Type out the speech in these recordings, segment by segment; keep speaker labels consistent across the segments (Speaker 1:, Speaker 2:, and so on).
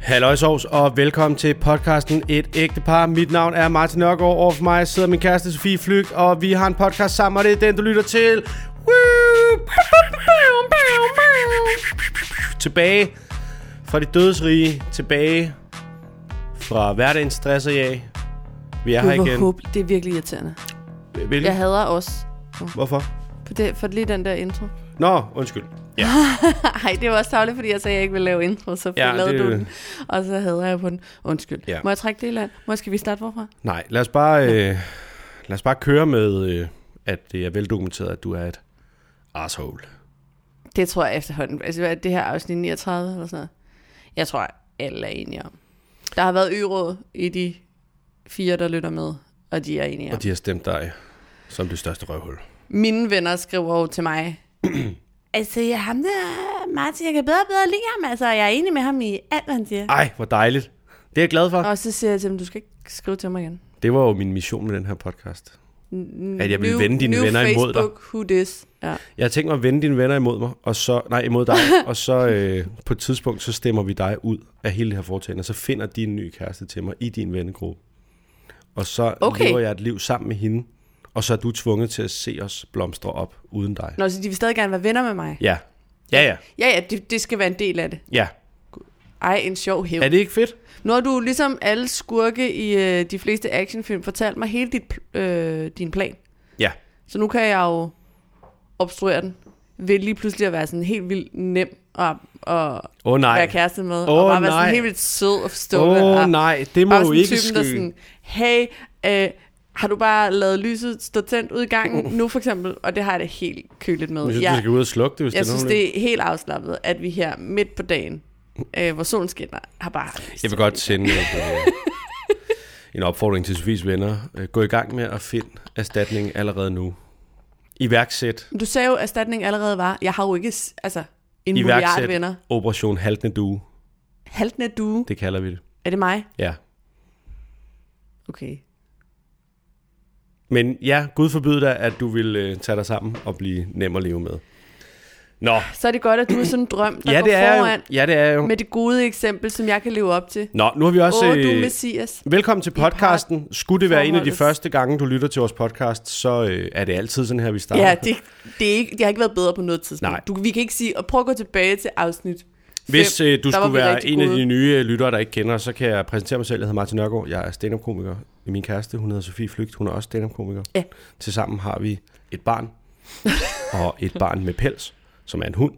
Speaker 1: Halløjsovs, og velkommen til podcasten Et ægte par. Mit navn er Martin Nørgaard, over for mig sidder min kæreste Sofie Flygt, og vi har en podcast sammen, og det er den, du lytter til. Woo! Tilbage fra de dødsrige, tilbage fra hverdagens stress og jag. Vi er her
Speaker 2: Gud, hvor
Speaker 1: igen.
Speaker 2: håb- Det er virkelig irriterende.
Speaker 1: Hvilken?
Speaker 2: Jeg hader os.
Speaker 1: Hvorfor?
Speaker 2: For, det, for lige den der intro.
Speaker 1: Nå, undskyld. Ja.
Speaker 2: Nej, det var også tavligt, fordi jeg sagde, at jeg ikke ville lave intro, så
Speaker 1: Ja,
Speaker 2: ja, lavede
Speaker 1: det-
Speaker 2: du den. Og så hader jeg på den. Undskyld.
Speaker 1: Ja.
Speaker 2: Ja. Må jeg trække det i land? Må skal vi starte hvorfra?
Speaker 1: Nej, lad os bare, øh, lad os bare køre med, øh, at det er veldokumenteret, at du er et asshole.
Speaker 2: Det tror jeg efterhånden. Altså, hvad er det her er afsnit 39 eller sådan noget. Jeg tror, alle er enige om. Der har været øråd i de fire, der lytter med, og de er enige om.
Speaker 1: Og de har stemt dig som det største røvhul.
Speaker 2: Mine venner skriver jo til mig, altså, jeg, ham der, Martin, jeg kan bedre og bedre lide ham. Altså, jeg er enig med ham i alt, hvad han siger.
Speaker 1: Ej, hvor dejligt. Det er jeg glad for.
Speaker 2: Og så siger jeg til dem, du skal ikke skrive til mig igen.
Speaker 1: Det var jo min mission med den her podcast. At jeg ville
Speaker 2: New-
Speaker 1: vende dine
Speaker 2: new
Speaker 1: venner imod dig.
Speaker 2: Facebook, who this? Ja.
Speaker 1: Jeg har tænkt mig at vende dine venner imod mig, og så, nej, imod dig, og så øh, på et tidspunkt, så stemmer vi dig ud af hele det her foretagende, og så finder de en ny kæreste til mig i din vennegruppe. Og så okay.
Speaker 2: Okay.
Speaker 1: lever jeg et liv sammen med hende, og så er du tvunget til at se os blomstre op uden dig.
Speaker 2: Nå, så de vil stadig gerne være venner med mig.
Speaker 1: Ja. Ja, ja.
Speaker 2: Ja, ja, det, det skal være en del af det.
Speaker 1: Ja.
Speaker 2: Ej, en sjov hæv.
Speaker 1: Er det ikke fedt?
Speaker 2: Nu har du ligesom alle skurke i øh, de fleste actionfilm fortalt mig hele dit, pl- øh, din plan.
Speaker 1: Ja.
Speaker 2: Så nu kan jeg jo obstruere den. Ved lige pludselig at være sådan helt vildt nem at, at
Speaker 1: Åh oh, nej.
Speaker 2: være kæreste med.
Speaker 1: Åh,
Speaker 2: og bare være
Speaker 1: nej.
Speaker 2: sådan helt vildt sød og forstående.
Speaker 1: Åh oh,
Speaker 2: og-
Speaker 1: nej, det må
Speaker 2: Bare
Speaker 1: jo
Speaker 2: sådan
Speaker 1: ikke
Speaker 2: typen,
Speaker 1: ske.
Speaker 2: der sådan, hey, øh, har du bare lavet lyset stå tændt ud i gangen nu for eksempel? Og det har jeg det helt køligt med.
Speaker 1: Jeg synes, du
Speaker 2: Jeg,
Speaker 1: skal ud og slukke det, hvis
Speaker 2: jeg
Speaker 1: det er
Speaker 2: synes,
Speaker 1: nogen-
Speaker 2: det er helt afslappet, at vi her midt på dagen, øh, hvor solen skinner, har bare...
Speaker 1: Jeg vil godt sende et, øh, en opfordring til Sofies venner. Øh, Gå i gang med at finde erstatning allerede nu. Iværksæt
Speaker 2: Du sagde jo, at erstatning allerede var. Jeg har jo ikke s- altså, en milliard
Speaker 1: Iværksæt.
Speaker 2: venner.
Speaker 1: Operation Haltende Due.
Speaker 2: Haltende du.
Speaker 1: Det kalder vi det.
Speaker 2: Er det mig?
Speaker 1: Ja.
Speaker 2: Okay.
Speaker 1: Men ja, Gud forbyde dig, at du vil øh, tage dig sammen og blive nem at leve med. Nå,
Speaker 2: Så er det godt, at du er sådan en drøm, der
Speaker 1: ja
Speaker 2: går
Speaker 1: det, er
Speaker 2: foran
Speaker 1: jo, ja, det er jo.
Speaker 2: med det gode eksempel, som jeg kan leve op til.
Speaker 1: Nå, nu har vi også...
Speaker 2: Åh, oh, du
Speaker 1: øh,
Speaker 2: messias.
Speaker 1: Velkommen til podcasten. Skulle det være en af de
Speaker 2: forholdets-
Speaker 1: første gange, du lytter til vores podcast, så øh, er det altid sådan her, vi starter.
Speaker 2: Ja, det, det, er ikke, det har ikke været bedre på noget tidspunkt.
Speaker 1: Nej.
Speaker 2: Du, vi kan ikke sige, og prøv at gå tilbage til afsnit
Speaker 1: Hvis
Speaker 2: fem.
Speaker 1: øh, du
Speaker 2: Der var
Speaker 1: skulle
Speaker 2: vi
Speaker 1: være
Speaker 2: rigtig
Speaker 1: en af
Speaker 2: gode.
Speaker 1: de nye øh, lyttere, der ikke kender os, så kan jeg præsentere mig selv. Jeg hedder Martin Nørgaard. Jeg er stand-up-komiker. Min kæreste, hun hedder Sofie Flygt. Hun er også stand-up-komiker.
Speaker 2: Ja.
Speaker 1: Tilsammen har vi et barn. og et barn med pels, som er en hund.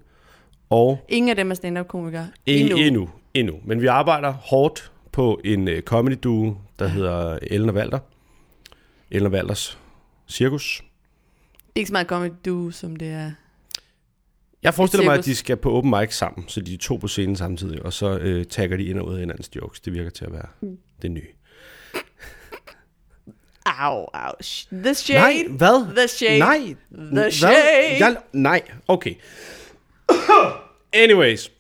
Speaker 1: Og
Speaker 2: Ingen af dem er stand-up-komikere.
Speaker 1: endnu. endnu, endnu. Men vi arbejder hårdt på en øh, comedy duo, der hedder Ellen og Walter. Ellen og Walters Cirkus.
Speaker 2: Det er ikke så meget comedy du, som det er.
Speaker 1: Jeg forestiller mig, at
Speaker 2: cirkus.
Speaker 1: de skal på open mic sammen, så de er to på scenen samtidig, og så øh, tagger de ind og ud af hinandens jokes. Det virker til at være
Speaker 2: Mm.
Speaker 1: det nye.
Speaker 2: Au, au. sh- The shade.
Speaker 1: Nej, hvad?
Speaker 2: The shade.
Speaker 1: Nej.
Speaker 2: The shade.
Speaker 1: Jeg, nej, okay. Anyways.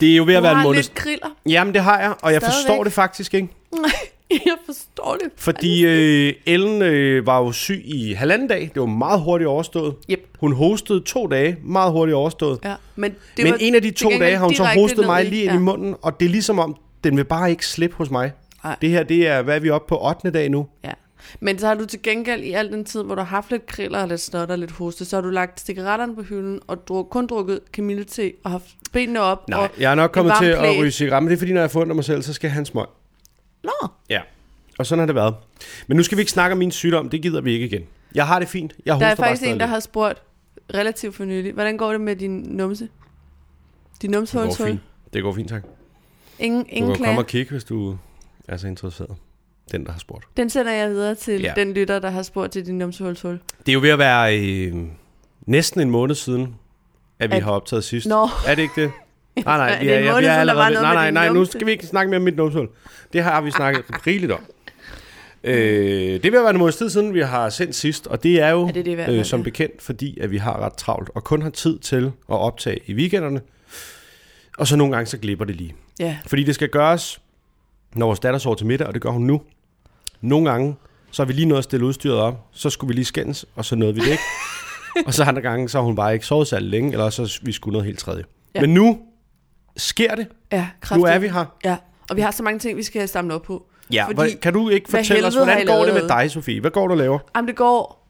Speaker 1: Det er jo ved at
Speaker 2: Du
Speaker 1: være en
Speaker 2: har
Speaker 1: måned.
Speaker 2: lidt kriller.
Speaker 1: Jamen, det har jeg, og jeg
Speaker 2: Stadigvæk.
Speaker 1: forstår det faktisk ikke.
Speaker 2: jeg forstår det.
Speaker 1: Fordi øh, Ellen øh, var jo syg i halvanden dag. Det var meget hurtigt overstået.
Speaker 2: Yep.
Speaker 1: Hun hostede to dage. Meget hurtigt overstået.
Speaker 2: Ja, men, det
Speaker 1: Men
Speaker 2: var,
Speaker 1: en af de
Speaker 2: til
Speaker 1: to
Speaker 2: gengæld
Speaker 1: dage har hun så
Speaker 2: direkte
Speaker 1: hostet
Speaker 2: ned
Speaker 1: mig lige ind ja.
Speaker 2: ja.
Speaker 1: i munden, og det er ligesom om, den vil bare ikke slippe hos mig.
Speaker 2: Ej.
Speaker 1: Det her, det er, hvad er vi oppe på 8. dag nu?
Speaker 2: Ja. Men så har du til gengæld i al den tid, hvor du har haft lidt kriller og lidt snot og lidt hoste, så har du lagt cigaretterne på hylden og druk, kun drukket kamillete og haft benene op.
Speaker 1: Nej,
Speaker 2: og
Speaker 1: jeg er nok
Speaker 2: en
Speaker 1: kommet
Speaker 2: varm
Speaker 1: til at
Speaker 2: plæt.
Speaker 1: ryge cigaret, men det er fordi, når jeg funder mig selv, så skal jeg have en smøg.
Speaker 2: Nå,
Speaker 1: Ja. Og sådan har det været. Men nu skal vi ikke snakke om min sygdom, det gider vi ikke igen. Jeg har det fint, jeg
Speaker 2: Der
Speaker 1: hoster
Speaker 2: er
Speaker 1: bare
Speaker 2: faktisk
Speaker 1: stadig.
Speaker 2: en, der har spurgt relativt for nylig, hvordan går det med din numse? Din
Speaker 1: Det går
Speaker 2: numsehulshul?
Speaker 1: fint, det går fint tak. Du
Speaker 2: Ingen, ingen
Speaker 1: kan komme
Speaker 2: klager.
Speaker 1: og kigge, hvis du er så interesseret. Den, der har spurgt.
Speaker 2: Den sender jeg videre til
Speaker 1: Ja.
Speaker 2: ja. den lytter, der har spurgt til din numsehulshul.
Speaker 1: Det er jo ved at være øh, næsten en måned siden, at vi
Speaker 2: At-
Speaker 1: har optaget sidst.
Speaker 2: Nå.
Speaker 1: Er det ikke det? Nej, nej,
Speaker 2: Det
Speaker 1: vi
Speaker 2: er
Speaker 1: er,
Speaker 2: en
Speaker 1: ja,
Speaker 2: måned
Speaker 1: vi er
Speaker 2: siden, der var
Speaker 1: allerede... Nej,
Speaker 2: noget med
Speaker 1: nej,
Speaker 2: din
Speaker 1: nej, nu
Speaker 2: numse.
Speaker 1: skal vi ikke snakke mere om mit numsehul. Det har vi snakket rigeligt om. Øh, det vil være en måneds tid siden, vi har sendt sidst, og det er jo
Speaker 2: Ja, det er det i hvert fald,
Speaker 1: øh, som
Speaker 2: ja.
Speaker 1: bekendt, fordi at vi har ret travlt, og kun har tid til at optage i weekenderne. Og så nogle gange, så glipper det lige.
Speaker 2: Ja.
Speaker 1: Fordi det skal gøres, når vores datter sover til middag, og det gør hun nu. Nogle gange, så har vi lige nået at stille udstyret op, så skulle vi lige skændes, og så nåede vi det ikke. og så andre gange, så har hun bare ikke sovet særlig længe, eller så vi skulle noget helt tredje. Ja.
Speaker 2: Ja.
Speaker 1: Men nu sker det.
Speaker 2: Ja, kraftigt.
Speaker 1: Nu er vi her.
Speaker 2: Ja. Og vi har så mange ting, vi skal samle op på.
Speaker 1: Ja,
Speaker 2: Fordi-
Speaker 1: fordi, kan du ikke
Speaker 2: hvad
Speaker 1: fortælle os,
Speaker 2: helvede har
Speaker 1: hvordan
Speaker 2: I
Speaker 1: går det med
Speaker 2: lavet?
Speaker 1: dig, Sofie? Hvad går du og laver?
Speaker 2: Jamen, det går...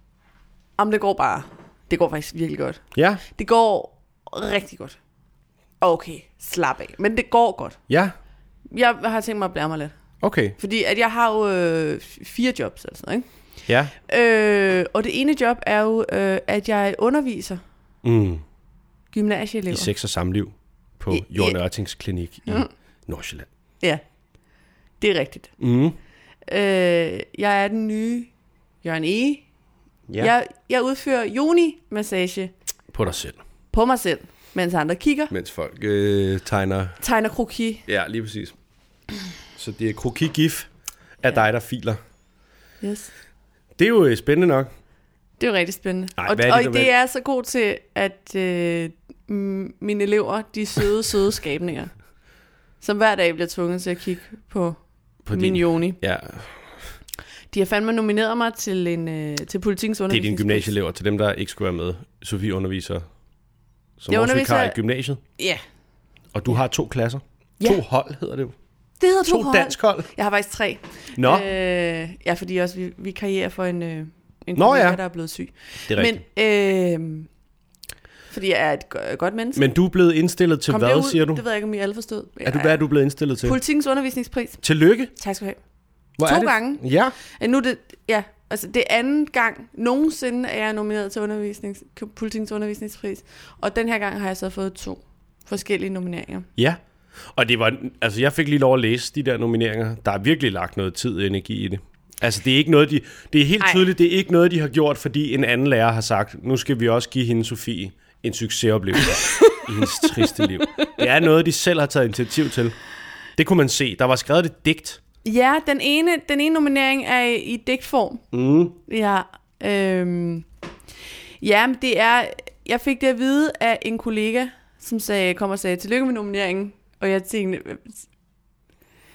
Speaker 2: Jamen, det går bare... Det går faktisk virkelig godt.
Speaker 1: Ja,
Speaker 2: Det går rigtig godt. Okay, slap af. Men det går godt.
Speaker 1: ja,
Speaker 2: Jeg har tænkt mig at blære mig lidt.
Speaker 1: okay,
Speaker 2: Fordi at jeg har jo øh, fire jobs eller sådan noget,
Speaker 1: ja.
Speaker 2: ikke? Øh, og det ene job er jo, øh, at jeg underviser
Speaker 1: Mm.
Speaker 2: gymnasieelever.
Speaker 1: I sex og samliv på
Speaker 2: I-
Speaker 1: Jørgen
Speaker 2: i-
Speaker 1: Ørtings klinik i
Speaker 2: Mm.
Speaker 1: Nordsjælland.
Speaker 2: Ja, det er rigtigt.
Speaker 1: Mm.
Speaker 2: Øh, jeg er den nye Jørgen E. Ja.
Speaker 1: Ja,
Speaker 2: Jeg, jeg udfører joni-massage
Speaker 1: på dig selv.
Speaker 2: på mig selv, mens andre kigger,
Speaker 1: Mens folk øh, tegner...
Speaker 2: tegner kroki.
Speaker 1: Ja, lige præcis. Så det er krokigif af dig, der filer.
Speaker 2: Yes.
Speaker 1: Det er jo øh, spændende nok.
Speaker 2: Det er jo rigtig spændende.
Speaker 1: Ej,
Speaker 2: og
Speaker 1: hvad er det,
Speaker 2: og
Speaker 1: du
Speaker 2: det,
Speaker 1: vil?
Speaker 2: er jeg så god til, at øh, m- mine elever, de er søde, søde skabninger, som hver dag bliver tvunget til at kigge på, på min joni.
Speaker 1: Ja,
Speaker 2: De har fandme nomineret mig til, en, øh, til politikens
Speaker 1: det er dine
Speaker 2: undervisning.
Speaker 1: gymnasieelever. Til dem, der ikke skulle være med. Sofie underviser som
Speaker 2: Jeg
Speaker 1: vores
Speaker 2: underviser-
Speaker 1: vikar i gymnasiet.
Speaker 2: Ja,
Speaker 1: Og du har to klasser.
Speaker 2: Ja.
Speaker 1: To hold hedder det jo.
Speaker 2: det hedder to,
Speaker 1: To
Speaker 2: hold.
Speaker 1: dansk hold.
Speaker 2: Jeg har faktisk tre.
Speaker 1: Nå, øh,
Speaker 2: Øh, ja, fordi også vi, vi karrierer for en, øh, en
Speaker 1: Nå,
Speaker 2: kollega,
Speaker 1: ja.
Speaker 2: der er blevet syg.
Speaker 1: det er
Speaker 2: Men,
Speaker 1: rigtigt.
Speaker 2: øh, fordi jeg er et go- godt menneske.
Speaker 1: Men, Men du er blevet indstillet til
Speaker 2: Kom
Speaker 1: hvad,
Speaker 2: derud.
Speaker 1: siger du?
Speaker 2: Det ved jeg ikke, om I alle forstod.
Speaker 1: Er du, hvad er du blevet indstillet til?
Speaker 2: Politikens undervisningspris.
Speaker 1: Tillykke.
Speaker 2: Tak skal du have.
Speaker 1: Hvor
Speaker 2: To
Speaker 1: er det?
Speaker 2: gange.
Speaker 1: Ja.
Speaker 2: Øh, Nu er det, ja, altså det er anden gang nogensinde er jeg nomineret til undervisnings, politikens undervisningspris. Og den her gang har jeg så fået to forskellige nomineringer.
Speaker 1: Ja. Og det var, altså jeg fik lige lov at læse de der nomineringer. Der er virkelig lagt noget tid og energi i det. Altså det er ikke noget, de, det er helt
Speaker 2: Ej.
Speaker 1: tydeligt, det er ikke noget, de har gjort, fordi en anden lærer har sagt, nu skal vi også give hende Sofie en succesoplevelse i hendes triste liv. Det er noget, de selv har taget initiativ til. Det kunne man se. Der var skrevet et digt.
Speaker 2: Ja, den ene, den ene nominering er i, i digtform.
Speaker 1: Mm.
Speaker 2: Ja, øhm, ja, men det er, jeg fik det at vide af en kollega, som sagde, kom og sagde, tillykke med nomineringen. Og jeg tænkte, "Øh,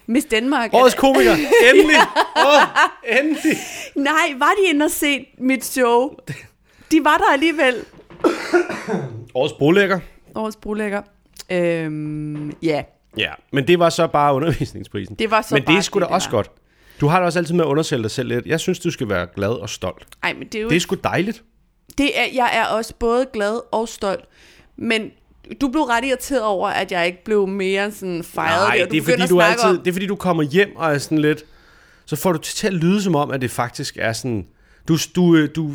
Speaker 2: Miss Danmark. er
Speaker 1: Årets
Speaker 2: det-
Speaker 1: komiker, endelig! Åh, endelig!
Speaker 2: Nej, var de inde og se mit show? De var der alligevel.
Speaker 1: Årets brolægger.
Speaker 2: Årets brolægger. Øhm, ja,
Speaker 1: Ja, men det var så bare undervisningsprisen.
Speaker 2: det var så
Speaker 1: men
Speaker 2: bare
Speaker 1: det er sgu da også godt. Du har det også altid med at undersælge dig selv lidt. Jeg synes, du skal være glad og stolt.
Speaker 2: Nej, men det er jo...
Speaker 1: Det er
Speaker 2: Det...
Speaker 1: sgu dejligt.
Speaker 2: Det er, jeg er også både glad og stolt. Men du blev ret irriteret over, at jeg ikke blev mere sådan fejret.
Speaker 1: Nej,
Speaker 2: der.
Speaker 1: det er, fordi
Speaker 2: begyndte at
Speaker 1: du
Speaker 2: snakke
Speaker 1: altid,
Speaker 2: om-
Speaker 1: det er fordi, du kommer hjem og er sådan lidt... Så får du det til at lyde som om, at det faktisk er sådan... Du, du, øh, du,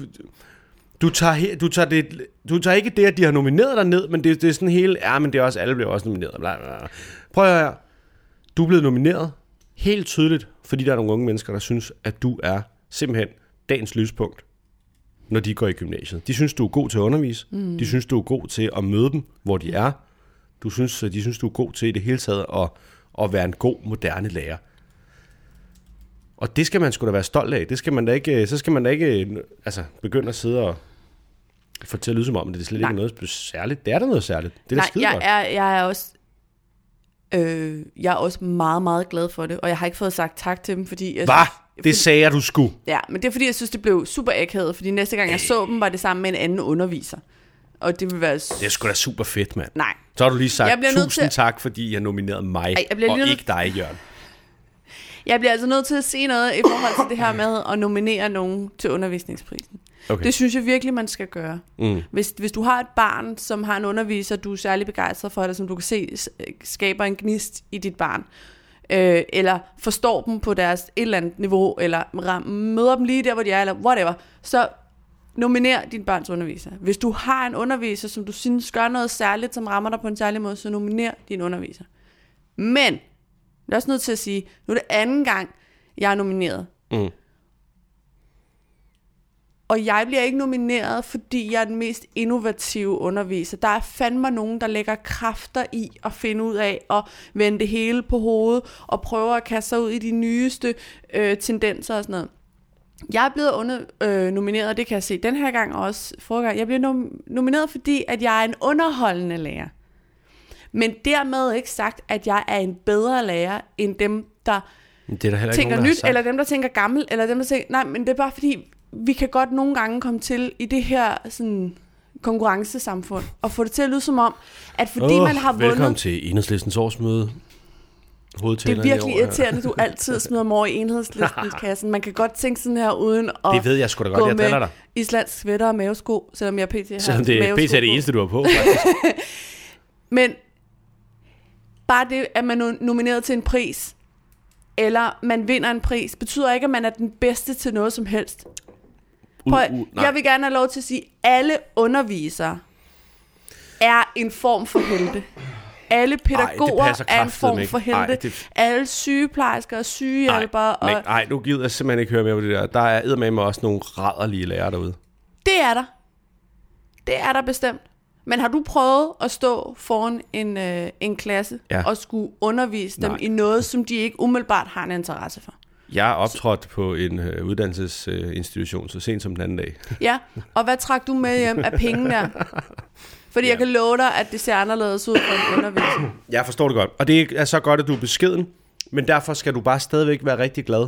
Speaker 1: du, tager, he- du, tager det, du tager ikke det, at de har nomineret dig ned, men det, det er sådan hele... Ja, men det er også... Alle bliver også nomineret. Bla, bla, bla. Prøv at høre her. Du er blevet nomineret helt tydeligt, fordi der er nogle unge mennesker, der synes, at du er simpelthen dagens lyspunkt, når de går i gymnasiet. De synes, du er god til at undervise. Mm. De synes, du er god til at møde dem, hvor
Speaker 2: Mm.
Speaker 1: de er. Du synes, øh, de synes, du er god til i det hele taget at, at være en god, moderne lærer. Og det skal man sgu da være stolt af. Det skal man da ikke, så skal man da ikke øh, altså, begynde at sidde og få det til at lyde som om, at det slet ikke
Speaker 2: Nej.
Speaker 1: er noget spe- særligt. Det er da noget særligt. Det er da
Speaker 2: Nej,
Speaker 1: skide
Speaker 2: jeg
Speaker 1: godt.
Speaker 2: er, jeg er også... Øh, jeg er også meget, meget glad for det, og jeg har ikke fået sagt tak til dem, fordi... Jeg
Speaker 1: Hvad?
Speaker 2: synes-
Speaker 1: Det sagde jeg, du skulle.
Speaker 2: Ja, men det er fordi, jeg synes, det blev super akavet, fordi næste gang, jeg så dem, var det sammen med en anden underviser. Og det ville være...
Speaker 1: Det er sgu da super fedt, mand.
Speaker 2: Nej.
Speaker 1: Så har du lige sagt,
Speaker 2: Jeg bliver nødt
Speaker 1: tusind
Speaker 2: til-
Speaker 1: tak, fordi jeg nominerede mig,
Speaker 2: Ej, jeg bliver
Speaker 1: og
Speaker 2: lige nødt-
Speaker 1: ikke dig, Jørgen.
Speaker 2: Jeg bliver altså nødt til at se noget i forhold til det her med at nominere nogen til undervisningsprisen.
Speaker 1: Okay.
Speaker 2: Det synes jeg virkelig, man skal gøre.
Speaker 1: Mm.
Speaker 2: Hvis, hvis du har et barn, som har en underviser, du er særlig begejstret for, eller som du kan se s- skaber en gnist i dit barn, øh, eller forstår dem på deres et eller andet niveau, eller ram- møder dem lige der, hvor de er, eller whatever, så nominer din børns underviser. Hvis du har en underviser, som du synes gør noget særligt, som rammer dig på en særlig måde, så nominer din underviser. Men, jeg er også nødt til at sige, nu er det anden gang, jeg er nomineret.
Speaker 1: Mm.
Speaker 2: Og jeg bliver ikke nomineret, fordi jeg er den mest innovative underviser. Der er fandme nogen, der lægger kræfter i at finde ud af at vende det hele på hovedet og prøver at kaste sig ud i de nyeste øh, tendenser og sådan noget. Jeg er blevet under, øh, nomineret, og det kan jeg se den her gang og også forrige gang. Jeg blev nom- nomineret, fordi at jeg er en underholdende lærer. Men dermed ikke sagt, at jeg er en bedre lærer end dem, der
Speaker 1: Men Det er der heller ikke
Speaker 2: tænker
Speaker 1: nogen, der har
Speaker 2: nyt,
Speaker 1: sagt.
Speaker 2: eller dem, der tænker gammel, eller dem, der tænker, nej, men det er bare fordi, vi kan godt nogle gange komme til i det her sådan, konkurrencesamfund, og få det til at lyde som om, at fordi
Speaker 1: Åh,
Speaker 2: man har
Speaker 1: Velkommen
Speaker 2: vundet...
Speaker 1: til Enhedslistens årsmøde.
Speaker 2: Det er
Speaker 1: hovedtænderne
Speaker 2: virkelig
Speaker 1: i år, ja.
Speaker 2: irriterende, du altid smider mor i enhedslisten-kassen. Man kan godt tænke sådan her, uden at
Speaker 1: Det ved jeg sgu da godt,
Speaker 2: gå
Speaker 1: jeg driller
Speaker 2: med
Speaker 1: dig.
Speaker 2: islandsk sweater og mavesko, selvom jeg pt. har
Speaker 1: Selvom det er
Speaker 2: mavesko
Speaker 1: PC er
Speaker 2: på.
Speaker 1: det eneste, du har på. faktisk.
Speaker 2: Men bare det, at man er nomineret til en pris, eller man vinder en pris, betyder ikke, at man er den bedste til noget som helst.
Speaker 1: U-
Speaker 2: Prøv,
Speaker 1: u- nej.
Speaker 2: jeg vil gerne have lov til at sige, at alle undervisere er en form for helte. Alle pædagoger
Speaker 1: passer
Speaker 2: er
Speaker 1: kraftedeme
Speaker 2: en form
Speaker 1: ikke.
Speaker 2: for helte.
Speaker 1: Ej, det-
Speaker 2: Alle sygeplejersker og sygehjælpere.
Speaker 1: Nej,
Speaker 2: Og
Speaker 1: men, nej, nu gider jeg simpelthen ikke høre mere på det der. Der er eddermame også nogle raderlige lærere derude.
Speaker 2: det er der. Det er der bestemt. Men har du prøvet at stå foran en, øh, en klasse
Speaker 1: Ja.
Speaker 2: og skulle undervise dem
Speaker 1: Nej.
Speaker 2: i noget, som de ikke umiddelbart har en interesse for?
Speaker 1: Jeg er optrådt på en øh, uddannelsesinstitution så sent som den anden dag.
Speaker 2: Ja, og hvad trak du med hjem af penge der? Fordi ja. jeg kan love dig, at det ser anderledes ud for en undervisning.
Speaker 1: Jeg forstår det godt. Og det er så godt, at du er beskeden, men derfor skal du bare stadigvæk være rigtig glad.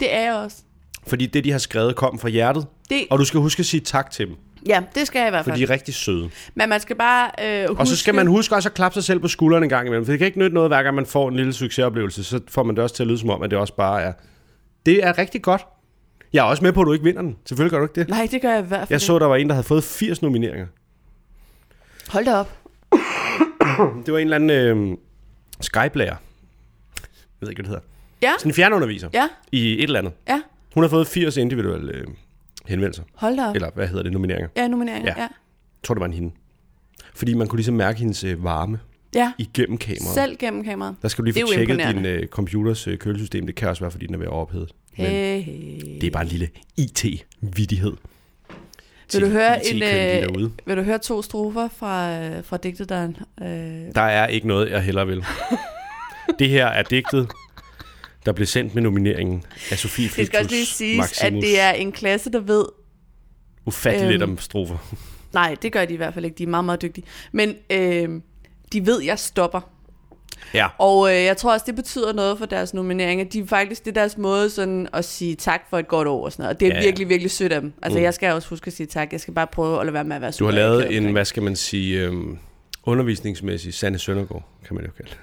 Speaker 2: Det er jeg også.
Speaker 1: Fordi det, de har skrevet, kom fra hjertet.
Speaker 2: Det,
Speaker 1: Og du skal huske at sige tak til dem,
Speaker 2: ja, det skal jeg i hvert
Speaker 1: for
Speaker 2: fald.
Speaker 1: de er rigtig søde.
Speaker 2: Men man skal bare øh, huske...
Speaker 1: Og så skal man huske også at klappe sig selv på skulderen en gang imellem, for det kan ikke nytte noget, hver gang man får en lille succesoplevelse, så får man det også til at lyde som om, at det også bare er... Det er rigtig godt. Jeg er også med på, at du ikke vinder den. Selvfølgelig gør du ikke det.
Speaker 2: Nej, det gør jeg i hvert fald.
Speaker 1: Jeg så, der var en, der havde fået 80 nomineringer.
Speaker 2: ikke. Hold da op.
Speaker 1: Det var en eller anden øh, Skype-lærer. Jeg ved ikke, hvad det hedder.
Speaker 2: Ja,
Speaker 1: Sådan en fjernunderviser
Speaker 2: ja,
Speaker 1: i et eller andet.
Speaker 2: ja.
Speaker 1: Hun har fået 80 individuelle øh, henvendelser.
Speaker 2: Hold da op.
Speaker 1: Eller hvad hedder det? Nomineringer.
Speaker 2: Ja, nomineringer.
Speaker 1: Ja.
Speaker 2: Ja.
Speaker 1: Jeg tror, det var en hende. Fordi man kunne ligesom mærke hendes øh, varme
Speaker 2: ja.
Speaker 1: igennem kameraet.
Speaker 2: Selv gennem kameraet.
Speaker 1: Der skal du
Speaker 2: Det
Speaker 1: lige
Speaker 2: er
Speaker 1: få
Speaker 2: jo
Speaker 1: tjekket din
Speaker 2: imponerende.
Speaker 1: øh, computers øh, kølesystem. Det kan også være, fordi den er ved at ophede. Men
Speaker 2: Hey, hey.
Speaker 1: det er bare en lille IT-vittighed.
Speaker 2: Vil du høre en,
Speaker 1: derude.
Speaker 2: øh, vil du høre to strofer fra, øh, fra digtet, der er en, øh,
Speaker 1: Der er ikke noget, jeg hellere vil. det her er digtet, der blev sendt med nomineringen af Sofie Flitus
Speaker 2: Det skal også lige siges,
Speaker 1: Maximus.
Speaker 2: at det er en klasse, der ved...
Speaker 1: Ufatteligt lidt
Speaker 2: øhm,
Speaker 1: om strofer.
Speaker 2: Nej, det gør de i hvert fald ikke. De er meget, meget dygtige. Men øh, de ved, jeg stopper.
Speaker 1: Ja.
Speaker 2: Og øh, jeg tror også, det betyder noget for deres nomineringer. De er faktisk, det er deres måde sådan at sige tak for et godt år og sådan noget. Og det er
Speaker 1: Ja,
Speaker 2: ja,
Speaker 1: ja.
Speaker 2: virkelig, virkelig sødt af dem. Altså, mm. jeg skal også huske at sige tak. Jeg skal bare prøve at lade være med at være
Speaker 1: Du
Speaker 2: super.
Speaker 1: har lavet
Speaker 2: akavet
Speaker 1: en,
Speaker 2: omkring.
Speaker 1: hvad skal man sige, øhm, undervisningsmæssig Sanne Søndergaard, kan man jo kalde det.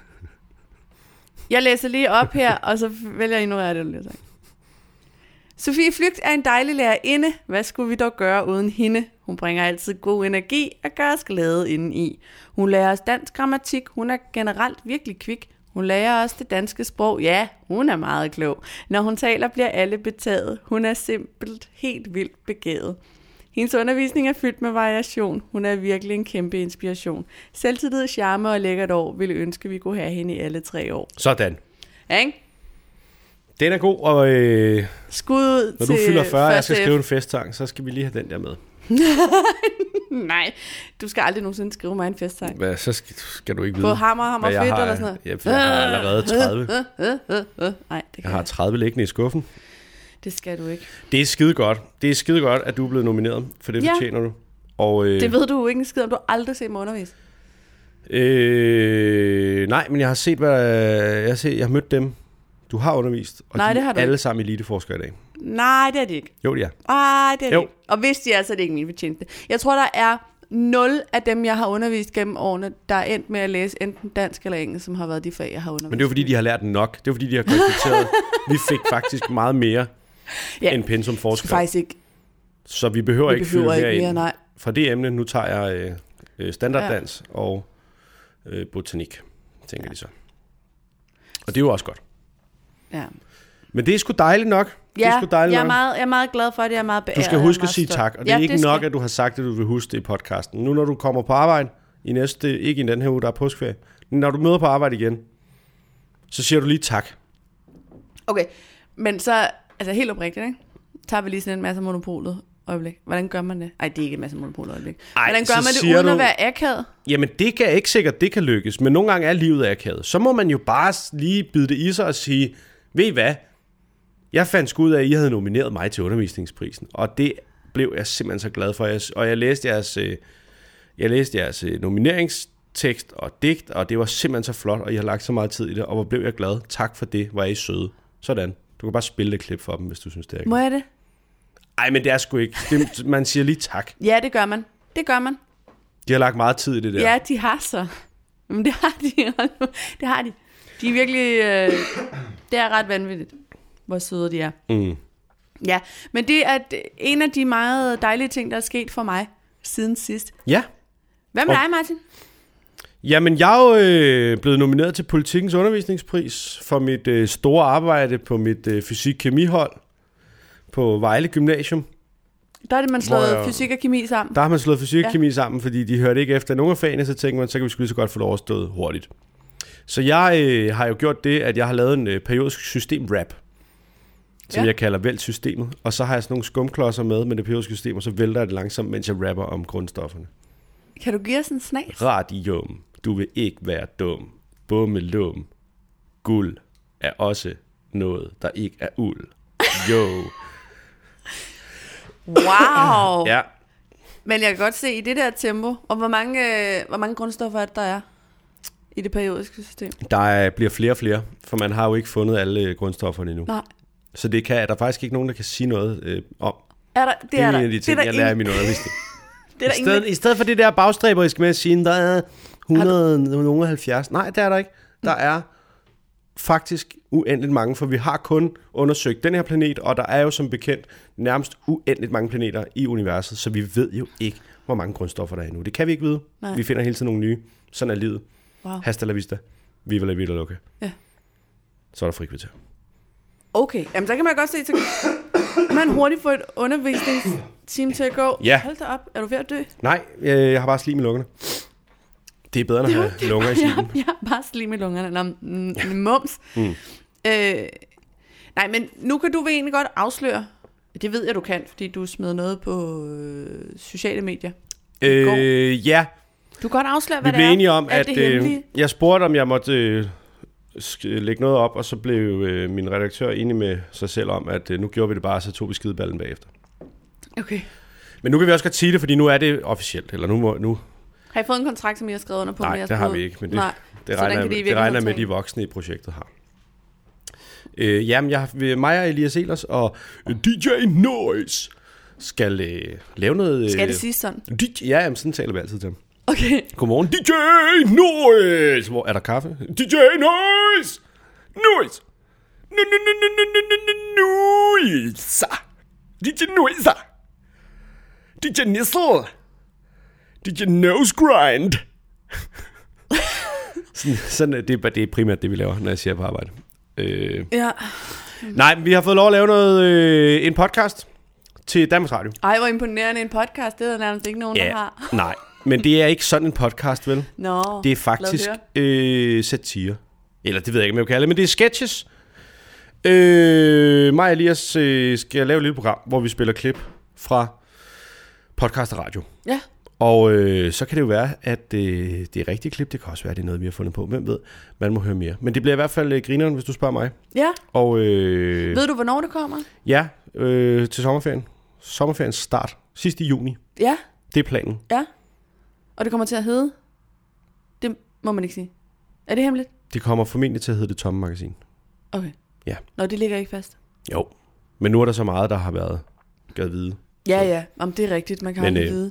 Speaker 2: Jeg læser lige op her, og så vælger jeg at ignorere det, du lige har sagt. Sofie Flygt er en dejlig lærerinde. Hvad skulle vi dog gøre uden hende? Hun bringer altid god energi og gør os glade indeni. Hun lærer os dansk grammatik. Hun er generelt virkelig kvik. Hun lærer os det danske sprog. Ja, hun er meget klog. Når hun taler, bliver alle betaget. Hun er simpelt helt vildt begavet. Hendes undervisning er fyldt med variation. Hun er virkelig en kæmpe inspiration. Selvtillid, charme og lækkert år ville ønske, vi kunne have hende i alle tre år.
Speaker 1: Sådan.
Speaker 2: Ja, Ikke?
Speaker 1: Den er god, og øh,
Speaker 2: Skud ud
Speaker 1: når
Speaker 2: til
Speaker 1: du fylder 40, og jeg skal
Speaker 2: første-
Speaker 1: skrive en festsang, så skal vi lige have den der med.
Speaker 2: Nej, du skal aldrig nogensinde skrive mig en festsang.
Speaker 1: Hvad, så skal, skal du ikke vide,
Speaker 2: På hammer, hammer
Speaker 1: hvad jeg
Speaker 2: fedt
Speaker 1: har,
Speaker 2: eller sådan noget.
Speaker 1: Ja, for jeg har allerede 30.
Speaker 2: Øh, Nej, det
Speaker 1: Jeg
Speaker 2: kan
Speaker 1: har Øh.
Speaker 2: jeg.
Speaker 1: 30 liggende i skuffen.
Speaker 2: Det skal du ikke.
Speaker 1: Det er skide godt. Det er skide godt, at du er blevet nomineret, for det
Speaker 2: Ja.
Speaker 1: fortjener du. Og, øh,
Speaker 2: Det ved du jo ikke en skid om. Du har aldrig set mig undervise.
Speaker 1: øh, nej, men jeg har set, hvad jeg har, set, jeg har mødt dem. Du har undervist, og
Speaker 2: Nej,
Speaker 1: de
Speaker 2: det har
Speaker 1: er
Speaker 2: du
Speaker 1: alle
Speaker 2: ikke.
Speaker 1: sammen eliteforskere i dag.
Speaker 2: Nej, det er det ikke.
Speaker 1: Jo, det er.
Speaker 2: Ej, det er
Speaker 1: Jo.
Speaker 2: det ikke. Og hvis de er, så er det ikke min fortjeneste. Jeg tror, der er nul af dem, jeg har undervist gennem årene, der er endt med at læse enten dansk eller engelsk, som har været de fag, jeg har undervist.
Speaker 1: Men det er jo fordi, de har lært nok. Det er jo fordi, de har konstateret, vi fik faktisk meget mere ja.
Speaker 2: Ja.
Speaker 1: end pensum
Speaker 2: skal
Speaker 1: forsker.
Speaker 2: faktisk ikke.
Speaker 1: Så vi behøver
Speaker 2: Vi
Speaker 1: ikke
Speaker 2: behøver
Speaker 1: fylde
Speaker 2: ikke
Speaker 1: mere
Speaker 2: mere,
Speaker 1: ind.
Speaker 2: nej.
Speaker 1: Fra det emne, nu tager jeg øh, øh, standarddans ja. og øh, botanik, tænker ja. de så. Og det er jo også godt.
Speaker 2: Ja,
Speaker 1: Men det er sgu dejligt nok. det er
Speaker 2: ja
Speaker 1: sgu dejligt
Speaker 2: jeg, er
Speaker 1: nok.
Speaker 2: meget, jeg er meget glad for det. Jeg er meget
Speaker 1: Du
Speaker 2: beæret.
Speaker 1: skal
Speaker 2: jeg er
Speaker 1: huske at
Speaker 2: meget
Speaker 1: sige
Speaker 2: stolt.
Speaker 1: tak, og det er ikke
Speaker 2: skal
Speaker 1: nok,
Speaker 2: jeg.
Speaker 1: at du har sagt, at du vil huske det i podcasten. Nu når du kommer på arbejde i næste, ikke i den her uge, der er påskeferie, men når du møder på arbejde igen, så siger du lige tak.
Speaker 2: Okay, men så, altså helt oprigtigt, ikke? Tager vi lige sådan en masse af monopolet øjeblik. Hvordan gør man det? Nej, det er ikke en masse af monopolet øjeblik.
Speaker 1: Ej,
Speaker 2: Hvordan
Speaker 1: så
Speaker 2: gør man det
Speaker 1: siger
Speaker 2: uden
Speaker 1: du-
Speaker 2: at være akavet?
Speaker 1: Jamen, det kan ikke sikkert, det kan lykkes, men nogle gange er livet akavet. Så må man jo bare s- lige bide det i sig og sige, ved I hvad? Jeg fandt sgu ud af, at I havde nomineret mig til undervisningsprisen, og det blev jeg simpelthen så glad for. Jeg s- Og jeg læste jeres, øh, jeg læste jeres øh, nomineringstekst og digt, og det var simpelthen så flot, og I har lagt så meget tid i det, og hvor blev jeg glad. Tak for det, hvor er I søde. Sådan. Du kan bare spille det klip for dem, hvis du synes, det er
Speaker 2: Må
Speaker 1: godt.
Speaker 2: jeg det?
Speaker 1: Ej, men det er sgu ikke. Det, man siger lige tak.
Speaker 2: Ja, det gør man. Det gør man.
Speaker 1: De har lagt meget tid i det der.
Speaker 2: Ja, de har så. Men det har de. det har de. De er virkelig... Øh, det er ret vanvittigt, hvor søde de er.
Speaker 1: Mm.
Speaker 2: Ja, men det er d- en af de meget dejlige ting, der er sket for mig siden sidst.
Speaker 1: Ja.
Speaker 2: Hvad med
Speaker 1: Og-
Speaker 2: dig, Martin?
Speaker 1: Jamen, jeg er jo øh, blevet nomineret til Politikens Undervisningspris for mit øh, store arbejde på mit øh, fysik-kemihold på Vejle Gymnasium.
Speaker 2: Der er det, man slået
Speaker 1: jeg-
Speaker 2: fysik og kemi sammen.
Speaker 1: Der har man slået fysik og kemi sammen, fordi de hørte ikke efter nogen af fagene, så tænkte man, så kan vi sgu lige så godt få det overstået hurtigt. Så jeg øh, har jo gjort det, at jeg har lavet en øh, periodisk systemrap, som
Speaker 2: Ja.
Speaker 1: ja. jeg kalder Vælt systemet. Og så har jeg sådan nogle skumklodser med med det periodiske system, og så vælter jeg det langsomt, mens jeg rapper om grundstofferne.
Speaker 2: Kan du give os en snas?
Speaker 1: Radium, du vil ikke være dum. Bummelum, guld er også noget, der ikke er uld. Jo.
Speaker 2: Wow!
Speaker 1: Ja,
Speaker 2: Men jeg kan godt se i det der tempo, og hvor mange, øh, hvor mange grundstoffer er det, der er i det periodiske system?
Speaker 1: der er- bliver flere og flere, for man har jo ikke fundet alle øh, grundstofferne endnu.
Speaker 2: Nej.
Speaker 1: Så det kan, der er faktisk ikke nogen, der kan sige noget øh, om.
Speaker 2: Er der, det,
Speaker 1: Det er
Speaker 2: er der.
Speaker 1: en af de ting,
Speaker 2: det er der
Speaker 1: jeg lærer i
Speaker 2: ingen-
Speaker 1: min undervisning.
Speaker 2: Det er der
Speaker 1: I
Speaker 2: ingen,
Speaker 1: stedet, I stedet for det der bagstræberiske med at sige, der er 170. Nej, det er der ikke. Der
Speaker 2: Mm.
Speaker 1: er faktisk uendeligt mange, for vi har kun undersøgt den her planet, og der er jo som bekendt nærmest uendeligt mange planeter i universet, så vi ved jo ikke, hvor mange grundstoffer der er endnu. Det kan vi ikke vide.
Speaker 2: Nej.
Speaker 1: Vi finder hele tiden nogle nye. Sådan er livet.
Speaker 2: Wow.
Speaker 1: Hasta la vista. Viva la vida loca.
Speaker 2: Ja.
Speaker 1: Så er der frikvarter.
Speaker 2: Okay, jamen så kan man godt se, så kan man hurtigt få et undervisningsteam til at gå.
Speaker 1: Ja.
Speaker 2: Hold da op, er du ved at dø?
Speaker 1: Nej, øh, jeg har bare slim i lungerne. Det er bedre, end at have lunger i slimen.
Speaker 2: Jeg, jeg har bare slim i lungerne. Nå, mm, mums. Mm. Øh, nej, men nu kan du vel egentlig godt afsløre, det ved jeg, du kan, fordi du smed noget på øh, sociale medier. går.
Speaker 1: Øh, ja,
Speaker 2: Du kan godt afsløre,
Speaker 1: Vi
Speaker 2: hvad det
Speaker 1: blev
Speaker 2: er.
Speaker 1: enige om,
Speaker 2: Alt
Speaker 1: at
Speaker 2: det
Speaker 1: øh,
Speaker 2: hemmelige.
Speaker 1: jeg spurgte, om jeg måtte øh, sk- lægge noget op, og så blev øh, min redaktør enig med sig selv om, at øh, nu gjorde vi det bare, så tog vi skideballen bagefter.
Speaker 2: Okay.
Speaker 1: Men nu kan vi også godt sige det, fordi nu er det officielt, eller nu, må, nu
Speaker 2: Har I fået en kontrakt, som I har skrevet under på?
Speaker 1: Nej,
Speaker 2: med jeres
Speaker 1: det har
Speaker 2: bud?
Speaker 1: vi ikke, men det-
Speaker 2: Nej.
Speaker 1: det
Speaker 2: Så den
Speaker 1: regner,
Speaker 2: kan de i
Speaker 1: jeg- det regner jeg med,
Speaker 2: virkeligheden
Speaker 1: at de voksne i projektet har. Øh, jamen, jeg, har- mig og Elias Elers og DJ Noise skal øh, lave noget... Øh,
Speaker 2: Skal det sige sådan?
Speaker 1: DJ, ja, jamen, sådan taler vi altid til dem.
Speaker 2: Okay.
Speaker 1: Godmorgen, DJ Noise! Hvor er der kaffe? DJ Noise! Noise! Nu, nu, nu, nu, nu, nu, nu, nu, Noise! DJ Noise! DJ Nissel! DJ Nose Grind! sådan, sådan er det, det er primært det, vi laver, når jeg siger på arbejde. Øh,
Speaker 2: Ja.
Speaker 1: nej, men vi har fået lov at lave noget, øh, en podcast til Danmarks Radio.
Speaker 2: Ej, hvor imponerende en podcast. Det er der nærmest ikke nogen, der har.
Speaker 1: nej. Men det er ikke sådan en podcast, vel?
Speaker 2: Nå,
Speaker 1: Det er
Speaker 2: lad
Speaker 1: faktisk
Speaker 2: høre.
Speaker 1: øh, satire. Eller det ved jeg ikke, om jeg kan kalde det, men det er sketches. Øh, mig og Elias øh, skal lave et lille program, hvor vi spiller klip fra podcast og radio.
Speaker 2: Ja,
Speaker 1: Og øh, så kan det jo være, at øh, det er rigtige klip. Det kan også være, at det er noget, vi har fundet på. Hvem ved? Man må høre mere. Men det bliver i hvert fald øh, grineren, hvis du spørger mig.
Speaker 2: ja.
Speaker 1: Og øh,
Speaker 2: Ved du, hvornår det kommer?
Speaker 1: ja, øh, til sommerferien. Sommerferiens start. Sidst i juni.
Speaker 2: Ja,
Speaker 1: Det er planen.
Speaker 2: ja. Og det kommer til at hedde? Det må man ikke sige. Er det hemmeligt?
Speaker 1: Det kommer formentlig til at hedde Det Tomme Magasin.
Speaker 2: Okay.
Speaker 1: Ja.
Speaker 2: Nå, det ligger ikke fast.
Speaker 1: Jo. Men nu er der så meget, der har været gad vide.
Speaker 2: Ja, ja. Om det er rigtigt, man kan
Speaker 1: Men,
Speaker 2: Men, øh,
Speaker 1: øh,
Speaker 2: vide.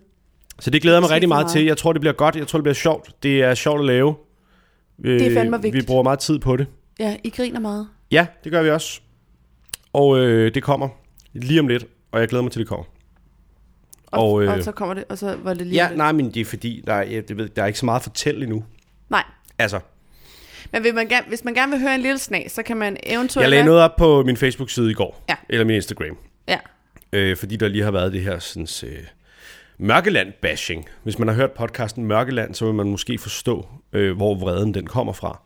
Speaker 1: Så det glæder jeg mig
Speaker 2: Sig
Speaker 1: rigtig
Speaker 2: for
Speaker 1: meget
Speaker 2: meget.
Speaker 1: til. Jeg tror, det bliver godt. Jeg tror, det bliver sjovt. Det er sjovt at lave.
Speaker 2: er
Speaker 1: Øh,
Speaker 2: fandme vigtigt.
Speaker 1: Vi bruger meget tid på det.
Speaker 2: Ja, I griner meget.
Speaker 1: Ja, det gør vi også. Og øh, det kommer lige om lidt, og jeg glæder mig til, det kommer.
Speaker 2: Og, og,
Speaker 1: Og,
Speaker 2: øh,
Speaker 1: øh,
Speaker 2: og så kommer det, og så var det lige...
Speaker 1: Ja,
Speaker 2: lidt.
Speaker 1: nej, men det er fordi, der er, jeg, det ved, der er ikke så meget at fortælle endnu.
Speaker 2: nej.
Speaker 1: Altså,
Speaker 2: Men vil man gerne, hvis man gerne vil høre en lille snas, så kan man eventuelt...
Speaker 1: jeg lagde noget op på min Facebook-side i går.
Speaker 2: Ja.
Speaker 1: Eller min Instagram.
Speaker 2: Ja.
Speaker 1: Øh, fordi der lige har været det her sådan, øh, Mørkeland-bashing. Hvis man har hørt podcasten Mørkeland, så vil man måske forstå, øh, hvor vreden den kommer fra.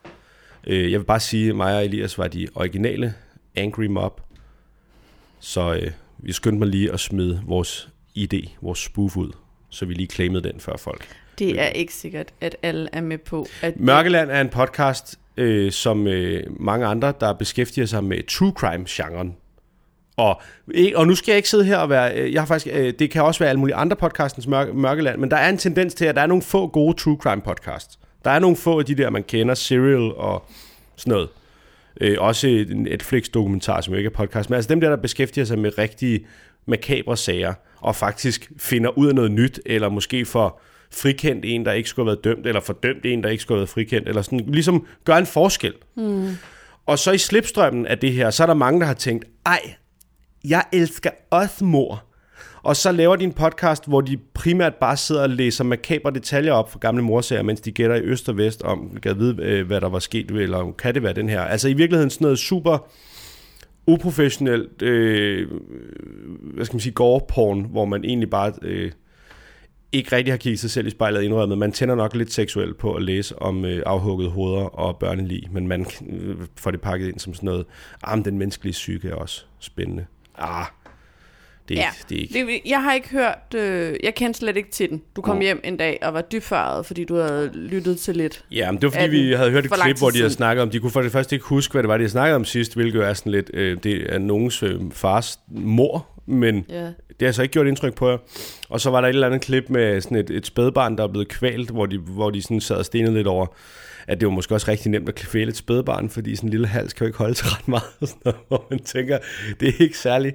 Speaker 1: Øh, jeg vil bare sige, at mig og Elias var de originale Angry Mob. Så øh, vi skyndte mig lige at smide vores idé, vores spoof ud, så vi lige claimede den før folk.
Speaker 2: Det er ikke sikkert, at alle er med på. At
Speaker 1: Mørkeland er en podcast, øh, som øh, mange andre, der beskæftiger sig med true crime-genren. Og, ikke- og nu skal jeg ikke sidde her og være... øh, Jeg har faktisk, øh, det kan også være alle mulige andre podcastens mørk, Mørkeland, men der er en tendens til, at der er nogle få gode true crime-podcasts. Der er nogle få af de der, man kender, Serial og sådan noget. Øh, også en Netflix-dokumentar, som jo ikke er podcast, men altså dem der, der beskæftiger sig med rigtige makabre sager, og faktisk finder ud af noget nyt, eller måske får frikendt en, der ikke skulle have været dømt, eller fordømt en, der ikke skulle have været frikendt, eller sådan, ligesom gør en forskel. Mm. Og så i slipstrømmen af det her, så er der mange, der har tænkt, ej, jeg elsker også mor. Og så laver de en podcast, hvor de primært bare sidder og læser makabre detaljer op fra gamle morsager, mens de gætter i øst og vest om, kan vide, øh, hvad der var sket, eller om kan det være den her. Altså i virkeligheden sådan noget super uprofessionelt, øh, hvad skal man sige, gore-porn, hvor man egentlig bare øh, ikke rigtig har kigget sig selv i spejlet og indrømmet. Man tænder nok lidt seksuelt på at læse om øh, afhuggede hoveder og børnelig, men man øh, får det pakket ind som sådan noget, ah, men den menneskelige psyke er også spændende. Ah, det er,
Speaker 2: Ja.
Speaker 1: ja. ikke, det er ikke
Speaker 2: Det, jeg har ikke hørt, øh, jeg kendte slet ikke til den. Du kom
Speaker 1: Nå.
Speaker 2: hjem en dag og var dybfaret, fordi du havde lyttet til lidt.
Speaker 1: Ja, men det var fordi,
Speaker 2: af den
Speaker 1: vi havde hørt et
Speaker 2: for lang
Speaker 1: klip,
Speaker 2: tid
Speaker 1: hvor de havde
Speaker 2: siden.
Speaker 1: snakket om, de kunne for det første ikke huske, hvad det var, de havde snakket om sidst, hvilket jo er sådan lidt, øh, det er nogens øh, fars mor, men
Speaker 2: Ja.
Speaker 1: det har så ikke gjort indtryk på jer. Og så var der et eller andet klip med sådan et, et spædbarn, der er blevet kvalt, hvor de, hvor de sådan sad og stenede lidt over, at det var måske også rigtig nemt at kvæle et spædbarn, fordi sådan en lille hals kan jo ikke holde til ret meget, og sådan noget, hvor man tænker, det er ikke særlig,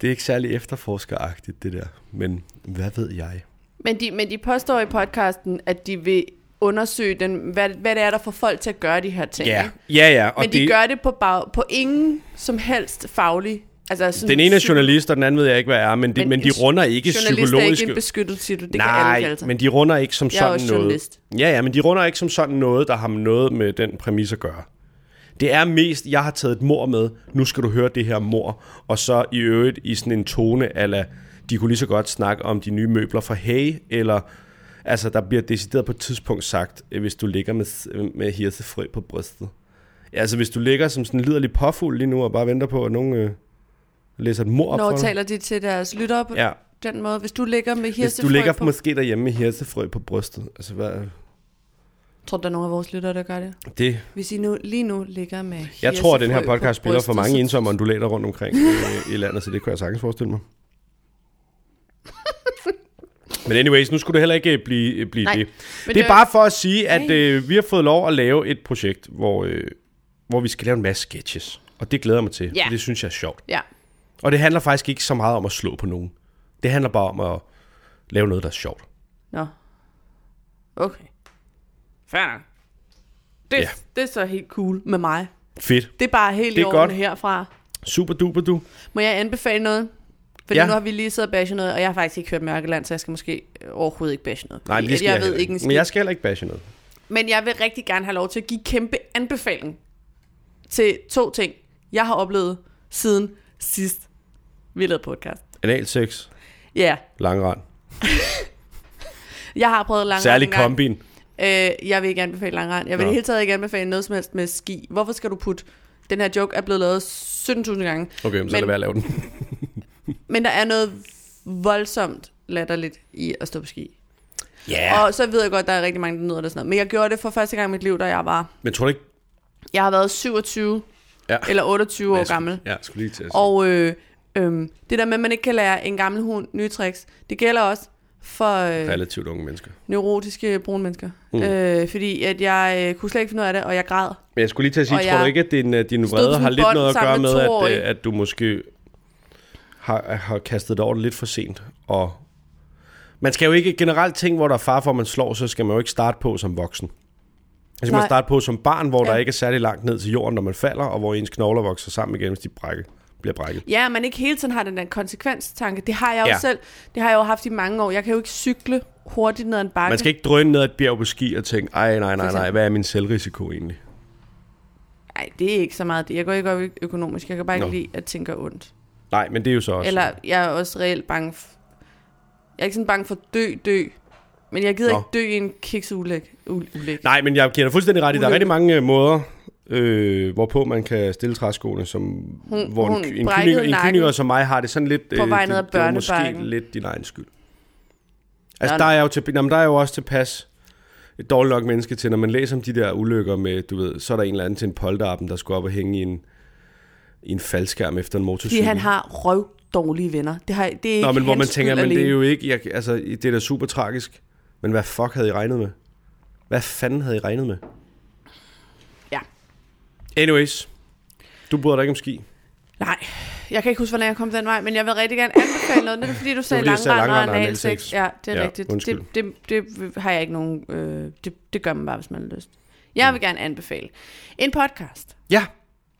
Speaker 1: det er ikke særlig efterforskeragtigt, det der. Men hvad ved jeg?
Speaker 2: Men, de, men de påstår i podcasten, at de vil undersøge, den, hvad, hvad det er, der får folk til at gøre de her ting.
Speaker 1: Ja,
Speaker 2: ikke?
Speaker 1: ja, ja. Og
Speaker 2: Men de
Speaker 1: det,
Speaker 2: gør det på, bag, på ingen som helst faglig... Altså sådan
Speaker 1: Den ene er
Speaker 2: psy-
Speaker 1: journalist, og den anden ved jeg ikke, hvad er, men de, men
Speaker 2: Men
Speaker 1: men de
Speaker 2: en
Speaker 1: runder ikke
Speaker 2: Journalist er ikke
Speaker 1: psykologisk...
Speaker 2: en beskyttet titel, det kan alle
Speaker 1: Nej,
Speaker 2: kalde sig.
Speaker 1: men de runder ikke som
Speaker 2: Jeg er
Speaker 1: sådan
Speaker 2: også
Speaker 1: noget.
Speaker 2: journalist.
Speaker 1: Ja, ja, men de runder ikke som sådan noget, der har noget med den præmis at gøre. Det er mest, jeg har taget et mor med, nu skal du høre det her mor, og så i øvrigt i sådan en tone, ala, de kunne lige så godt snakke om de nye møbler fra Hey, eller altså, der bliver decideret på et tidspunkt sagt, øh, hvis du ligger med, med hirsefrø på brystet. Ja, altså, hvis du ligger som sådan en liderlig påfugl lige nu, og bare venter på, at nogen øh, læser et mor op
Speaker 2: Når
Speaker 1: for dig.
Speaker 2: taler de til deres lyttere på ja.
Speaker 1: Ja,
Speaker 2: den måde? Hvis du ligger med
Speaker 1: hvis
Speaker 2: hirsefrø
Speaker 1: du ligger
Speaker 2: på...
Speaker 1: måske derhjemme med hirsefrø på brystet, altså hvad,
Speaker 2: Tror du, der er nogen af vores lyttere, der gør det?
Speaker 1: det,
Speaker 2: Hvis I nu, lige nu ligger med
Speaker 1: Jeg tror, at den her
Speaker 2: hirsefrø på
Speaker 1: podcast spiller for
Speaker 2: brystet,
Speaker 1: mange
Speaker 2: så-
Speaker 1: ensomme undulater rundt omkring øh, i landet, så det kunne jeg sagtens forestille mig. Men anyways, nu skulle det heller ikke øh, blive, øh, blive
Speaker 2: Nej,
Speaker 1: det.
Speaker 2: men
Speaker 1: Det er
Speaker 2: det-
Speaker 1: bare for at sige, at
Speaker 2: Nej.
Speaker 1: øh, vi har fået lov at lave et projekt, hvor, øh, hvor vi skal lave en masse sketches. Og det glæder jeg mig til,
Speaker 2: Ja.
Speaker 1: for det synes jeg er sjovt.
Speaker 2: Ja,
Speaker 1: Og det handler faktisk ikke så meget om at slå på nogen. Det handler bare om at lave noget, der er sjovt.
Speaker 2: nå. Okay. Fair nok. Det,
Speaker 1: Ja.
Speaker 2: ja. det er så helt cool med mig.
Speaker 1: Fedt.
Speaker 2: Det er bare helt
Speaker 1: Det
Speaker 2: i
Speaker 1: er
Speaker 2: orden
Speaker 1: godt.
Speaker 2: godt. herfra.
Speaker 1: Super duper du.
Speaker 2: Må jeg anbefale noget? Fordi
Speaker 1: Ja.
Speaker 2: ja. nu har vi lige siddet og bashe noget, og jeg har faktisk ikke hørt Mørkeland, så jeg skal måske overhovedet ikke bashe noget.
Speaker 1: Nej,
Speaker 2: Fordi
Speaker 1: men det
Speaker 2: at
Speaker 1: skal jeg,
Speaker 2: jeg, ved
Speaker 1: heller
Speaker 2: ikke en skid.
Speaker 1: Men jeg skal heller ikke bashe noget.
Speaker 2: Men jeg vil rigtig gerne have lov til at give kæmpe anbefaling til to ting, jeg har oplevet siden sidst, vi lavede podcast.
Speaker 1: Anal sex,
Speaker 2: Ja, yeah.
Speaker 1: langrand.
Speaker 2: jeg har prøvet langrand
Speaker 1: Særlig
Speaker 2: en gang.
Speaker 1: kombin.
Speaker 2: Øh, jeg vil ikke anbefale langrand. Jeg vil i
Speaker 1: Nå.
Speaker 2: det hele taget ikke anbefale noget som helst med ski. Hvorfor skal du putte... Den her joke er blevet lavet 17.000 gange.
Speaker 1: Okay, men så
Speaker 2: Men-
Speaker 1: lad være at lave den.
Speaker 2: Men der er noget voldsomt latterligt i at stå på ski.
Speaker 1: Ja.
Speaker 2: Ja. Og så ved jeg godt, at der er rigtig mange, der nyder det og sådan noget. Men jeg gjorde det for første gang i mit liv, da jeg var...
Speaker 1: Men tror du ikke...
Speaker 2: Jeg har været 27
Speaker 1: Ja.
Speaker 2: eller 28 år
Speaker 1: Jeg skulle-
Speaker 2: gammel.
Speaker 1: Ja, jeg skulle lige til at sige.
Speaker 2: Og øh, øh, det der med, at man ikke kan lære en gammel hund nye tricks, det gælder også for øh,
Speaker 1: Relativt unge mennesker.
Speaker 2: neurotiske brune mennesker. Mm. Øh, fordi at jeg øh, kunne slet ikke finde ud af det, og jeg græd.
Speaker 1: Men jeg skulle lige til at sige,
Speaker 2: Og
Speaker 1: tror du
Speaker 2: jeg
Speaker 1: ikke, at din, øh, din
Speaker 2: stod på
Speaker 1: vrede
Speaker 2: sådan
Speaker 1: har
Speaker 2: et
Speaker 1: lidt
Speaker 2: bånd
Speaker 1: noget at gøre
Speaker 2: sammen med
Speaker 1: med, at,
Speaker 2: toårige?
Speaker 1: øh, at du måske har, har kastet dig over det lidt for sent? Og man skal jo ikke generelt ting, hvor der er far for, at man slår, så skal man jo ikke starte på som voksen. Så skal man
Speaker 2: Nej.
Speaker 1: starte på som barn, hvor ja.
Speaker 2: Ja.
Speaker 1: der ikke er særlig langt ned til jorden, når man falder, og hvor ens knogler vokser sammen igen, hvis de brække, bliver brækket.
Speaker 2: Ja, man ikke hele tiden har den der konsekvenstanke. Det har jeg jo
Speaker 1: Ja.
Speaker 2: ja. selv. Det har jeg jo haft i mange år. Jeg kan jo ikke cykle hurtigt ned ad en bakke.
Speaker 1: Man skal ikke drøne ned ad et bjerg på ski og tænke, ej, nej, nej, nej,
Speaker 2: eksempel.
Speaker 1: hvad er min selvrisiko egentlig?
Speaker 2: Nej, det er ikke så meget det. Jeg går ikke op i økonomisk. Jeg kan bare ikke
Speaker 1: Nå.
Speaker 2: lide at tænke ondt.
Speaker 1: Nej, men det er jo så også...
Speaker 2: Eller jeg er også reelt bange... F- jeg er ikke sådan bange for dø, dø. Men jeg gider
Speaker 1: Nå.
Speaker 2: ikke dø i en kiksulæg. Ulæg.
Speaker 1: Nej, men jeg giver dig fuldstændig ret i, der er
Speaker 2: Ulykke.
Speaker 1: rigtig mange øh, måder, øh, hvorpå man kan stille træskoene, som, hun, hvor
Speaker 2: hun
Speaker 1: en, en,
Speaker 2: brækkede
Speaker 1: kyniker, en
Speaker 2: nakken
Speaker 1: kyniker som mig har det sådan lidt... øh,
Speaker 2: på vej
Speaker 1: det-
Speaker 2: ned ad
Speaker 1: det var måske
Speaker 2: børnebakken.
Speaker 1: lidt din egen skyld. Altså,
Speaker 2: Nå,
Speaker 1: der er, jeg jo til, jamen, der er jeg jo også tilpas et dårligt nok menneske til, når man læser om de der ulykker med, du ved, så er der en eller anden til en polterappen, der skulle op og hænge i en, i en faldskærm efter en
Speaker 2: Fordi
Speaker 1: motorcykel.
Speaker 2: han har røv dårlige venner. Det, har, det er ikke
Speaker 1: Nå, men hvor
Speaker 2: hans
Speaker 1: man tænker,
Speaker 2: skyld
Speaker 1: men det er
Speaker 2: alene.
Speaker 1: jo ikke, jeg, altså, det er da super tragisk. Men hvad fuck havde I regnet med? Hvad fanden havde I regnet med?
Speaker 2: Ja.
Speaker 1: Anyways, du bryder dig ikke om ski.
Speaker 2: Nej, Jeg kan ikke huske, hvordan jeg kom den vej, men jeg vil rigtig gerne anbefale noget. Det er fordi, du sagde
Speaker 1: fordi, jeg sagde
Speaker 2: langrender og
Speaker 1: langrender og
Speaker 2: analsex.
Speaker 1: analsex.
Speaker 2: Ja, det er
Speaker 1: Ja,
Speaker 2: rigtigt.
Speaker 1: undskyld.
Speaker 2: Det, det, det har jeg ikke nogen... Øh, det, det gør man bare, hvis man har lyst.
Speaker 1: Mm.
Speaker 2: Jeg vil gerne anbefale en podcast,
Speaker 1: Ja,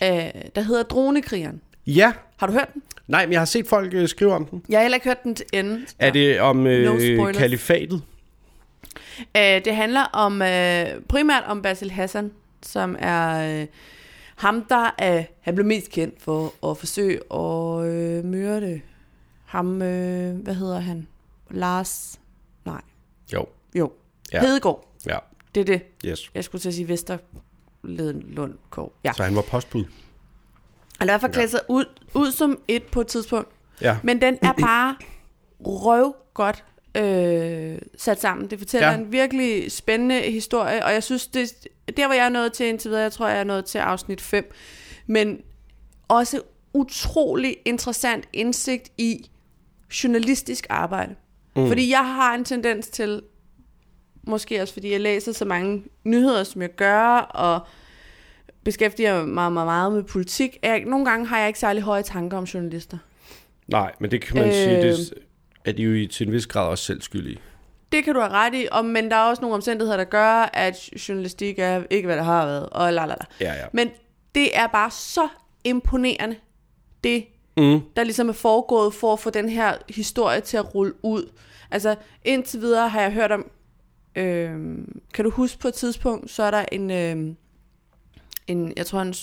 Speaker 2: øh, der hedder Dronekrigeren.
Speaker 1: ja.
Speaker 2: Har du hørt den?
Speaker 1: Nej, men jeg har set folk øh, skrive om den.
Speaker 2: Jeg har heller ikke hørt den til ende.
Speaker 1: Er det om øh,
Speaker 2: No spoilers.
Speaker 1: kalifatet?
Speaker 2: Øh, det handler om øh, primært om Basil Hassan, som er øh, ham, der er, han blev mest kendt for at forsøge at øh, myrde ham, øh, hvad hedder han? Lars? Nej.
Speaker 1: Jo.
Speaker 2: Jo.
Speaker 1: Ja.
Speaker 2: Ja. Hedegaard.
Speaker 1: Ja,
Speaker 2: Det er det.
Speaker 1: yes.
Speaker 2: Jeg skulle til at sige Vesterlundkov. Ja.
Speaker 1: Så han var postbud.
Speaker 2: Han er i hvert fald klædt sig ud, ud som et på et tidspunkt.
Speaker 1: Ja.
Speaker 2: Men den er bare røv godt øh, sat sammen. Det fortæller
Speaker 1: Ja.
Speaker 2: ja. en virkelig spændende historie, og jeg synes, det, der hvor jeg er nået til indtil videre, jeg tror, jeg er nået til afsnit 5, men også utrolig interessant indsigt i journalistisk arbejde. Mm. Fordi jeg har en tendens til, måske også fordi jeg læser så mange nyheder, som jeg gør, og beskæftiger mig meget, meget med politik. Jeg, nogle gange har jeg ikke særlig høje tanker om journalister.
Speaker 1: Nej, men det kan man øh...
Speaker 2: Øh.
Speaker 1: sige, det er de jo i- til en vis grad også selv skyldige.
Speaker 2: Det kan du have ret i, og, men der er også nogle omstændigheder, der gør, at journalistik er ikke, hvad det har været, og la la la.
Speaker 1: Ja, ja.
Speaker 2: Men det er bare så imponerende, det
Speaker 1: Mm.
Speaker 2: der ligesom er foregået for at få den her historie til at rulle ud. Altså indtil videre har jeg hørt om, øhm, kan du huske på et tidspunkt, så er der en, øhm, en jeg tror en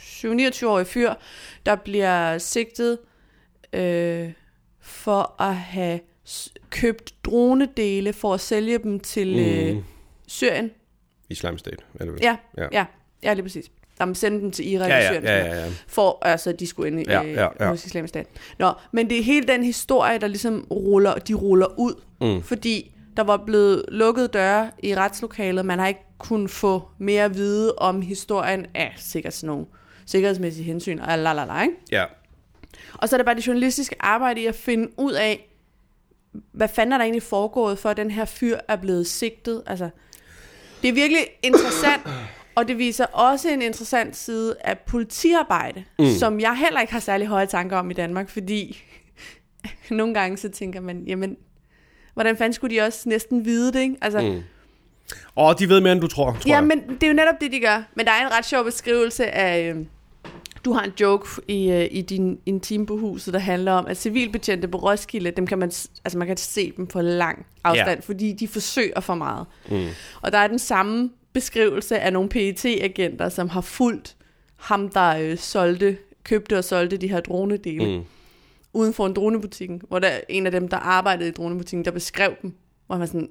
Speaker 2: 29-årig fyr, der bliver sigtet øh, for at have s- købt dronedele for at sælge dem til øh,
Speaker 1: Mm.
Speaker 2: Syrien.
Speaker 1: Islam State, er det vel?
Speaker 2: Ja,
Speaker 1: Ja.
Speaker 2: ja, ja, ja lige præcis. Jamen sende dem til Irak
Speaker 1: ja,
Speaker 2: og
Speaker 1: ja,
Speaker 2: Syrien.
Speaker 1: ja, ja, ja.
Speaker 2: for altså de skulle ind i,
Speaker 1: Ja,
Speaker 2: ja,
Speaker 1: ja,
Speaker 2: ja,
Speaker 1: ja.
Speaker 2: ja. hos islamisk stat. Nå, men det er hele den historie, der ligesom ruller, de ruller ud,
Speaker 1: Mm.
Speaker 2: fordi der var blevet lukket døre i retslokalet, man har ikke kunnet få mere at vide om historien af sikkert sådan nogle sikkerhedsmæssige hensyn, og la la la, ikke?
Speaker 1: ja.
Speaker 2: Og så er det bare det journalistiske arbejde i at finde ud af, hvad fanden er der egentlig foregået, for at den her fyr er blevet sigtet. Altså, det er virkelig interessant, og det viser også en interessant side af politiarbejde, mm. som jeg heller ikke har særlig høje tanker om i Danmark, fordi nogle gange så tænker man, jamen, hvordan fanden skulle de også næsten vide det, ikke? Altså, mm.
Speaker 1: Og de ved mere, end du tror, tror
Speaker 2: Ja,
Speaker 1: jeg.
Speaker 2: men det er jo netop det, de gør. Men der er en ret sjov beskrivelse af... Øh, du har en joke i, øh, i din intime på huset, der handler om, at civilbetjente på Roskilde, dem kan man, s- altså man kan se dem på lang afstand,
Speaker 1: Ja.
Speaker 2: ja. fordi de forsøger for meget. Mm. Og der er den samme beskrivelse af nogle pet agenter som har fulgt ham, der øh, solgte, købte og solgte de her dronedele
Speaker 1: Mm.
Speaker 2: mm. uden for en dronebutikken, hvor der en af dem, der arbejdede i dronebutikken, der beskrev dem, hvor han var sådan,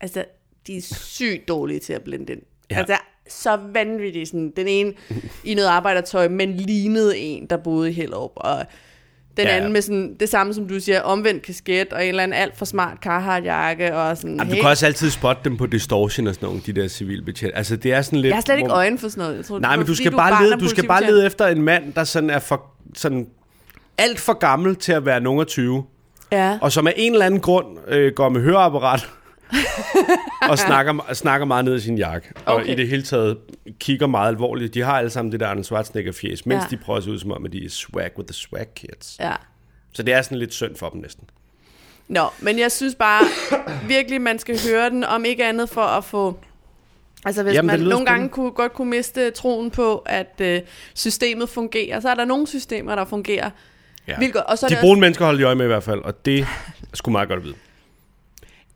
Speaker 2: altså, de er sygt dårlige til at blende ind.
Speaker 1: Ja.
Speaker 2: Ja. Altså, så vanvittigt. Sådan, den ene i noget arbejdertøj, men lignede en, der boede i Hellerup. Og den
Speaker 1: Ja.
Speaker 2: ja. anden med sådan, det samme, som du siger, omvendt kasket, og en eller anden alt for smart Carhartt-jakke, og sådan,
Speaker 1: Jamen, du
Speaker 2: hey,
Speaker 1: kan også altid spotte dem på distortion og sådan nogle, de der civilbetjente. Altså, det er sådan lidt...
Speaker 2: jeg har slet ikke
Speaker 1: hvor-
Speaker 2: øjne for sådan noget. Jeg tror,
Speaker 1: Nej, men
Speaker 2: fordi
Speaker 1: du skal,
Speaker 2: er
Speaker 1: bare
Speaker 2: barn
Speaker 1: lede,
Speaker 2: af
Speaker 1: du skal bare
Speaker 2: politibetjent.
Speaker 1: lede efter en mand, der sådan er for, sådan alt for gammel til at være nogen af 20,
Speaker 2: Ja.
Speaker 1: og som af en eller anden grund øh, går med høreapparat og snakker, snakker meget ned i sin jakke. Okay. Og
Speaker 2: Okay.
Speaker 1: i det hele taget kigger meget alvorligt. De har alle sammen det der Arnold Schwarzenegger-fjes, mens ja.
Speaker 2: Ja.
Speaker 1: de prøver at se ud som om, at de er swag with the swag kids.
Speaker 2: ja.
Speaker 1: Så det er sådan lidt synd for dem næsten.
Speaker 2: Nå, men jeg synes bare virkelig, man skal høre den, om ikke andet for at få... Altså hvis
Speaker 1: Jamen,
Speaker 2: Jamen,
Speaker 1: det
Speaker 2: man
Speaker 1: lyder
Speaker 2: nogle gange
Speaker 1: spændende.
Speaker 2: kunne, godt kunne miste troen på, at øh, systemet fungerer, så er der nogle systemer, der fungerer
Speaker 1: Ja.
Speaker 2: vildt godt. Og så er
Speaker 1: De
Speaker 2: det også,
Speaker 1: brune mennesker holder de øje med i hvert fald, og det skulle meget godt at vide.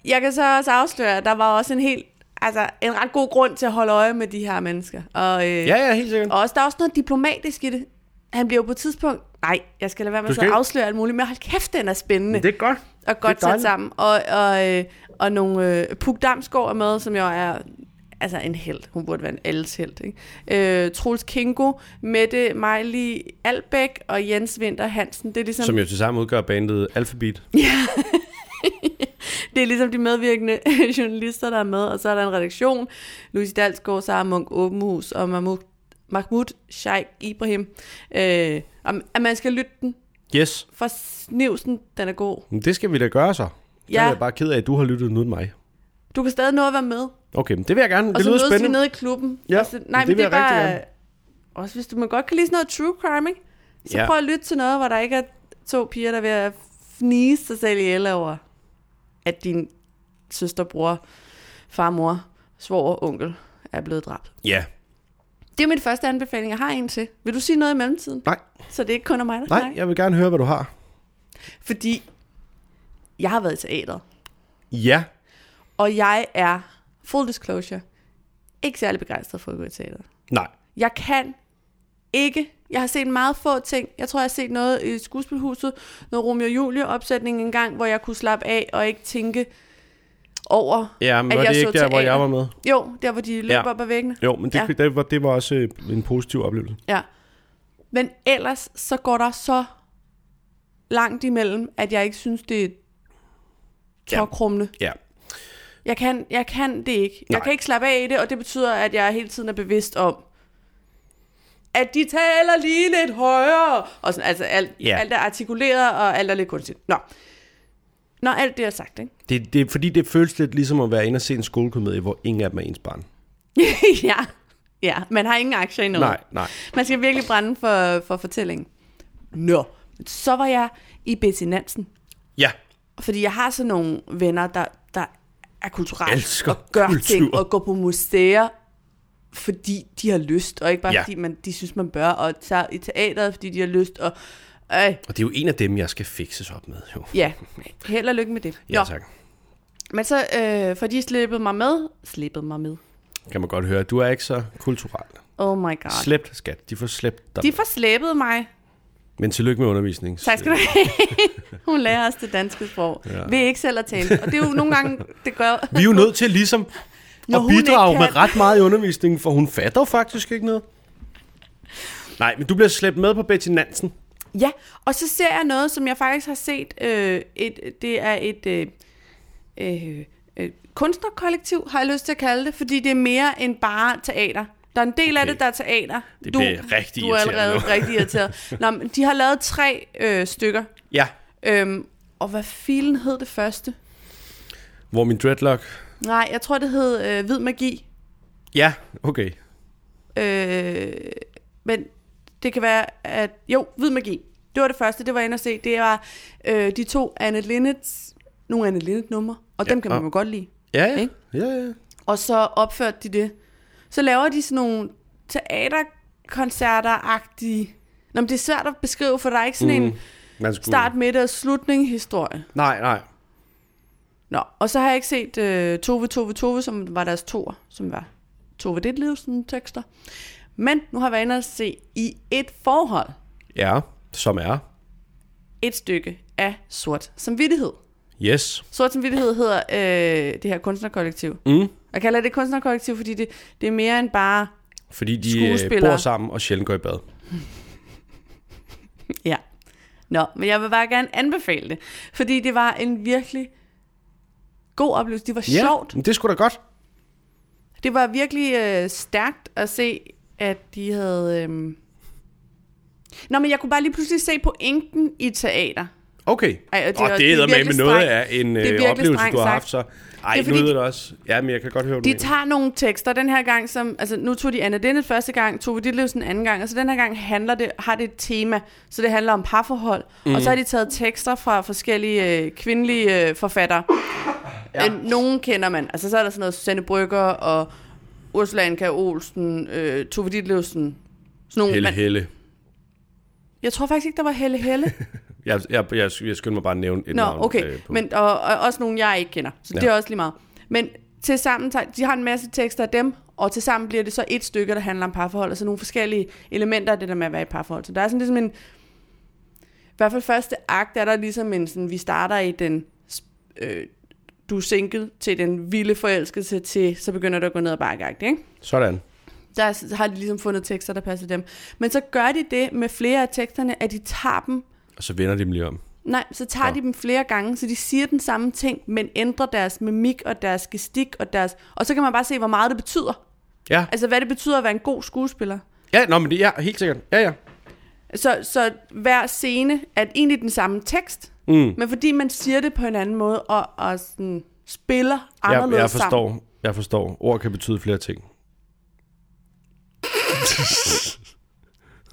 Speaker 2: jeg kan så også afsløre, at der var også en helt, altså en ret god grund til at holde øje med de her mennesker. Og, øh,
Speaker 1: Ja, ja, helt sikkert.
Speaker 2: og også, der er også noget diplomatisk i det. Han bliver jo på et tidspunkt, nej, jeg skal lade være med
Speaker 1: Du
Speaker 2: at
Speaker 1: skal ikke-
Speaker 2: afsløre alt muligt, men hold kæft, den er spændende.
Speaker 1: Det er godt.
Speaker 2: og godt
Speaker 1: Det er
Speaker 2: sat
Speaker 1: dejligt.
Speaker 2: sammen. Og, og, øh, og nogle øh, Puk Damsgaard er med, som jo er altså en held. Hun burde være en alles held. Ikke? Øh, Troels Kingo, Mette Mejli Albæk og Jens Vinter Hansen. Det er, ligesom,
Speaker 1: Som jo til sammen udgør bandet Alphabet.
Speaker 2: det er ligesom de medvirkende journalister, der er med. Og så er der en redaktion. Louise Dalsgaard, Sara Munk Åbenhus og Mahmoud, Mahmoud Sheikh Ibrahim. Øh, om- at man skal lytte den
Speaker 1: Yes.
Speaker 2: for snivsen, den er god.
Speaker 1: Men det skal vi da gøre så. Ja.
Speaker 2: Ja.
Speaker 1: Jeg er bare ked af, at du har lyttet uden mig.
Speaker 2: Du kan stadig nå at være med.
Speaker 1: Okay, men det vil jeg gerne.
Speaker 2: Og
Speaker 1: det
Speaker 2: så
Speaker 1: lyder
Speaker 2: mødes vi
Speaker 1: spændende.
Speaker 2: nede i klubben.
Speaker 1: Ja,
Speaker 2: og så, nej,
Speaker 1: det
Speaker 2: men
Speaker 1: vil
Speaker 2: det er
Speaker 1: jeg rigtig
Speaker 2: bare...
Speaker 1: gerne.
Speaker 2: Også hvis du man godt kan lide sådan noget true crime, ikke? Så
Speaker 1: Ja.
Speaker 2: prøv at lytte til noget, hvor der ikke er to piger, der er ved at fnise sig selv ihjel over, at din søster, bror, far, mor, svoger, onkel er blevet dræbt.
Speaker 1: Ja.
Speaker 2: Det er min første anbefaling, jeg har en til. Vil du sige noget i mellemtiden?
Speaker 1: Nej,
Speaker 2: Så det er ikke kun om mig, der
Speaker 1: nej,
Speaker 2: snakker?
Speaker 1: jeg vil gerne høre, hvad du har.
Speaker 2: Fordi jeg har været i teateret,
Speaker 1: Ja.
Speaker 2: og jeg er, full disclosure, ikke særlig begejstret for at gå i teateret.
Speaker 1: Nej.
Speaker 2: Jeg kan ikke. Jeg har set meget få ting. Jeg tror, jeg har set noget i skuespilhuset, noget Romeo og Julie opsætning en gang, hvor jeg kunne slappe af og ikke tænke over...
Speaker 1: Ja, men
Speaker 2: At
Speaker 1: var
Speaker 2: jeg
Speaker 1: det
Speaker 2: så
Speaker 1: ikke der, hvor
Speaker 2: teater.
Speaker 1: jeg var med?
Speaker 2: Jo, der hvor de løb ja.
Speaker 1: Ja.
Speaker 2: op ad væggene.
Speaker 1: Jo, men det,
Speaker 2: Ja.
Speaker 1: ja. det, var, det var også øh, en positiv oplevelse.
Speaker 2: Ja. Men ellers så går der så langt imellem, at jeg ikke synes, det er tårkrummende.
Speaker 1: Ja.
Speaker 2: Jeg kan, jeg kan det ikke. Jeg
Speaker 1: Nej.
Speaker 2: kan ikke slappe af i det, og det betyder, at jeg hele tiden er bevidst om, at de taler lige lidt højere. Og sådan, altså alt,
Speaker 1: Ja.
Speaker 2: yeah. alt er artikuleret, og alt er lidt kunstigt. Nå. Når alt det er sagt, ikke?
Speaker 1: Det, det, fordi det føles lidt ligesom at være inde og se en skolekomedie, hvor ingen af dem er ens barn.
Speaker 2: ja. ja, man har ingen aktier i noget.
Speaker 1: Nej, nej.
Speaker 2: Man skal virkelig brænde for, for fortællingen. Nå. Så var jeg i Betty Nansen.
Speaker 1: Ja.
Speaker 2: Fordi jeg har sådan nogle venner, der, der er kulturelle
Speaker 1: Elsker
Speaker 2: og gør
Speaker 1: kultur.
Speaker 2: ting og går på museer, fordi de har lyst, og ikke bare ja.
Speaker 1: Ja.
Speaker 2: fordi man, de synes, man bør, og tager i teateret, fordi de har lyst. Og, øh,
Speaker 1: Og det er jo en af dem, jeg skal fikses op med. Jo.
Speaker 2: ja, held og lykke med det.
Speaker 1: Ja,
Speaker 2: Nå,
Speaker 1: tak.
Speaker 2: men så, øh, for de slippede mig med, slippede mig med.
Speaker 1: Kan man godt høre. Du er ikke så kulturel.
Speaker 2: Oh my god.
Speaker 1: Slæbt, skat. De får slæbt dig.
Speaker 2: De forslæbede mig.
Speaker 1: Men tillykke med undervisningen.
Speaker 2: Tak skal du have. Hun lærer os det danske sprog. Ja. Ved ikke selv at tale. Og det er jo nogle gange, det gør...
Speaker 1: Vi er jo nødt til ligesom
Speaker 2: Når
Speaker 1: at
Speaker 2: hun
Speaker 1: bidrage
Speaker 2: ikke
Speaker 1: med
Speaker 2: kan.
Speaker 1: ret meget i undervisningen, for hun fatter jo faktisk ikke noget. Nej, men du bliver slæbt med på Betty Nansen.
Speaker 2: Ja, og så ser jeg noget, som jeg faktisk har set. Øh, et, det er et øh, øh, øh, kunstnerkollektiv, har jeg lyst til at kalde det, fordi det er mere end bare teater. Der er en del okay. af
Speaker 1: Okay.
Speaker 2: det, der er teater.
Speaker 1: Det bliver rigtig
Speaker 2: Du er allerede
Speaker 1: irriterende nu.
Speaker 2: rigtig irriteret. Nå, men de har lavet tre øh, stykker.
Speaker 1: Ja.
Speaker 2: Øhm, og hvad filen hed det første?
Speaker 1: Hvor min dreadlock...
Speaker 2: Nej, jeg tror, det hed øh, Hvid Magi.
Speaker 1: Ja, okay.
Speaker 2: Øh, men det kan være, at... Jo, Hvid Magi. Det var det første, det var jeg inde at se. Det var øh, de to Anne Linnets... Nogle Anne Linnet numre, og ja, dem kan man
Speaker 1: og-
Speaker 2: jo godt lide.
Speaker 1: Ja, ja.
Speaker 2: Ikke?
Speaker 1: ja, ja.
Speaker 2: Og så opførte de det. Så laver de sådan nogle teaterkoncerter-agtige... Nå, men det er svært at beskrive, for der er ikke sådan mm. en
Speaker 1: Man skulle...
Speaker 2: start, midt og slutning historie.
Speaker 1: Nej, nej.
Speaker 2: Nå, og så har jeg ikke set øh, Tove, Tove, Tove, som var deres toer, som var Tove Ditlevsen tekster. Men nu har jeg været inde at se i et forhold.
Speaker 1: Ja, som er.
Speaker 2: et stykke af sort samvittighed.
Speaker 1: Yes.
Speaker 2: Sort samvittighed hedder øh, det her kunstnerkollektiv.
Speaker 1: Mm.
Speaker 2: Jeg kalder det kunstnerkollektiv, fordi det, det er mere end bare...
Speaker 1: Fordi de øh,
Speaker 2: Skuespillere.
Speaker 1: bor sammen og sjældent går i bad.
Speaker 2: Ja. Nå, men jeg vil bare gerne anbefale det, fordi det var en virkelig god oplevelse. Det var
Speaker 1: Ja,
Speaker 2: sjovt.
Speaker 1: men det skulle da godt.
Speaker 2: Det var virkelig øh, stærkt at se, at de havde... Øh... Nå, men jeg kunne bare lige pludselig se pointen i teater.
Speaker 1: Okay.
Speaker 2: Ej, og det
Speaker 1: Åh,
Speaker 2: er-
Speaker 1: det,
Speaker 2: det er
Speaker 1: er med med
Speaker 2: virkelig
Speaker 1: noget af
Speaker 2: strengt.
Speaker 1: en
Speaker 2: Det er
Speaker 1: øh,
Speaker 2: virkelig
Speaker 1: oplevelse,
Speaker 2: strengt
Speaker 1: du har
Speaker 2: sagt.
Speaker 1: haft så. Ej,
Speaker 2: Det er
Speaker 1: det
Speaker 2: fordi,
Speaker 1: nu lyder det også. Ja, men jeg kan godt høre, hvad du
Speaker 2: De
Speaker 1: mener.
Speaker 2: tager nogle tekster den her gang, som, altså nu tog de Anna Lindet første gang, tog vi Ditlevsen anden gang, og så den her gang handler det, har det et tema, så det handler om parforhold. Mm. Og så har de taget tekster fra forskellige øh, kvindelige øh, forfattere. Ja. Øh, nogen kender man, altså så er der sådan noget Susanne Brygger og Ursula Anka Olsen, øh, Tove Ditlevsen, sådan nogle.
Speaker 1: Helle,
Speaker 2: man,
Speaker 1: Helle.
Speaker 2: jeg tror faktisk ikke, der var Helle Helle.
Speaker 1: Jeg, jeg, jeg, jeg skynder mig bare at nævne et
Speaker 2: Nå,
Speaker 1: navn.
Speaker 2: okay.
Speaker 1: øh, på-
Speaker 2: Men, og, og også nogle, jeg ikke kender. Så ja. det
Speaker 1: Ja.
Speaker 2: er også lige meget. Men til sammen, tager- de har en masse tekster af dem, og til sammen bliver det så et stykke, der handler om parforhold, og så nogle forskellige elementer af det der med at være i et parforhold. Så der er sådan ligesom en... I hvert fald første akt er der ligesom en sådan, vi starter i den... Øh, du er single til den vilde forelskelse til, så begynder det at gå ned ad bakke, ikke?
Speaker 1: Sådan.
Speaker 2: der er- har de ligesom fundet tekster, der passer dem. Men så gør de det med flere af teksterne, at de tager dem
Speaker 1: Og så vender de dem lige om.
Speaker 2: Nej, så tager ja. de dem flere gange, så de siger den samme ting, men ændrer deres mimik og deres gestik og deres... Og så kan man bare se, hvor meget det betyder.
Speaker 1: Ja,
Speaker 2: Altså, hvad det betyder at være en god skuespiller.
Speaker 1: ja, nå, men det, ja helt sikkert. Ja, ja.
Speaker 2: Så, så hver scene er egentlig den samme tekst, mm. men fordi man siger det på en anden måde og, og sådan spiller
Speaker 1: Jeg,
Speaker 2: anderledes
Speaker 1: jeg
Speaker 2: sammen.
Speaker 1: forstår. Jeg forstår. Ord kan betyde flere ting.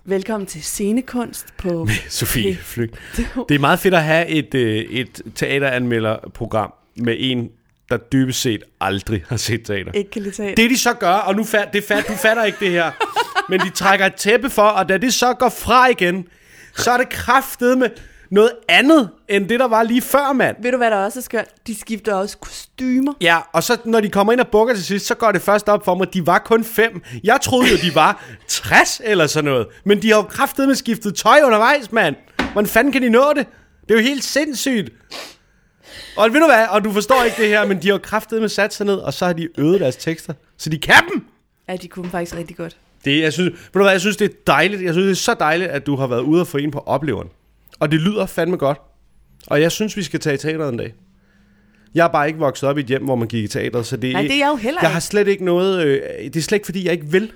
Speaker 2: Velkommen til scenekunst på...
Speaker 1: Sofie Flygt. Det er meget fedt at have et, øh, et teateranmelderprogram med en, der dybest set aldrig har set teater.
Speaker 2: Ikke kan lide teater.
Speaker 1: Det de så gør, og nu fat, det fat, du fatter ikke det her, men de trækker et tæppe for, og da det så går fra igen, så er det kraftet med noget andet, end det, der var lige før, mand.
Speaker 2: Ved du, hvad der også er skønt? De skifter også kostymer.
Speaker 1: Ja, og så når de kommer ind og bukker til sidst, så går det først op for mig, at de var kun fem. Jeg troede jo, de var 60 eller sådan noget. Men de har jo kraftet med skiftet tøj undervejs, mand. Hvordan fanden kan de nå det? Det er jo helt sindssygt. Og ved du hvad, og du forstår ikke det her, men de har jo kraftet med sat sig ned, og så har de øvet deres tekster. Så de kan dem!
Speaker 2: Ja, de kunne faktisk rigtig godt.
Speaker 1: Det, jeg synes, ved du hvad, jeg synes, det er dejligt. Jeg synes, det er så dejligt, at du har været ude og få en på opleveren. Og det lyder fandme godt. Og jeg synes, vi skal tage i teateret en dag. Jeg er bare ikke vokset op i et hjem, hvor man gik i teateret, så det,
Speaker 2: Nej, det er jeg jo heller
Speaker 1: Jeg har
Speaker 2: ikke.
Speaker 1: slet ikke noget... Øh, det er slet ikke, fordi jeg ikke vil.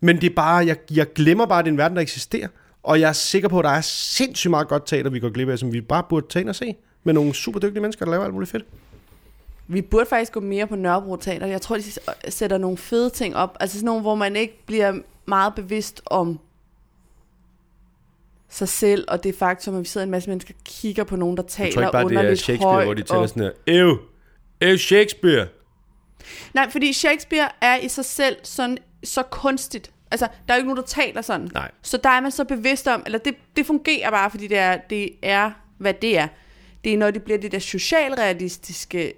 Speaker 1: Men det er bare... Jeg, jeg glemmer bare, at det er en verden, der eksisterer. Og jeg er sikker på, at der er sindssygt meget godt teater, vi går glip af, som vi bare burde tage ind og se. Med nogle super dygtige mennesker, der laver alt muligt fedt.
Speaker 2: Vi burde faktisk gå mere på Nørrebro Teater. Jeg tror, de s- øh, sætter nogle fede ting op. Altså sådan nogle, hvor man ikke bliver meget bevidst om sig selv, og det faktum, at vi sidder en masse mennesker og kigger på nogen, der taler
Speaker 1: Jeg tror ikke bare, det er
Speaker 2: underligt
Speaker 1: Shakespeare,
Speaker 2: højt,
Speaker 1: hvor de
Speaker 2: og-
Speaker 1: tæller sådan her. Ew! Ew, Shakespeare!
Speaker 2: Nej, fordi Shakespeare er i sig selv sådan, så kunstigt. Altså, der er jo ikke nogen, der taler sådan.
Speaker 1: Nej.
Speaker 2: Så der er man så bevidst om, eller det, det fungerer bare, fordi det er, det er, hvad det er. Det er, når det bliver det der socialrealistiske...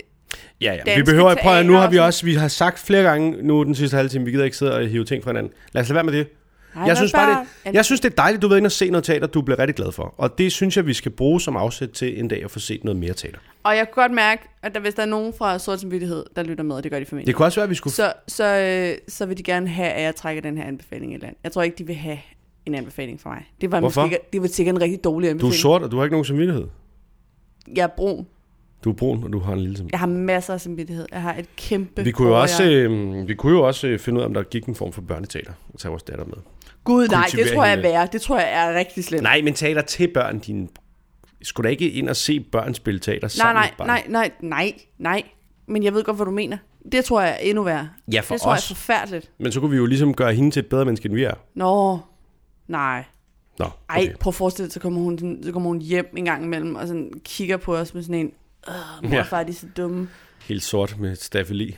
Speaker 1: Ja, ja. Vi
Speaker 2: danske
Speaker 1: behøver at prøve, at nu har vi
Speaker 2: teater og
Speaker 1: også, vi har sagt flere gange nu den sidste halve time, vi gider ikke sidde og hive ting fra hinanden. Lad os lade være med det.
Speaker 2: Nej,
Speaker 1: Jeg synes, bare, det,
Speaker 2: at-
Speaker 1: jeg synes, det er dejligt, du ved ind og se noget teater, du bliver rigtig glad for. Og det synes jeg, vi skal bruge som afsæt til en dag at få set noget mere teater.
Speaker 2: Og jeg kunne godt mærke, at der, hvis der er nogen fra Sort Samvittighed, der lytter med, og det gør de formentlig.
Speaker 1: Det kunne også være, at vi skulle...
Speaker 2: Så, så, øh, så vil de gerne have, at jeg trækker den her anbefaling i land. Jeg tror ikke, de vil have en anbefaling fra mig. Det var,
Speaker 1: Hvorfor?
Speaker 2: måske, ikke- det var sikkert en rigtig dårlig
Speaker 1: Du er
Speaker 2: anbefaling.
Speaker 1: sort, og du har ikke nogen samvittighed.
Speaker 2: Jeg er brun.
Speaker 1: Du er brun, og du har en lille samvittighed.
Speaker 2: Jeg har masser af samvittighed. Jeg har et kæmpe...
Speaker 1: Vi kunne, jo
Speaker 2: forår,
Speaker 1: også,
Speaker 2: jeg-
Speaker 1: øh, vi kunne jo også øh, finde ud af, om der gik en form for børneteater og tage vores datter med.
Speaker 2: Gud, nej, det
Speaker 1: kultivere
Speaker 2: tror jeg er
Speaker 1: hende.
Speaker 2: værre. Det tror jeg er rigtig slemt.
Speaker 1: Nej, men teater til børn, din... Skulle da ikke ind og se børn spille teater
Speaker 2: nej,
Speaker 1: sammen
Speaker 2: nej,
Speaker 1: med barn?
Speaker 2: nej, nej, nej, nej. Men jeg ved godt, hvad du mener. Det tror jeg er endnu værre.
Speaker 1: Ja, for
Speaker 2: det tror jeg
Speaker 1: os.
Speaker 2: er forfærdeligt.
Speaker 1: Men så kunne vi jo ligesom gøre hende til et bedre menneske, end vi er.
Speaker 2: Nå, nej.
Speaker 1: Nå,
Speaker 2: Ej, okay. prøv at forestille dig, så kommer hun, sådan- så kommer hun hjem en gang imellem, og sådan kigger på os med sådan en, Åh, mor
Speaker 1: Ja.
Speaker 2: og far, de er så dumme.
Speaker 1: Helt sort med stafeli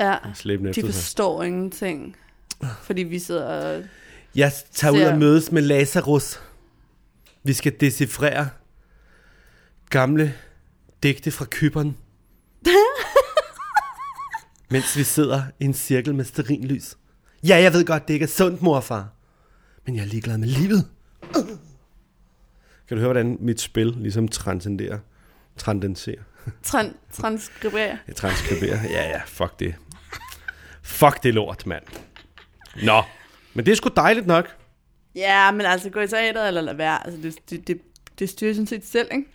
Speaker 2: Ja,
Speaker 1: slæbende
Speaker 2: de
Speaker 1: efter sig.
Speaker 2: forstår ingenting. Fordi vi sidder og...
Speaker 1: Jeg tager ud
Speaker 2: Ser-
Speaker 1: og mødes med Lazarus. Vi skal decifrere gamle digte fra Kypern. mens vi sidder i en cirkel med sterinlys. Ja, jeg ved godt, det ikke er sundt, morfar. Men jeg er ligeglad med livet. Kan du høre, hvordan mit spil ligesom transcenderer? Transcenderer.
Speaker 2: Tran- transkriberer.
Speaker 1: Jeg transkriberer. Ja, ja, fuck det. Fuck det lort, mand. Nå, men det er sgu dejligt nok. Øhm,
Speaker 2: Ja, men altså, gå i teateret eller lad være. Altså, det, det, det, det styrer sådan set selv, ikke?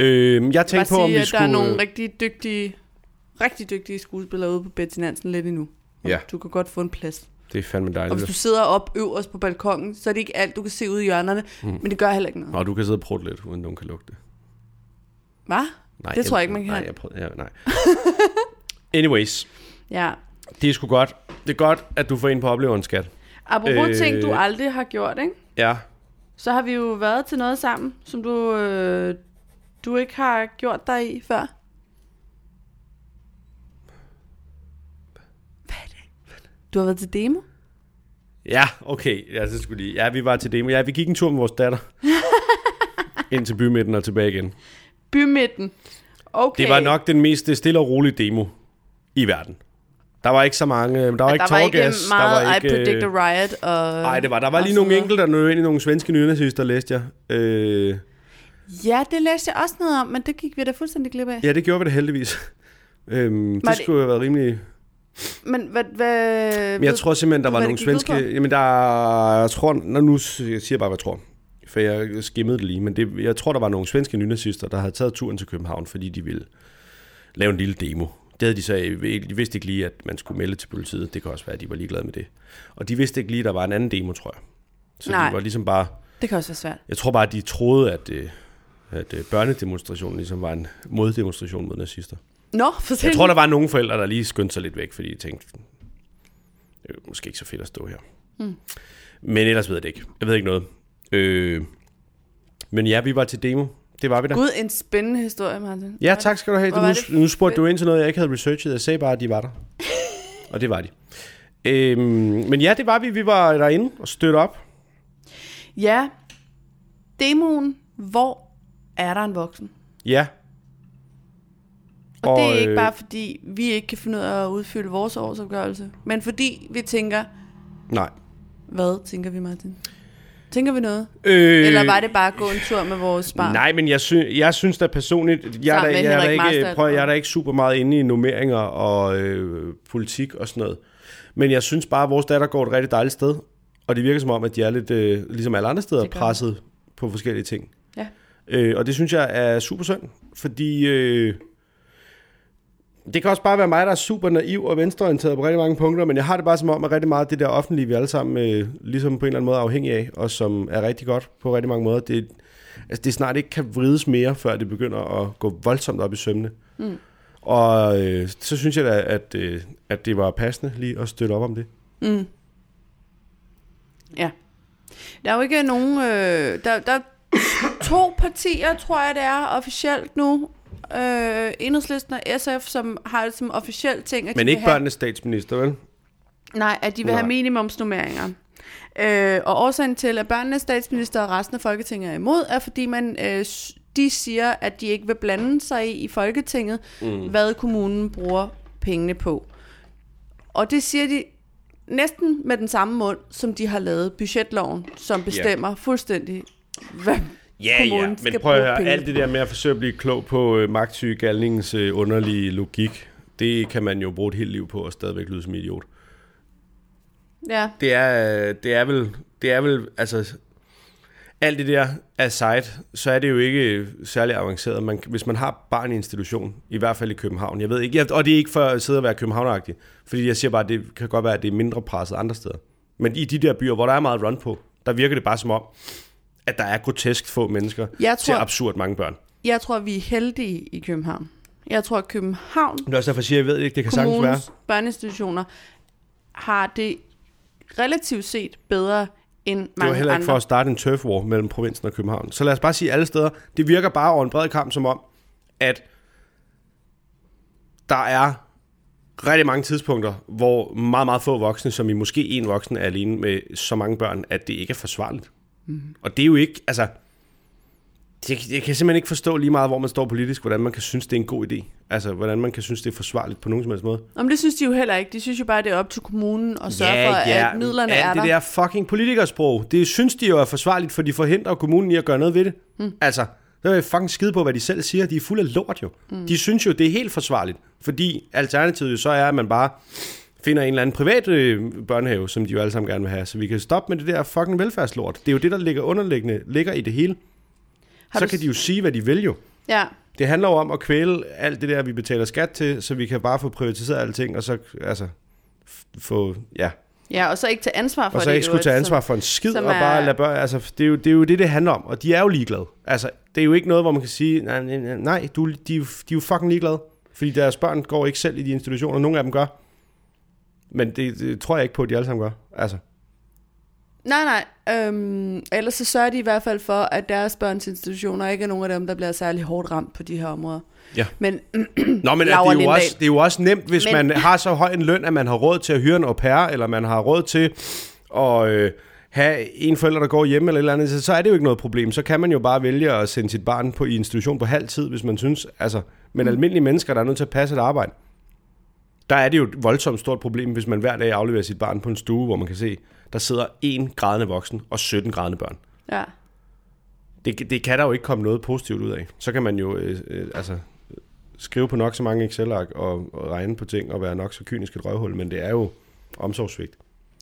Speaker 1: Øhm, jeg tænkte på,
Speaker 2: bare
Speaker 1: om
Speaker 2: sige,
Speaker 1: vi
Speaker 2: at
Speaker 1: skulle... øh,
Speaker 2: der er nogle rigtig dygtige, rigtig dygtige skuespillere ude på Betty Nansen lidt endnu. Og
Speaker 1: Ja.
Speaker 2: Du kan godt få en plads.
Speaker 1: Det er fandme
Speaker 2: Og
Speaker 1: dejligt.
Speaker 2: hvis
Speaker 1: Du...
Speaker 2: du sidder op øverst på balkongen, så er det ikke alt, du kan se ude i hjørnerne. Mm. Men det gør heller ikke noget.
Speaker 1: Nå, du kan sidde og prutte lidt, uden nogen kan lugte det.
Speaker 2: Hvad?
Speaker 1: Nej,
Speaker 2: Det tror jeg ikke, man kan.
Speaker 1: Nej, jeg prøvede, ja, nej. Anyways,
Speaker 2: Ja.
Speaker 1: det er sgu godt. Det er godt, at du får en på opleveren, skat.
Speaker 2: Apropos øh...
Speaker 1: Øh.
Speaker 2: ting, du aldrig har gjort, ikke?
Speaker 1: Ja,
Speaker 2: Så har vi jo været til noget sammen, som du, øh, du ikke har gjort dig i før. Hvad er det? Du har været til demo?
Speaker 1: ja, okay. Ja, så skulle lige. ja, vi var til demo. Ja, vi gik en tur med vores datter. Ind til bymidten og tilbage igen.
Speaker 2: Bymidten. Okay.
Speaker 1: Det var nok den mest øh, stille og rolige demo i verden. Der var ikke så mange, øh, der var ikke
Speaker 2: der var ikke
Speaker 1: tårgas,
Speaker 2: meget
Speaker 1: der var ikke,
Speaker 2: I predict a
Speaker 1: øh,
Speaker 2: riot og...
Speaker 1: Nej, det var, der var
Speaker 2: og
Speaker 1: lige
Speaker 2: sådan
Speaker 1: nogle
Speaker 2: noget.
Speaker 1: enkelte, der nødvendige nogle svenske nynazister, læste jeg. Øh,
Speaker 2: Ja, det læste jeg også noget om, men det gik vi da fuldstændig glip af. Ja.
Speaker 1: Ja, det gjorde vi da heldigvis. Øhm, det,
Speaker 2: Var
Speaker 1: det
Speaker 2: det-
Speaker 1: skulle have været rimelig...
Speaker 2: Men hvad... hvad
Speaker 1: Men jeg tror simpelthen, der var
Speaker 2: hvad det
Speaker 1: nogle
Speaker 2: gik ud
Speaker 1: svenske...
Speaker 2: på?
Speaker 1: Jamen, der... Jeg tror... Nå, nu s- jeg siger jeg bare, hvad jeg tror. For jeg skimmede det lige. Men det, jeg tror, der var nogle svenske nynazister, der havde taget turen til København, fordi de ville lave en lille demo. Det havde de så... De vidste ikke lige, at man skulle melde til politiet. Det kan også være, at de var ligeglade med det. Og de vidste ikke lige, at der var en anden demo, tror jeg. Så
Speaker 2: Nej.
Speaker 1: de var ligesom bare...
Speaker 2: Det kan også være svært.
Speaker 1: Jeg tror bare, de troede, at, øh, at øh, børnedemonstrationen ligesom var en moddemonstration mod nazister.
Speaker 2: Nå, for
Speaker 1: Jeg tror, der var nogle forældre, der lige skyndte sig lidt væk, fordi de tænkte, det er måske ikke så fedt at stå her. Mm. Men ellers ved jeg det ikke. Jeg ved ikke noget. Øh, men ja, vi var til demo. Det var vi da.
Speaker 2: Gud, en spændende historie, Martin.
Speaker 1: Ja, tak skal du have.
Speaker 2: Hvor var
Speaker 1: Nu,
Speaker 2: det
Speaker 1: nu spurgte du ind til noget, jeg ikke havde researchet. Jeg sagde bare, at de var der. og det var de. Øhm, men ja, det var vi. Vi var derinde og støtte op.
Speaker 2: Ja. Demoen, hvor er der en voksen?
Speaker 1: Ja.
Speaker 2: Og, og det er ikke
Speaker 1: øh,
Speaker 2: bare fordi, vi ikke kan finde ud af at udfylde vores årsopgørelse, men fordi vi tænker,
Speaker 1: Nej.
Speaker 2: hvad tænker vi, Martin? Tænker vi noget?
Speaker 1: Øh,
Speaker 2: Eller var det bare at gå en tur med vores barn?
Speaker 1: Nej, men jeg, sy- jeg synes da personligt, jeg, er da,
Speaker 2: med
Speaker 1: jeg, er da
Speaker 2: Henrik
Speaker 1: ikke,
Speaker 2: Marstal.
Speaker 1: prøv, at- jeg er da ikke super meget inde i nummeringer og øh, politik og sådan noget. Men jeg synes bare, at vores datter går et rigtig dejligt sted. Og det virker som om, at de er lidt, øh, ligesom alle andre steder,
Speaker 2: Det gør de.
Speaker 1: presset på forskellige ting.
Speaker 2: Ja.
Speaker 1: Øh, og det synes jeg er super synd, fordi øh, det kan også bare være mig, der er super naiv og venstreorienteret på rigtig mange punkter, men jeg har det bare som om, at rigtig meget af det der offentlige, vi alle sammen øh, ligesom på en eller anden måde er afhængige af, og som er rigtig godt på rigtig mange måder, det, altså, det snart ikke kan vrides mere, før det begynder at gå voldsomt op i sømne. Mm. Og øh, så synes jeg da, at, øh, at det var passende lige at støtte op om det.
Speaker 2: Mm. Ja. Der er jo ikke nogen... Øh, der, der er to partier, tror jeg, det er officielt nu. Øh, Enhedslisten og SF, som har det som officiel ting, at de
Speaker 1: Men
Speaker 2: vil
Speaker 1: ikke
Speaker 2: have,
Speaker 1: børnenes statsminister, vel?
Speaker 2: Nej, at de vil have
Speaker 1: Nej.
Speaker 2: minimumsnummeringer. Øh, og årsagen til, at børnenes statsminister og resten af Folketinget er imod, er fordi man, øh, s- de siger, at de ikke vil blande sig i, i Folketinget, mm. hvad kommunen bruger pengene på. Og det siger de næsten med den samme mund, som de har lavet budgetloven, som bestemmer yeah. fuldstændig, hvad
Speaker 1: Ja, ja,
Speaker 2: kommunen
Speaker 1: men
Speaker 2: skal
Speaker 1: prøv at
Speaker 2: bruge
Speaker 1: høre,
Speaker 2: penge
Speaker 1: alt det der med at forsøge at blive klog på øh, magtsyge Galningens øh, underlige logik, det kan man jo bruge et helt liv på og stadigvæk lyde som idiot.
Speaker 2: Ja,
Speaker 1: Det er, øh, det er vel, det er vel, altså, alt det der aside, så er det jo ikke øh, særlig avanceret. Man, hvis man har barn i institution, i hvert fald i København, jeg ved ikke, jeg, og det er ikke for at sidde og være københavneragtig, fordi jeg siger bare, at det kan godt være, at det er mindre presset andre steder. Men i de der byer, hvor der er meget run på, der virker det bare som om, at der er grotesk få mennesker
Speaker 2: Jeg
Speaker 1: til
Speaker 2: tror-
Speaker 1: absurd mange børn.
Speaker 2: jeg tror, vi er heldige i København. Jeg tror, at København
Speaker 1: Det er også derfor, jeg siger, jeg ved ikke, det kan sagtens være.
Speaker 2: kommunens børneinstitutioner har det relativt set bedre end mange
Speaker 1: Det var heller ikke
Speaker 2: andre.
Speaker 1: for at starte en turf war mellem provinsen og København. Så lad os bare sige alle steder, det virker bare over en bred kamp som om, at der er rigtig mange tidspunkter, hvor meget, meget få voksne, som i måske en voksen, er alene med så mange børn, at det ikke er forsvarligt.
Speaker 2: Mhm.
Speaker 1: Mm. Og det er jo ikke, altså, det, jeg kan simpelthen ikke forstå lige meget, hvor man står politisk, hvordan man kan synes, det er en god idé. Altså, hvordan man kan synes, det er forsvarligt på nogen som helst måde.
Speaker 2: Nå, men det synes de jo heller ikke. De synes jo bare, det er op til kommunen at sørge for, at midlerne
Speaker 1: alt
Speaker 2: er der.
Speaker 1: det der fucking politikersprog, det synes de jo er forsvarligt, for de forhindrer jo kommunen i at gøre noget ved det.
Speaker 2: Hmm.
Speaker 1: Mm. Altså, der er jeg fucking skide på, hvad de selv siger. De er fulde af lort jo.
Speaker 2: Hmm.
Speaker 1: Mm. De synes jo, det er helt forsvarligt, fordi alternativet jo så er, at man bare finder en eller anden privat øh, børnehave, som de jo alle sammen gerne vil have, så vi kan stoppe med det der fucking velfærdslort. Det er jo det, der ligger underliggende, ligger i det hele.
Speaker 2: Har
Speaker 1: så
Speaker 2: du
Speaker 1: kan
Speaker 2: s-
Speaker 1: de jo sige, hvad de vil jo.
Speaker 2: Ja,
Speaker 1: Det handler jo om at kvæle alt det der, vi betaler skat til, så vi kan bare få privatiseret alting, og så altså, f- få, ja,
Speaker 2: ja, og så ikke tage ansvar for
Speaker 1: og så
Speaker 2: det.
Speaker 1: ikke
Speaker 2: jo,
Speaker 1: skulle tage
Speaker 2: altså.
Speaker 1: ansvar for en skid, og
Speaker 2: som
Speaker 1: bare
Speaker 2: er-
Speaker 1: lade børn, altså, det er, jo, det er jo det, det handler om, og de er jo ligeglade. Altså, det er jo ikke noget, hvor man kan sige, nej, nej, nej, nej du, de, er jo- de er jo fucking ligeglade, fordi deres børn går ikke selv i de institutioner, nogle af dem gør. Men det, det tror jeg ikke på, at de alle sammen gør. Altså,
Speaker 2: Nej, nej. Øhm, ellers så sørger de i hvert fald for, at deres børns institutioner ikke er nogen af dem, der bliver særlig hårdt ramt på de her områder.
Speaker 1: Ja.
Speaker 2: Men
Speaker 1: Nå, men det
Speaker 2: Laura
Speaker 1: er, jo
Speaker 2: Lindahl.
Speaker 1: også, det er jo også nemt, hvis men...
Speaker 2: Men-
Speaker 1: man har så høj en løn, at man har råd til at hyre en au pair, eller man har råd til at øh, have en forælder, der går hjemme, eller et eller andet, så, så er det jo ikke noget problem. Så kan man jo bare vælge at sende sit barn på i institution på halv tid, hvis man synes. Altså, men mm. almindelige mennesker, der er nødt til at passe et arbejde, der er det jo et voldsomt stort problem, hvis man hver dag afleverer sit barn på en stue, hvor man kan se, der sidder en grædende voksen og 17 grædende børn.
Speaker 2: ja.
Speaker 1: Det, det kan der jo ikke komme noget positivt ud af. Så kan man jo øh, øh, altså, skrive på nok så mange Excel-ark og, og regne på ting og være nok så kynisk et røvhul, men det er jo omsorgsvigt.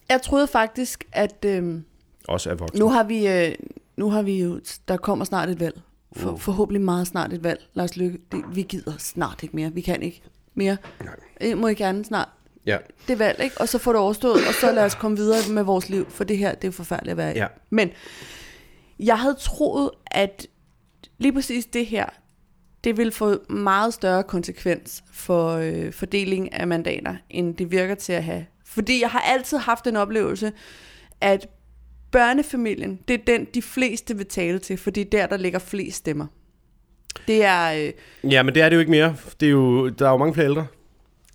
Speaker 2: Jeg troede faktisk, at... Øhm,
Speaker 1: Også af voksne.
Speaker 2: Nu har vi, øh, nu har vi jo, der kommer snart et valg. For,
Speaker 1: Uh.
Speaker 2: Forhåbentlig meget snart et valg. Lars Lykke, det, vi gider snart ikke mere. Vi kan ikke mere.
Speaker 1: Nej.
Speaker 2: Øh, må I gerne snart
Speaker 1: Ja.
Speaker 2: det valg, ikke? Og så får det overstået, og så lad os komme videre med vores liv, for det her, det er jo forfærdeligt at være i.
Speaker 1: Ja.
Speaker 2: Men jeg havde troet, at lige præcis det her, det vil få meget større konsekvens for øh, fordeling af mandater, end det virker til at have. Fordi jeg har altid haft den oplevelse, at Børnefamilien, det er den, de fleste vil tale til, for det er der, der ligger flest stemmer. Det er... Øh,
Speaker 1: Ja, men det er det jo ikke mere. Det er jo, der er jo mange flere ældre.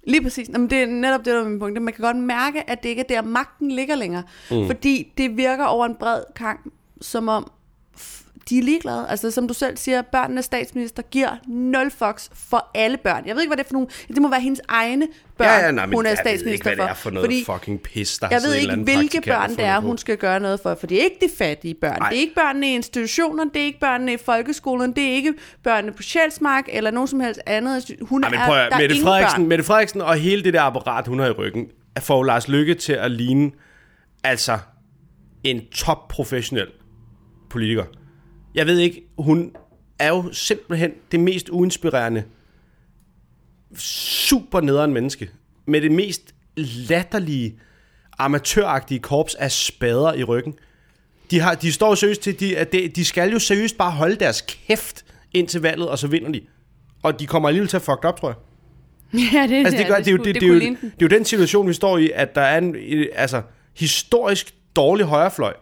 Speaker 2: Lige præcis. Jamen, det er netop det, der er min pointe. Man kan godt mærke, at det ikke er der, magten ligger længere. Mm. Fordi det virker over en bred kamp, som om f- de er ligeglade. Altså, som du selv siger, børnenes statsminister giver nul fucks for alle børn. Jeg ved ikke, hvad det er for nogle... Det må være hendes egne børn,
Speaker 1: ja, ja, nej, men
Speaker 2: hun er
Speaker 1: jeg ved
Speaker 2: statsminister
Speaker 1: ikke, hvad det
Speaker 2: for.
Speaker 1: er for noget
Speaker 2: Fordi
Speaker 1: fucking pis, der har
Speaker 2: jeg
Speaker 1: siddet
Speaker 2: ved
Speaker 1: en
Speaker 2: ikke,
Speaker 1: eller anden
Speaker 2: hvilke
Speaker 1: praktikant og
Speaker 2: børn det
Speaker 1: fundet
Speaker 2: er,
Speaker 1: på.
Speaker 2: hun skal gøre noget for. For det er ikke de fattige børn.
Speaker 1: Nej.
Speaker 2: Det er ikke børnene i institutionerne, det er ikke børnene i folkeskolen, det er ikke børnene på Sjælsmark eller nogen som helst andet. Hun
Speaker 1: Ej, men
Speaker 2: er,
Speaker 1: prøv at,
Speaker 2: der er
Speaker 1: Mette,
Speaker 2: ingen
Speaker 1: Frederiksen,
Speaker 2: børn.
Speaker 1: Mette Frederiksen og hele det der apparat, hun har i ryggen, får Lars Lykke til at ligne altså en topprofessionel politiker. Jeg ved ikke, hun er jo simpelthen det mest uinspirerende, super nederen menneske, med det mest latterlige, amatøragtige korps af spader i ryggen. De, har, de står seriøst til, de, at de, de skal jo seriøst bare holde deres kæft indtil valget, og så vinder de. Og de kommer alligevel til at fuck det op, tror jeg.
Speaker 2: Ja, det,
Speaker 1: Altså, det, gør, det, er jo- det, det, det, er jo- det, er jo den situation, vi står i, at der er en øh, altså, historisk dårlig højrefløj,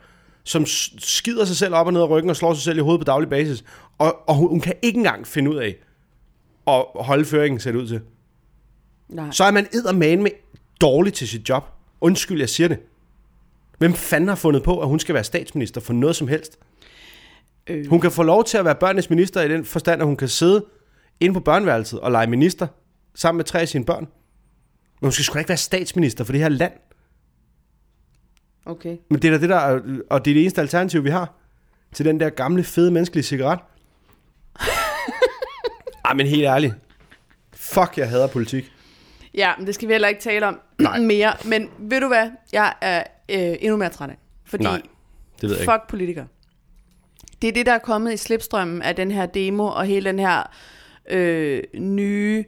Speaker 1: som s- skider sig selv op og ned af ryggen og slår sig selv i hovedet på daglig basis. Og, og hun, hun kan ikke engang finde ud af at holde føringen sæt ud til.
Speaker 2: Nej.
Speaker 1: Så er man eddermane med dårlig til sit job. Undskyld, jeg siger det. Hvem fanden har fundet på, at hun skal være statsminister for noget som helst?
Speaker 2: Øh.
Speaker 1: Hun kan få lov til at være børnenes minister i den forstand, at hun kan sidde inde på børneværelset og lege minister sammen med tre af sine børn. Men hun skal sgu da ikke være statsminister for det her land.
Speaker 2: Okay.
Speaker 1: Men det er da det der, er- og det er det eneste alternativ, vi har til den der gamle, fede menneskelige cigaret. Ej, men helt ærligt. Fuck, jeg hader politik.
Speaker 2: Ja, men det skal vi heller ikke tale om
Speaker 1: Nej.
Speaker 2: mere. Men ved du hvad? Jeg er øh, endnu mere træt af. Fordi
Speaker 1: Nej, det ved jeg ikke.
Speaker 2: fuck politikere. Det er det, der er kommet i slipstrømmen af den her demo og hele den her øh, nye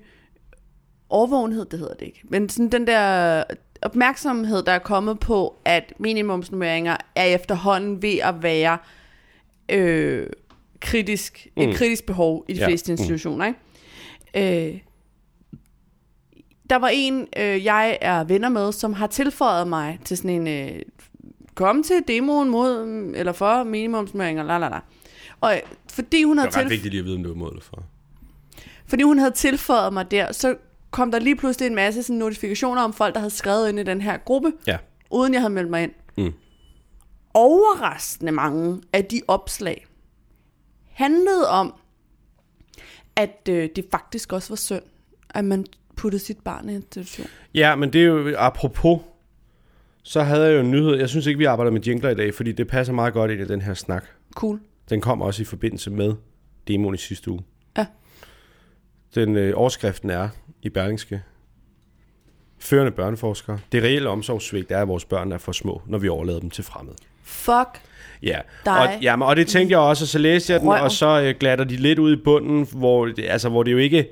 Speaker 2: overvågenhed, det hedder det ikke. Men sådan den der opmærksomhed, der er kommet på, at minimumsnummeringer er efterhånden ved at være øh, kritisk, mm. et kritisk behov i de
Speaker 1: Ja,
Speaker 2: ja. fleste
Speaker 1: mm.
Speaker 2: institutioner. Ikke? Øh, der var en, øh, jeg er venner med, som har tilføjet mig til sådan en... Øh, kom til demoen mod, mm, eller for minimumsnummeringer, la la la. Og øh, fordi hun havde
Speaker 1: Det er ret
Speaker 2: tilføjet...
Speaker 1: vigtigt lige at vide, om du er imod eller for.
Speaker 2: Fordi hun havde tilføjet mig der, så kom der lige pludselig en masse sådan notifikationer om folk, der havde skrevet ind i den her gruppe,
Speaker 1: Ja.
Speaker 2: uden jeg havde meldt mig ind.
Speaker 1: Mm.
Speaker 2: Overraskende mange af de opslag handlede om, at øh, det faktisk også var synd, at man puttede sit barn i institution.
Speaker 1: Ja, men det er jo apropos, så havde jeg jo en nyhed. Jeg synes ikke, vi arbejder med jingler i dag, fordi det passer meget godt ind i den her snak.
Speaker 2: Cool.
Speaker 1: Den kom også i forbindelse med demoen i sidste uge.
Speaker 2: Ja.
Speaker 1: Den øh, overskriften er i Berlingske. Førende børneforskere. Det reelle omsorgssvigt er, at vores børn er for små, når vi overlader dem til fremmede.
Speaker 2: Fuck.
Speaker 1: Ja,
Speaker 2: Dig.
Speaker 1: og, ja, men- og det tænkte jeg også, og så læste jeg den,
Speaker 2: Røv.
Speaker 1: og så øh, glatter de lidt ud i bunden, hvor det, altså, hvor det jo ikke...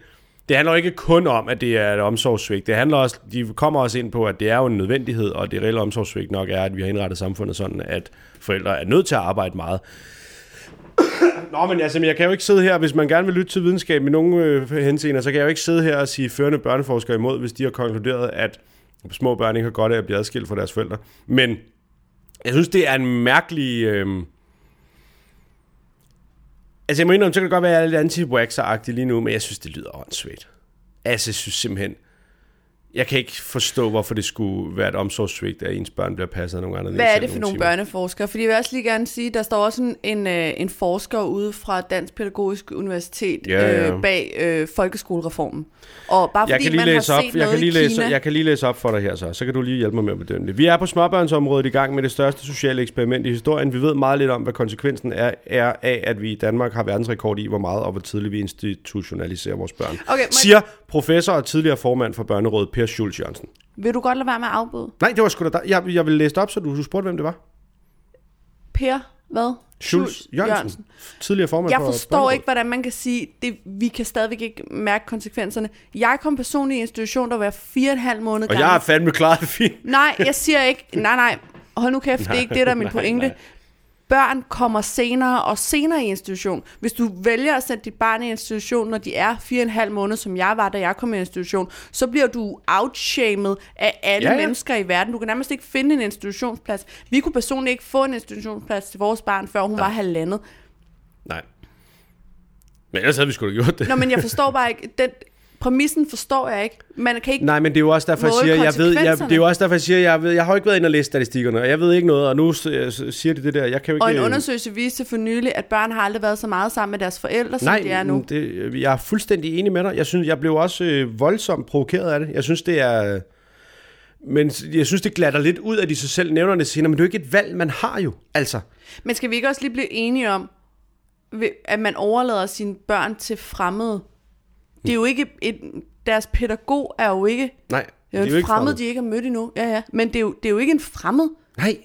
Speaker 1: Det handler jo ikke kun om, at det er et omsorgssvigt. Det handler også, de kommer også ind på, at det er jo en nødvendighed, og det reelle omsorgssvigt nok er, at vi har indrettet samfundet sådan, at forældre er nødt til at arbejde meget. Nå, men altså, men jeg kan jo ikke sidde her, hvis man gerne vil lytte til videnskab i nogle øh, henseender, så kan jeg jo ikke sidde her og sige førende børneforskere imod, hvis de har konkluderet, at små børn ikke har godt af at blive adskilt fra deres forældre. Men jeg synes, det er en mærkelig... Øh, Altså, jeg må indrømme, så kan det godt være, at jeg er lidt anti-waxer-agtig lige nu, men jeg synes, det lyder åndssvagt. Altså, jeg synes simpelthen... Jeg kan ikke forstå, hvorfor det skulle være et omsorgssvigt, at ens børn bliver passet af nogle andre. end en
Speaker 2: Hvad er
Speaker 1: selv
Speaker 2: det for nogle
Speaker 1: timer.
Speaker 2: børneforskere? Fordi jeg vil også lige gerne sige, der står også en, en, øh, en forsker ude fra Dansk Pædagogisk Universitet
Speaker 1: Ja, ja.
Speaker 2: Øh, bag øh, folkeskolereformen. Og bare fordi
Speaker 1: jeg kan lige
Speaker 2: man
Speaker 1: læse
Speaker 2: har
Speaker 1: op,
Speaker 2: set
Speaker 1: jeg
Speaker 2: noget
Speaker 1: kan lige
Speaker 2: i
Speaker 1: læse,
Speaker 2: Kina,
Speaker 1: jeg kan lige læse op for dig her så. Så kan du lige hjælpe mig med at bedømme det. Vi er på småbørnsområdet i gang med det største sociale eksperiment i historien. Vi ved meget lidt om, hvad konsekvensen er, er af, at vi i Danmark har verdensrekord i, hvor meget og hvor tidligt vi institutionaliserer vores børn.
Speaker 2: Okay, må-
Speaker 1: Siger professor og tidligere formand for Børnerådet Per Schulz Jørgensen.
Speaker 2: Vil du godt lade være med at afbryde?
Speaker 1: Nej, det var sgu da dig. Jeg, jeg ville læse det op, så du, du spurgte, hvem det var.
Speaker 2: Per, hvad?
Speaker 1: Schulz Jørgensen, Jørgensen. tidligere formand
Speaker 2: Jeg
Speaker 1: for
Speaker 2: forstår
Speaker 1: Børnerådet.
Speaker 2: ikke, hvordan man kan sige, det, vi kan stadigvæk ikke mærke konsekvenserne. Jeg kom personligt i institution, der var fire og en halv måned
Speaker 1: Og
Speaker 2: gammel.
Speaker 1: jeg er fandme klar fint.
Speaker 2: Nej, jeg siger ikke, nej, nej, hold nu kæft, det er ikke det, der er min
Speaker 1: Nej,
Speaker 2: pointe.
Speaker 1: nej.
Speaker 2: Børn kommer senere og senere i institution. Hvis du vælger at sende dit barn i institution, når de er 4,5 måneder, som jeg var, da jeg kom i institution, så bliver du outshamed af alle
Speaker 1: Ja,
Speaker 2: ja,
Speaker 1: ja.
Speaker 2: ja. mennesker i verden. Du kan nærmest ikke finde en institutionsplads. Vi kunne personligt ikke få en institutionsplads til vores barn, før hun ja. var halvandet.
Speaker 1: Nej. Men ellers havde vi sgu da gjort det.
Speaker 2: Nå, men jeg forstår bare ikke, den præmissen forstår jeg ikke. Man kan ikke...
Speaker 1: Nej, men det er jo også derfor, jeg
Speaker 2: Måle
Speaker 1: siger, jeg ved, jeg, det
Speaker 2: konsekvenserne.
Speaker 1: er jo også derfor, jeg siger, jeg, ved, jeg har jo ikke været inde og læst statistikkerne, og jeg ved ikke noget, og nu s- øh, s- siger de det der, jeg kan jo ikke...
Speaker 2: Og en undersøgelse viste for nylig, at børn har aldrig været så meget sammen med deres forældre, som
Speaker 1: Nej,
Speaker 2: de er nu.
Speaker 1: Det, jeg er fuldstændig enig med dig. Jeg, synes, jeg blev også øh, voldsomt provokeret af det. Jeg synes, det er... Men jeg synes, det glatter lidt ud, at de sig selv nævner det senere, men det er jo ikke et valg, man har jo. Altså,
Speaker 2: Men skal vi ikke også lige blive enige om, ved- at man overlader sine børn til fremmede? Det er jo ikke et, deres pædagog er jo ikke,
Speaker 1: nej.
Speaker 2: det er jo en fremmed, fremmed, de ikke har mødt endnu. Ja, ja. Men det er, jo, det er jo ikke en fremmed.
Speaker 1: Nej,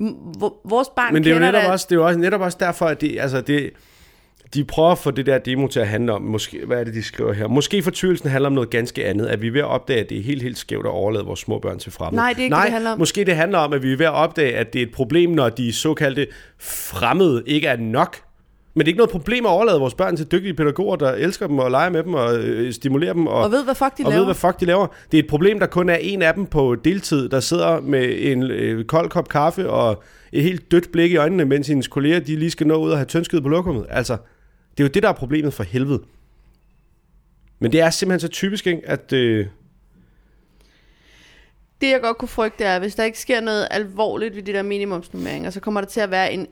Speaker 2: M- hvor- Vores barn
Speaker 1: men det er jo
Speaker 2: kender
Speaker 1: netop
Speaker 2: da-
Speaker 1: også, det er jo også, netop også derfor, at det, altså det, de prøver at få det der demo til at handle om, måske, hvad er det, de skriver her? Måske fortvivlelsen handler om noget ganske andet, at vi er ved at opdage, at det er helt, helt skævt at overlade vores små børn til fremmede.
Speaker 2: Nej, det er ikke
Speaker 1: Nej,
Speaker 2: det, det handler om.
Speaker 1: måske det handler om, at vi er ved at opdage, at det er et problem, når de såkaldte fremmede ikke er nok. Men det er ikke noget problem at overlade vores børn til dygtige pædagoger, der elsker dem og leger med dem og øh, stimulerer dem. Og,
Speaker 2: Og ved, hvad fuck de
Speaker 1: og
Speaker 2: laver.
Speaker 1: ved, hvad fuck de laver. Det er et problem, der kun er en af dem på deltid, der sidder med en øh, kold kop kaffe og et helt dødt blik i øjnene, mens hendes kolleger de lige skal nå ud og have tønskede på lokummet. Altså, det er jo det, der er problemet for helvede. Men det er simpelthen så typisk, ikke? at... Øh,
Speaker 2: Det jeg godt kunne frygte er, at hvis der ikke sker noget alvorligt ved de der minimumsnummeringer, så kommer der til at være en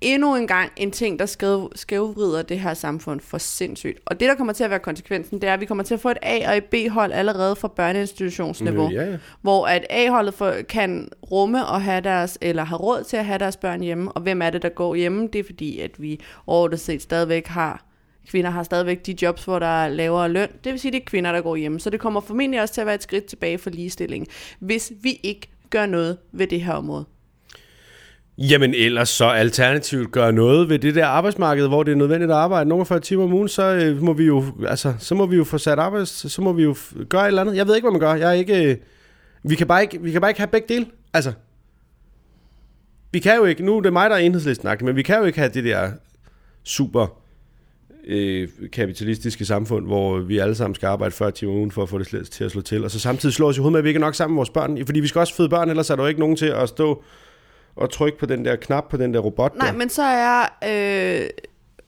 Speaker 2: endnu en gang en ting, der skæv, skævvrider det her samfund for sindssygt. Og det, der kommer til at være konsekvensen, det er, at vi kommer til at få et A- og et B-hold allerede fra børneinstitutionsniveau.
Speaker 1: øh, ja, ja.
Speaker 2: Hvor at A-holdet for, kan rumme og have deres, eller har råd til at have deres børn hjemme. Og hvem er det, der går hjemme? Det er fordi, at vi overordnet set stadigvæk har kvinder har stadigvæk de jobs, hvor der er lavere løn. Det vil sige, at det er kvinder, der går hjemme. Så det kommer formentlig også til at være et skridt tilbage for ligestilling, hvis vi ikke gør noget ved det her område.
Speaker 1: Jamen ellers så alternativt gøre noget ved det der arbejdsmarked, hvor det er nødvendigt at arbejde nogle 40 timer om ugen, så øh, må vi jo altså så må vi jo få sat arbejds, så må vi jo f- gøre et eller andet. Jeg ved ikke hvad man gør. Jeg er ikke øh, vi kan bare ikke vi kan bare ikke have begge dele. Altså vi kan jo ikke nu er det mig der er enhedslisten men vi kan jo ikke have det der super øh, kapitalistiske samfund, hvor vi alle sammen skal arbejde 40 timer om ugen for at få det slet- til at slå til, og så samtidig slå os i hovedet med, at vi ikke er nok sammen med vores børn, fordi vi skal også føde børn, ellers er der jo ikke nogen til at stå og trykke på den der knap på den der robot
Speaker 2: Nej,
Speaker 1: der.
Speaker 2: men så er øh,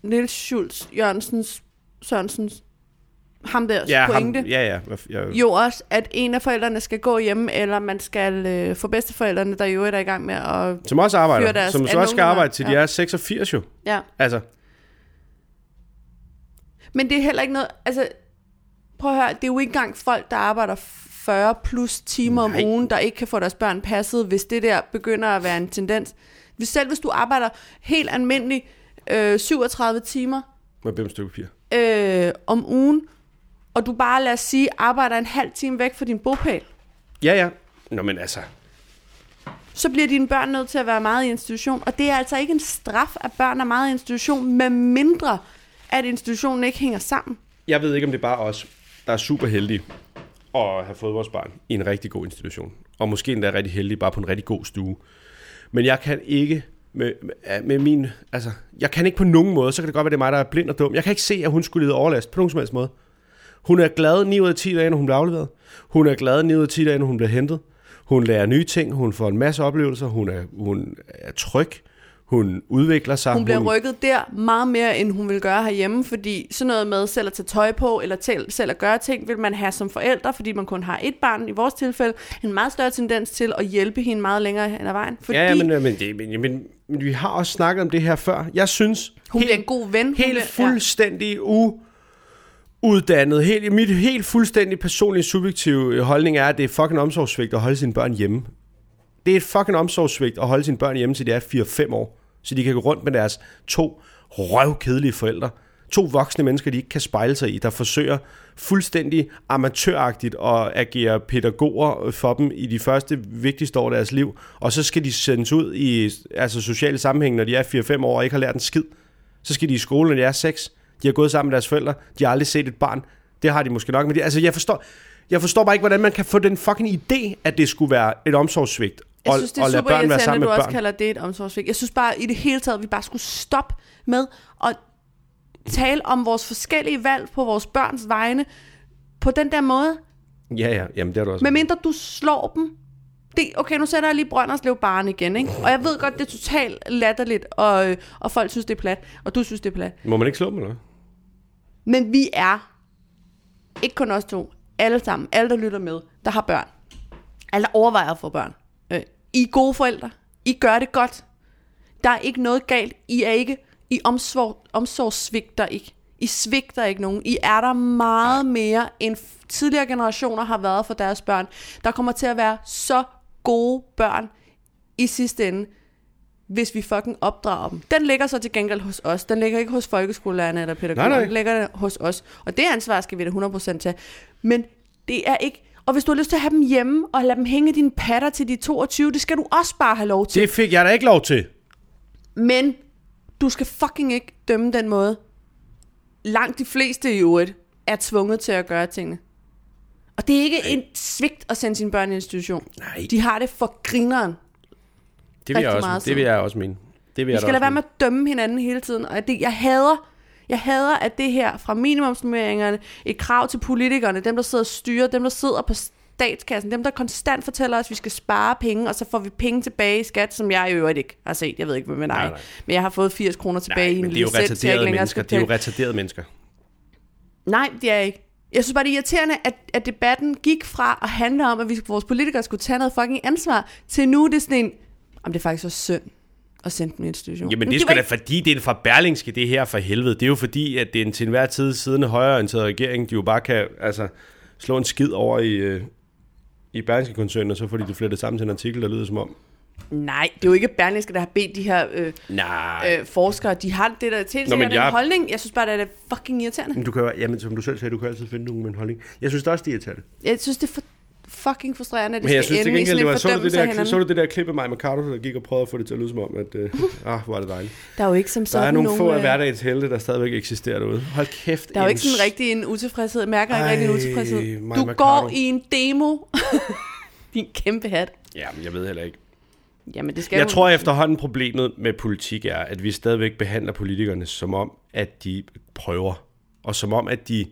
Speaker 2: Nils Schultz Jørgensens, Sørensens, ham der
Speaker 1: ja,
Speaker 2: pointe.
Speaker 1: Ham, ja, ja. Hvad f- ja.
Speaker 2: Jo også, at en af forældrene skal gå hjemme, eller man skal øh, få bedsteforældrene, der i øvrigt er i gang med at...
Speaker 1: Som også
Speaker 2: Fyre
Speaker 1: arbejder,
Speaker 2: deres
Speaker 1: som så
Speaker 2: anden
Speaker 1: også skal
Speaker 2: ungdommer.
Speaker 1: arbejde til de
Speaker 2: Ja.
Speaker 1: er 86 jo.
Speaker 2: Ja.
Speaker 1: Altså,
Speaker 2: Men det er heller ikke noget... Altså, prøv at høre, det er jo ikke engang folk, der arbejder 40 plus timer
Speaker 1: Nej.
Speaker 2: om ugen, der ikke kan få deres børn passet, hvis det der begynder at være en tendens. Hvis selv hvis du arbejder helt almindelig øh, 37 timer
Speaker 1: med hvem stykke papir.
Speaker 2: øh, om ugen, og du bare, lad os sige, arbejder en halv time væk fra din bopæl,
Speaker 1: Ja, ja. Nå, men altså.
Speaker 2: så bliver dine børn nødt til at være meget i institution. Og det er altså ikke en straf, at børn er meget i institution, med mindre at institutionen ikke hænger sammen.
Speaker 1: Jeg ved ikke, om det er bare os, der er super heldige at have fået vores barn i en rigtig god institution. Og måske endda rigtig heldige, bare på en rigtig god stue. Men jeg kan ikke med, med, med min... Altså, jeg kan ikke på nogen måde, så kan det godt være, det er mig, der er blind og dum. Jeg kan ikke se, at hun skulle lide overlast på nogen som helst måde. Hun er glad 9 ud af 10 dage, når hun bliver afleveret. Hun er glad 9 ud af 10 dage, når hun bliver hentet. Hun lærer nye ting, hun får en masse oplevelser, hun er, hun er tryg, hun udvikler sig.
Speaker 2: Hun bliver rykket der meget mere, end hun vil gøre herhjemme, fordi sådan noget med selv at tage tøj på, eller til, selv at gøre ting, vil man have som forældre, fordi man kun har et barn i vores tilfælde, en meget større tendens til at hjælpe hende meget længere hen ad vejen, fordi
Speaker 1: Fordi... Ja, ja, men, øh, men, det, men, men, men vi har også snakket om det her før. Jeg synes...
Speaker 2: hun bliver en god ven. hun
Speaker 1: Helt
Speaker 2: bliver,
Speaker 1: fuldstændig u uddannet. Helt, mit helt fuldstændig personlige subjektive øh, holdning er, at det er fucking omsorgssvigt at holde sine børn hjemme. Det er et fucking omsorgssvigt at holde sine børn hjemme, til de er 4-5 år. Så de kan gå rundt med deres to røvkedelige forældre. To voksne mennesker, de ikke kan spejle sig i, der forsøger fuldstændig amatøragtigt at agere pædagoger for dem i de første vigtigste år af deres liv. Og så skal de sendes ud i altså sociale sammenhæng, når de er 4-5 år og ikke har lært en skid. Så skal de i skole, når de er 6. De har gået sammen med deres forældre. De har aldrig set et barn. Det har de måske nok. Men det, altså, jeg forstår, jeg forstår bare ikke, hvordan man kan få den fucking idé, at det skulle være et omsorgssvigt
Speaker 2: Jeg
Speaker 1: Og-
Speaker 2: synes, det er
Speaker 1: og lade
Speaker 2: super
Speaker 1: børn være
Speaker 2: irriterende, at
Speaker 1: sammen
Speaker 2: du
Speaker 1: med
Speaker 2: også
Speaker 1: børn.
Speaker 2: kalder det et omsorgssvigt. Jeg synes bare, i det hele taget, at vi bare skulle stoppe med at tale om vores forskellige valg på vores børns vegne på den der måde.
Speaker 1: Ja, ja, jamen det er du også.
Speaker 2: Men mindre du slår dem. Det, okay, nu sætter jeg lige Brønderslev Barn igen, ikke? Og jeg ved godt, det er totalt latterligt, og, øh, og folk synes, det er plat, og du synes, det er plat.
Speaker 1: Må man ikke slå dem, eller hvad?
Speaker 2: Men vi er, ikke kun os to, alle sammen, alle der lytter med, der har børn. Alle der overvejer at få børn. Øh, I er gode forældre. I gør det godt. Der er ikke noget galt. I er ikke, I omsorg, omsorgssvigter ikke. I svigter ikke nogen. I er der meget mere, end f- tidligere generationer har været for deres børn. Der kommer til at være så gode børn i sidste ende, hvis vi fucking opdrager dem. Den ligger så til gengæld hos os. Den ligger ikke hos folkeskolelærerne eller pædagogerne.
Speaker 1: Nej, nej.
Speaker 2: Den ligger der hos os. Og det ansvar skal vi da 100% tage. Men det er ikke... Og hvis du har lyst til at have dem hjemme og lade dem hænge i dine patter til de 22, det skal du også bare have lov til.
Speaker 1: Det fik jeg da ikke lov til.
Speaker 2: Men du skal fucking ikke dømme den måde. Langt de fleste i øvrigt er tvunget til at gøre tingene. Og det er ikke en svigt at sende sine børn i institution.
Speaker 1: Nej.
Speaker 2: De har det for grineren.
Speaker 1: Det vil,
Speaker 2: Rigtig
Speaker 1: jeg også,
Speaker 2: meget
Speaker 1: det vil jeg også mene. Det vil
Speaker 2: Vi
Speaker 1: jeg da
Speaker 2: skal lade
Speaker 1: også
Speaker 2: være
Speaker 1: mene.
Speaker 2: med at dømme hinanden hele tiden. Og det, jeg hader, jeg hader, at det her fra minimumsnummeringerne, et krav til politikerne, dem der sidder og styrer, dem der sidder på statskassen, dem der konstant fortæller os, at vi skal spare penge, og så får vi penge tilbage i skat, som jeg i øvrigt ikke har set. Jeg ved ikke, hvad med
Speaker 1: Nej,
Speaker 2: dig.
Speaker 1: nej.
Speaker 2: Men jeg har fået 80 kroner tilbage i
Speaker 1: Nej,
Speaker 2: en
Speaker 1: men det er jo
Speaker 2: licens, jeg ikke
Speaker 1: retarderede
Speaker 2: længere
Speaker 1: mennesker.
Speaker 2: skal
Speaker 1: Det er jo
Speaker 2: betale.
Speaker 1: retarderede mennesker.
Speaker 2: Nej, det er jeg ikke. Jeg synes bare, det er irriterende, at, at debatten gik fra at handle om, at vi, vores politikere skulle tage noget fucking ansvar, til nu er det sådan en, om det er faktisk også synd at sende dem i institution.
Speaker 1: Jamen
Speaker 2: Men
Speaker 1: det er
Speaker 2: var
Speaker 1: sgu da
Speaker 2: ikke-
Speaker 1: fordi, det er en fra Berlingske, det her for helvede. Det er jo fordi, at det er en til enhver tid siddende højreorienteret regering, de jo bare kan altså, slå en skid over i, øh, i Berlingske-koncernen, og så får de det flettet sammen til en artikel, der lyder som om.
Speaker 2: Nej, det er jo ikke Berlingske, der har bedt de her øh,
Speaker 1: Nej.
Speaker 2: øh, forskere. De har det der til
Speaker 1: Nå, men
Speaker 2: den jeg...
Speaker 1: jeg-
Speaker 2: holdning. Jeg synes bare, det er fucking irriterende.
Speaker 1: Men du kan jo, jamen, som du selv sagde, du kan altid finde nogen med en holdning. Jeg synes det er også, de er det.
Speaker 2: Jeg synes, det er for fucking frustrerende, at det
Speaker 1: Men jeg
Speaker 2: skal
Speaker 1: synes til
Speaker 2: ende i
Speaker 1: gengæld,
Speaker 2: sådan
Speaker 1: det var,
Speaker 2: en
Speaker 1: så, du det
Speaker 2: fordømmelse af
Speaker 1: der, så du
Speaker 2: hinanden.
Speaker 1: det der klip af mig med Carter, der gik og prøvede at få det til at lyde som om, at øh, ah, hvor er det dejligt.
Speaker 2: Der er jo ikke som
Speaker 1: Der
Speaker 2: sådan
Speaker 1: er nogle få af
Speaker 2: øh,
Speaker 1: hverdagens helte, der stadigvæk eksisterer derude. Hold kæft.
Speaker 2: Der er jo
Speaker 1: en
Speaker 2: ikke sådan rigtig en utilfredshed. Jeg Mærker ikke
Speaker 1: Ej,
Speaker 2: rigtig en utilfredshed.
Speaker 1: Maja
Speaker 2: Du
Speaker 1: Mercado.
Speaker 2: går i en demo. Din kæmpe hat.
Speaker 1: Jamen, jeg ved heller ikke.
Speaker 2: Jamen, det skal
Speaker 1: Jeg
Speaker 2: du-
Speaker 1: tror efterhånden problemet med politik er, at vi stadigvæk behandler politikerne som om, at de prøver. Og som om, at de,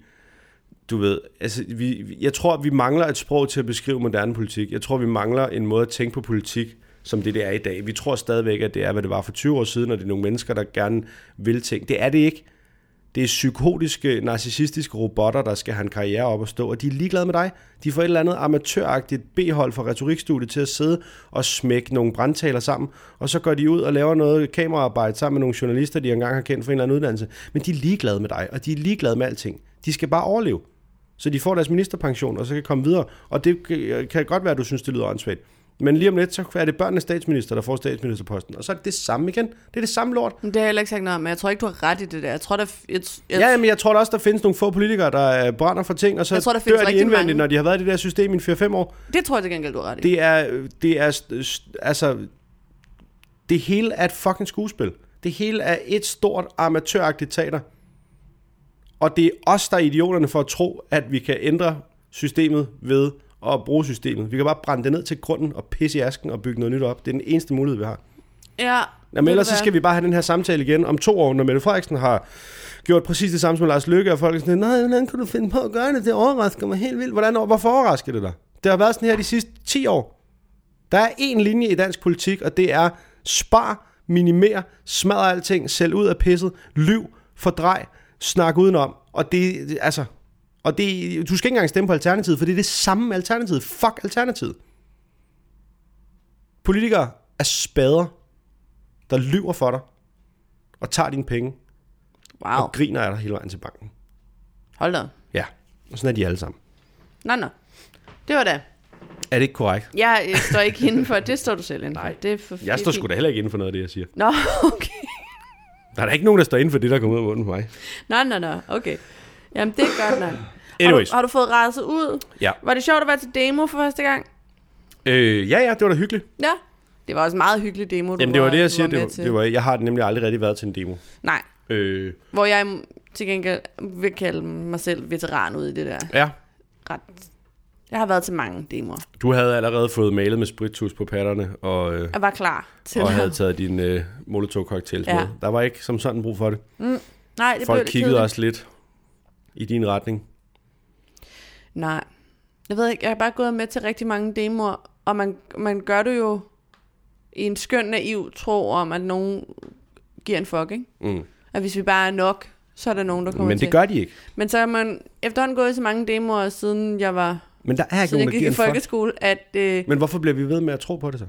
Speaker 1: du ved, altså, vi, jeg tror, vi mangler et sprog til at beskrive moderne politik. Jeg tror, vi mangler en måde at tænke på politik, som det, det er i dag. Vi tror stadigvæk, at det er, hvad det var for 20 år siden, og det er nogle mennesker, der gerne vil ting. Det er det ikke. Det er psykotiske, narcissistiske robotter, der skal have en karriere op og stå, og de er ligeglade med dig. De får et eller andet amatøragtigt B-hold fra retorikstudiet til at sidde og smække nogle brandtaler sammen, og så går de ud og laver noget kameraarbejde sammen med nogle journalister, de engang har kendt fra en eller anden uddannelse. Men de er ligeglade med dig, og de er ligeglade med alting. De skal bare overleve. Så de får deres ministerpension, og så kan komme videre. Og det kan- kan godt være, at du synes, det lyder åndssvagt. Men lige om lidt, så er det børnenes statsminister, der får statsministerposten. Og så er det det samme igen. Det er det samme lort.
Speaker 2: Men Det har jeg heller ikke sagt noget om, men jeg tror ikke, du har ret i det der. Jeg tror, der... Jeg, jeg,
Speaker 1: Ja, men jeg tror da også, der findes nogle få politikere, der øh, brænder for ting, og så
Speaker 2: Jeg tror, der findes
Speaker 1: dør de
Speaker 2: rigtig
Speaker 1: indvendigt,
Speaker 2: mange.
Speaker 1: når de har været i det der system i 4-5 år.
Speaker 2: Det tror jeg til gengæld, du har ret i.
Speaker 1: Det er, det er, st- st- altså, det hele er et fucking skuespil. Det hele er et stort amatøragtigt teater. Og det er os, der er idioterne for at tro, at vi kan ændre systemet ved at bruge systemet. Vi kan bare brænde det ned til grunden og pisse i asken og bygge noget nyt op. Det er den eneste mulighed, vi har.
Speaker 2: Ja.
Speaker 1: Jamen, ellers så skal vi bare have den her samtale igen om to år, når Mette Frederiksen har gjort præcis det samme som Lars Løkke, og folk er sådan, nej, hvordan kunne du finde på at gøre det? Det overrasker mig helt vildt. Hvordan, hvorfor overrasker det dig? Det har været sådan her de sidste 10 år. Der er én linje i dansk politik, og det er spar, minimer, smadre alting, sælg ud af pisset, lyv, fordrej, snak udenom. Og det, det- altså, og det, du skal ikke engang stemme på Alternativet, for det er det samme Alternativet. Fuck Alternativet. Politikere er spader, der lyver for dig, og tager dine penge,
Speaker 2: Wow.
Speaker 1: og griner af dig hele vejen til banken.
Speaker 2: Hold da. op.
Speaker 1: Ja, og sådan er de alle sammen.
Speaker 2: Nå, nå. Det var da.
Speaker 1: Er det ikke korrekt?
Speaker 2: Jeg øh, står ikke inden for, det står du selv inden for. Nej, det er for
Speaker 1: Jeg står sgu da heller ikke inden for noget af det, jeg siger.
Speaker 2: Nå, okay.
Speaker 1: Der er da ikke nogen, der står inden for det, der kommer ud af munden på mig.
Speaker 2: Nå, nå, nå, okay. Jamen, det er godt nok.
Speaker 1: Anyways.
Speaker 2: Har, du, har du fået rejset ud?
Speaker 1: Ja.
Speaker 2: Var det sjovt at være til demo for første gang?
Speaker 1: Øh, ja, ja, det var da hyggeligt.
Speaker 2: Ja. Det var også en meget hyggelig demo, du
Speaker 1: Jamen, det var
Speaker 2: var
Speaker 1: det, jeg
Speaker 2: du
Speaker 1: siger.
Speaker 2: Var med
Speaker 1: Det var,
Speaker 2: til.
Speaker 1: det var, jeg har nemlig aldrig rigtig været til en demo.
Speaker 2: Nej,
Speaker 1: Øh,
Speaker 2: hvor jeg til gengæld vil kalde mig selv veteran ud i det der.
Speaker 1: ja,
Speaker 2: Ret. Jeg har været til mange demoer.
Speaker 1: Du havde allerede fået malet med sprittus på patterne, og, øh,
Speaker 2: Jeg var klar til
Speaker 1: og
Speaker 2: at-
Speaker 1: havde taget din øh, molotov-cocktails
Speaker 2: Ja.
Speaker 1: med. Der var ikke som sådan brug for det.
Speaker 2: Nej, det blev
Speaker 1: Folk
Speaker 2: lidt
Speaker 1: kiggede
Speaker 2: kedeligt.
Speaker 1: også lidt i din retning. Mm.
Speaker 2: Nej. Jeg ved ikke, jeg har bare gået med til rigtig mange demoer, og man, man gør det jo i en skøn naiv tro om, at nogen giver en fuck, ikke?
Speaker 1: Mm.
Speaker 2: At hvis vi bare er nok, så er der nogen, der kommer
Speaker 1: Men
Speaker 2: til.
Speaker 1: det gør de ikke.
Speaker 2: Men så er man efterhånden gået i så mange demoer, siden jeg var
Speaker 1: Men der er ikke
Speaker 2: siden
Speaker 1: nogen, der
Speaker 2: jeg gik
Speaker 1: giver
Speaker 2: i
Speaker 1: en fuck.
Speaker 2: folkeskole, at øh,
Speaker 1: Men hvorfor bliver vi ved med at tro på det så?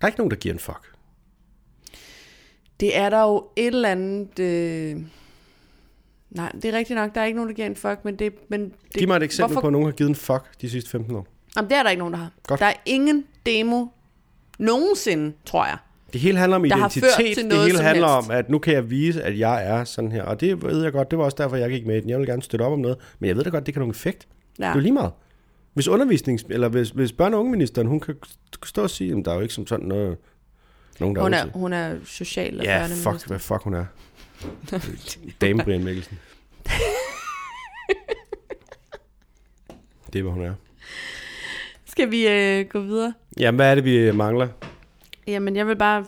Speaker 1: Der er ikke nogen, der giver en fuck.
Speaker 2: det er der jo et eller andet... Øh, nej, det er rigtigt nok, der er ikke nogen, der giver en fuck, men det... Men det
Speaker 1: Giv mig et eksempel
Speaker 2: hvorfor
Speaker 1: hvorfor? på, at nogen har givet en fuck de sidste 15 år.
Speaker 2: Jamen, det er der ikke nogen, der har.
Speaker 1: Godt.
Speaker 2: Der er ingen demo nogensinde, tror jeg.
Speaker 1: Det hele handler om
Speaker 2: Der har ført
Speaker 1: identitet.
Speaker 2: til
Speaker 1: det
Speaker 2: noget
Speaker 1: hele
Speaker 2: som
Speaker 1: handler
Speaker 2: helst.
Speaker 1: om, at nu kan jeg vise, at jeg er sådan her. Og det ved jeg godt. Det var også derfor, jeg gik med i den. Jeg vil gerne støtte op om noget. Men jeg ved da godt, det kan have nogen effekt. Ja.
Speaker 2: Ja.
Speaker 1: Det er jo lige meget. Hvis undervisnings... Eller hvis, hvis børne- og ungeministeren, hun kan stå og sige, at der er jo ikke som sådan noget... Nogen, der
Speaker 2: Hun
Speaker 1: ondt
Speaker 2: er,
Speaker 1: i."
Speaker 2: hun er social og
Speaker 1: Ja,
Speaker 2: børneminister.
Speaker 1: fuck, hvad fuck hun er. Dame Brian Mikkelsen. det er, hvad hun er.
Speaker 2: Skal vi øh, gå videre?
Speaker 1: Jamen, hvad er det, vi øh, mangler?
Speaker 2: Jamen, jeg vil bare...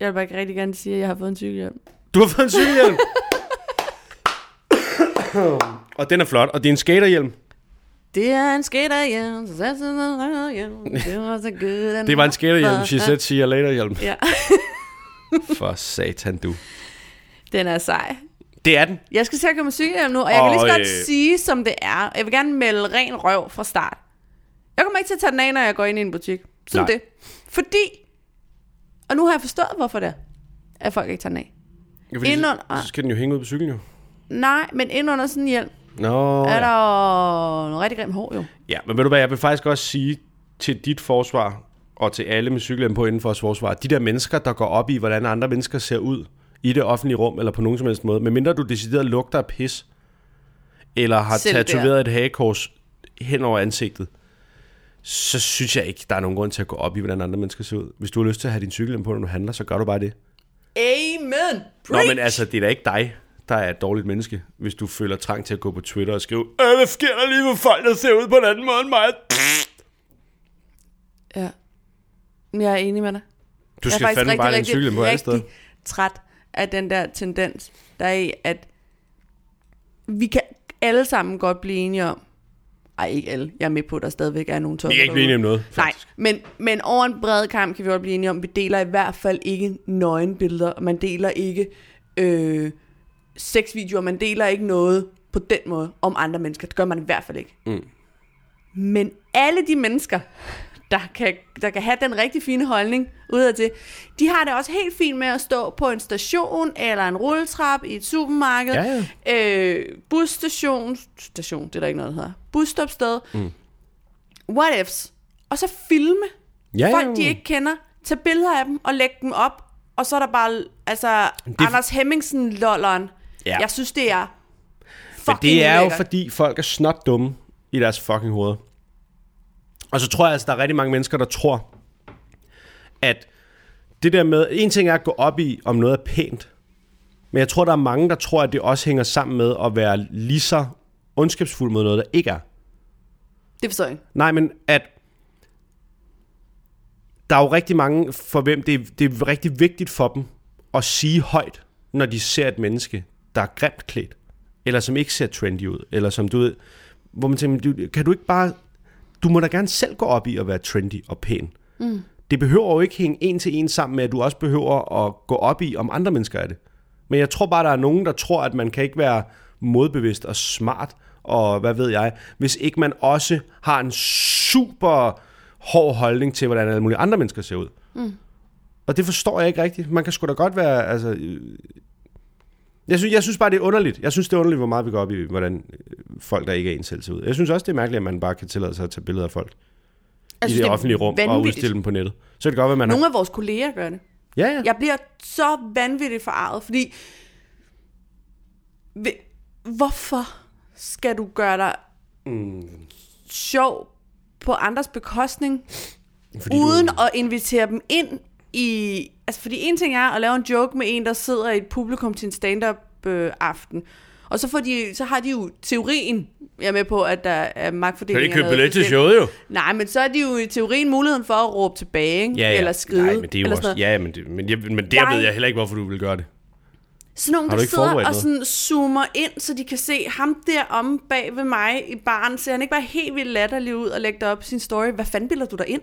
Speaker 2: Jeg vil bare rigtig gerne sige, at jeg har fået en cykelhjelm.
Speaker 1: Du har fået en cykelhjelm! og den er flot, og det er en skaterhjelm.
Speaker 2: Det er en skaterhjelm, så that's another hjelm. Det var så good.
Speaker 1: Det var en skaterhjelm, she said, see you later hjelm.
Speaker 2: Ja,
Speaker 1: For satan, du.
Speaker 2: den er sej.
Speaker 1: Det er den.
Speaker 2: Jeg skal til at komme med cykelhjelm nu, og jeg kan lige så
Speaker 1: Og,
Speaker 2: godt
Speaker 1: øh,
Speaker 2: sige, som det er. Jeg vil gerne melde ren røv fra start. Jeg kommer ikke til at tage den af, når jeg går ind i en butik. Sådan
Speaker 1: Nej.
Speaker 2: det. Fordi, og nu har jeg forstået, hvorfor det er, at folk ikke tager den af.
Speaker 1: Ja, fordi
Speaker 2: Indenunder-
Speaker 1: så, så skal den jo hænge ud på cyklen, jo.
Speaker 2: Nej, men ind under sådan en hjelm,
Speaker 1: Nå,
Speaker 2: er
Speaker 1: ja.
Speaker 2: der noget rigtig grimt hår, jo.
Speaker 1: ja. men ved du hvad, jeg vil faktisk også sige til dit forsvar, og til alle med cykelhjelm på inden for os forsvar, de der mennesker, der går op i, hvordan andre mennesker ser ud i det offentlige rum, eller på nogen som helst måde, medmindre du decideret lugter af pis, eller har
Speaker 2: Selv der.
Speaker 1: tatoveret et hagekors hen over ansigtet, så synes jeg ikke, der er nogen grund til at gå op i, hvordan andre mennesker ser ud. Hvis du har lyst til at have din cykelhjelm på, når du handler, så gør du bare det.
Speaker 2: Amen.
Speaker 1: Nå,
Speaker 2: Preach.
Speaker 1: men altså, det er da ikke dig, der er et dårligt menneske, hvis du føler trang til at gå på Twitter og skrive, Øh, hvad sker der lige med folk, der ser ud på en anden måde end mig?
Speaker 2: Ja. Men Jeg er enig med dig.
Speaker 1: Du
Speaker 2: Jeg er
Speaker 1: skal fandme bare have en cykel på alle steder.
Speaker 2: rigtig træt af den der tendens, der er i, at vi kan alle sammen godt blive enige om, ej ikke alle, jeg er med på, at der stadigvæk er nogle
Speaker 1: Vi
Speaker 2: topper
Speaker 1: kan ikke blive enige om noget,
Speaker 2: Nej,
Speaker 1: faktisk.
Speaker 2: men, men over en bred kamp kan vi godt blive enige om, vi deler i hvert fald ikke nøgenbilleder, og man deler ikke øh, sexvideoer, man deler ikke noget på den måde om andre mennesker. Det gør man i hvert fald ikke.
Speaker 1: Mm.
Speaker 2: Men alle de mennesker, der kan, der kan have den rigtig fine holdning udadtil, de har det også helt fint med at stå på en station eller en rulletrap i et supermarked,
Speaker 1: Ja,
Speaker 2: Øh, busstation, station, det er der ikke noget, der hedder, busstopsted, mm. what ifs, og så filme
Speaker 1: Ja,
Speaker 2: ja,
Speaker 1: ja.
Speaker 2: folk, de ikke kender, tage billeder af dem og lægge dem op, og så er der bare, altså, det... Anders Hemmingsen lolleren.
Speaker 1: Ja.
Speaker 2: Ja. Jeg synes, det er
Speaker 1: Men
Speaker 2: fucking
Speaker 1: det er jo,
Speaker 2: ulækkert.
Speaker 1: fordi folk er snot dumme i deres fucking hoveder. Og så tror jeg altså, der er rigtig mange mennesker, der tror, at det der med, en ting er at gå op i, om noget er pænt, men jeg tror, der er mange, der tror, at det også hænger sammen med at være lige så ondskabsfuld mod noget, der ikke er.
Speaker 2: Det forstår jeg ikke.
Speaker 1: Nej, men at der er jo rigtig mange, for hvem det er, det er rigtig vigtigt for dem at sige højt, når de ser et menneske, der er grimt klædt, eller som ikke ser trendy ud, eller som du ved, hvor man tænker, "Men du- kan du ikke bare, du må da gerne selv gå op i at være trendy og pæn. Mm. Det behøver jo ikke hænge en til en sammen med, at du også behøver at gå op i, om andre mennesker er det. Men jeg tror bare, der er nogen, der tror, at man kan ikke være modbevidst og smart, og hvad ved jeg, hvis ikke man også har en super hård holdning til, hvordan alle mulige andre mennesker ser ud. Mm. Og det forstår jeg ikke rigtigt. Man kan sgu da godt være, altså... øh, Jeg synes, jeg synes bare, det er underligt. Jeg synes, det er underligt, hvor meget vi går op i, hvordan øh, folk, der ikke er en selv, ser ud. Jeg synes også, det er mærkeligt, at man bare kan tillade sig at tage billeder af folk
Speaker 2: Jeg
Speaker 1: i
Speaker 2: synes,
Speaker 1: Altså, det,
Speaker 2: Altså, er
Speaker 1: offentlige rum og
Speaker 2: vanvittigt.
Speaker 1: udstille dem på nettet. Så kan det godt være, man har...
Speaker 2: Nogle af vores kolleger gør det.
Speaker 1: Ja, ja.
Speaker 2: Jeg bliver så vanvittigt forarvet, fordi... Ve- Hvorfor skal du gøre dig mm. sjov på andres bekostning,
Speaker 1: Fordi
Speaker 2: fordi uden
Speaker 1: Du,
Speaker 2: at invitere dem ind i... Altså, fordi en ting er at lave en joke med en, der sidder i et publikum til en stand-up-aften, øh, Og så, får de, så har de jo teorien, jeg er med på, at der er
Speaker 1: Kan de
Speaker 2: magtfordeling.
Speaker 1: ikke købe billet til showet jo?
Speaker 2: Nej, men så er de jo i teorien muligheden for at råbe tilbage, ikke? eller skride.
Speaker 1: Nej, men det er jo
Speaker 2: eller
Speaker 1: også...
Speaker 2: sådan noget.
Speaker 1: Ja, men, det, men, jeg, men der
Speaker 2: Jeg-
Speaker 1: ved jeg heller ikke, hvorfor du vil gøre det.
Speaker 2: Sådan nogen,
Speaker 1: Har
Speaker 2: der
Speaker 1: du ikke
Speaker 2: sidder
Speaker 1: forberedt
Speaker 2: og sådan zoomer ind, så de kan se ham der omme bag ved mig i baren, så han ikke bare helt vildt latterlig ud og lægger det op i sin story. Hvad fanden bilder du dig ind?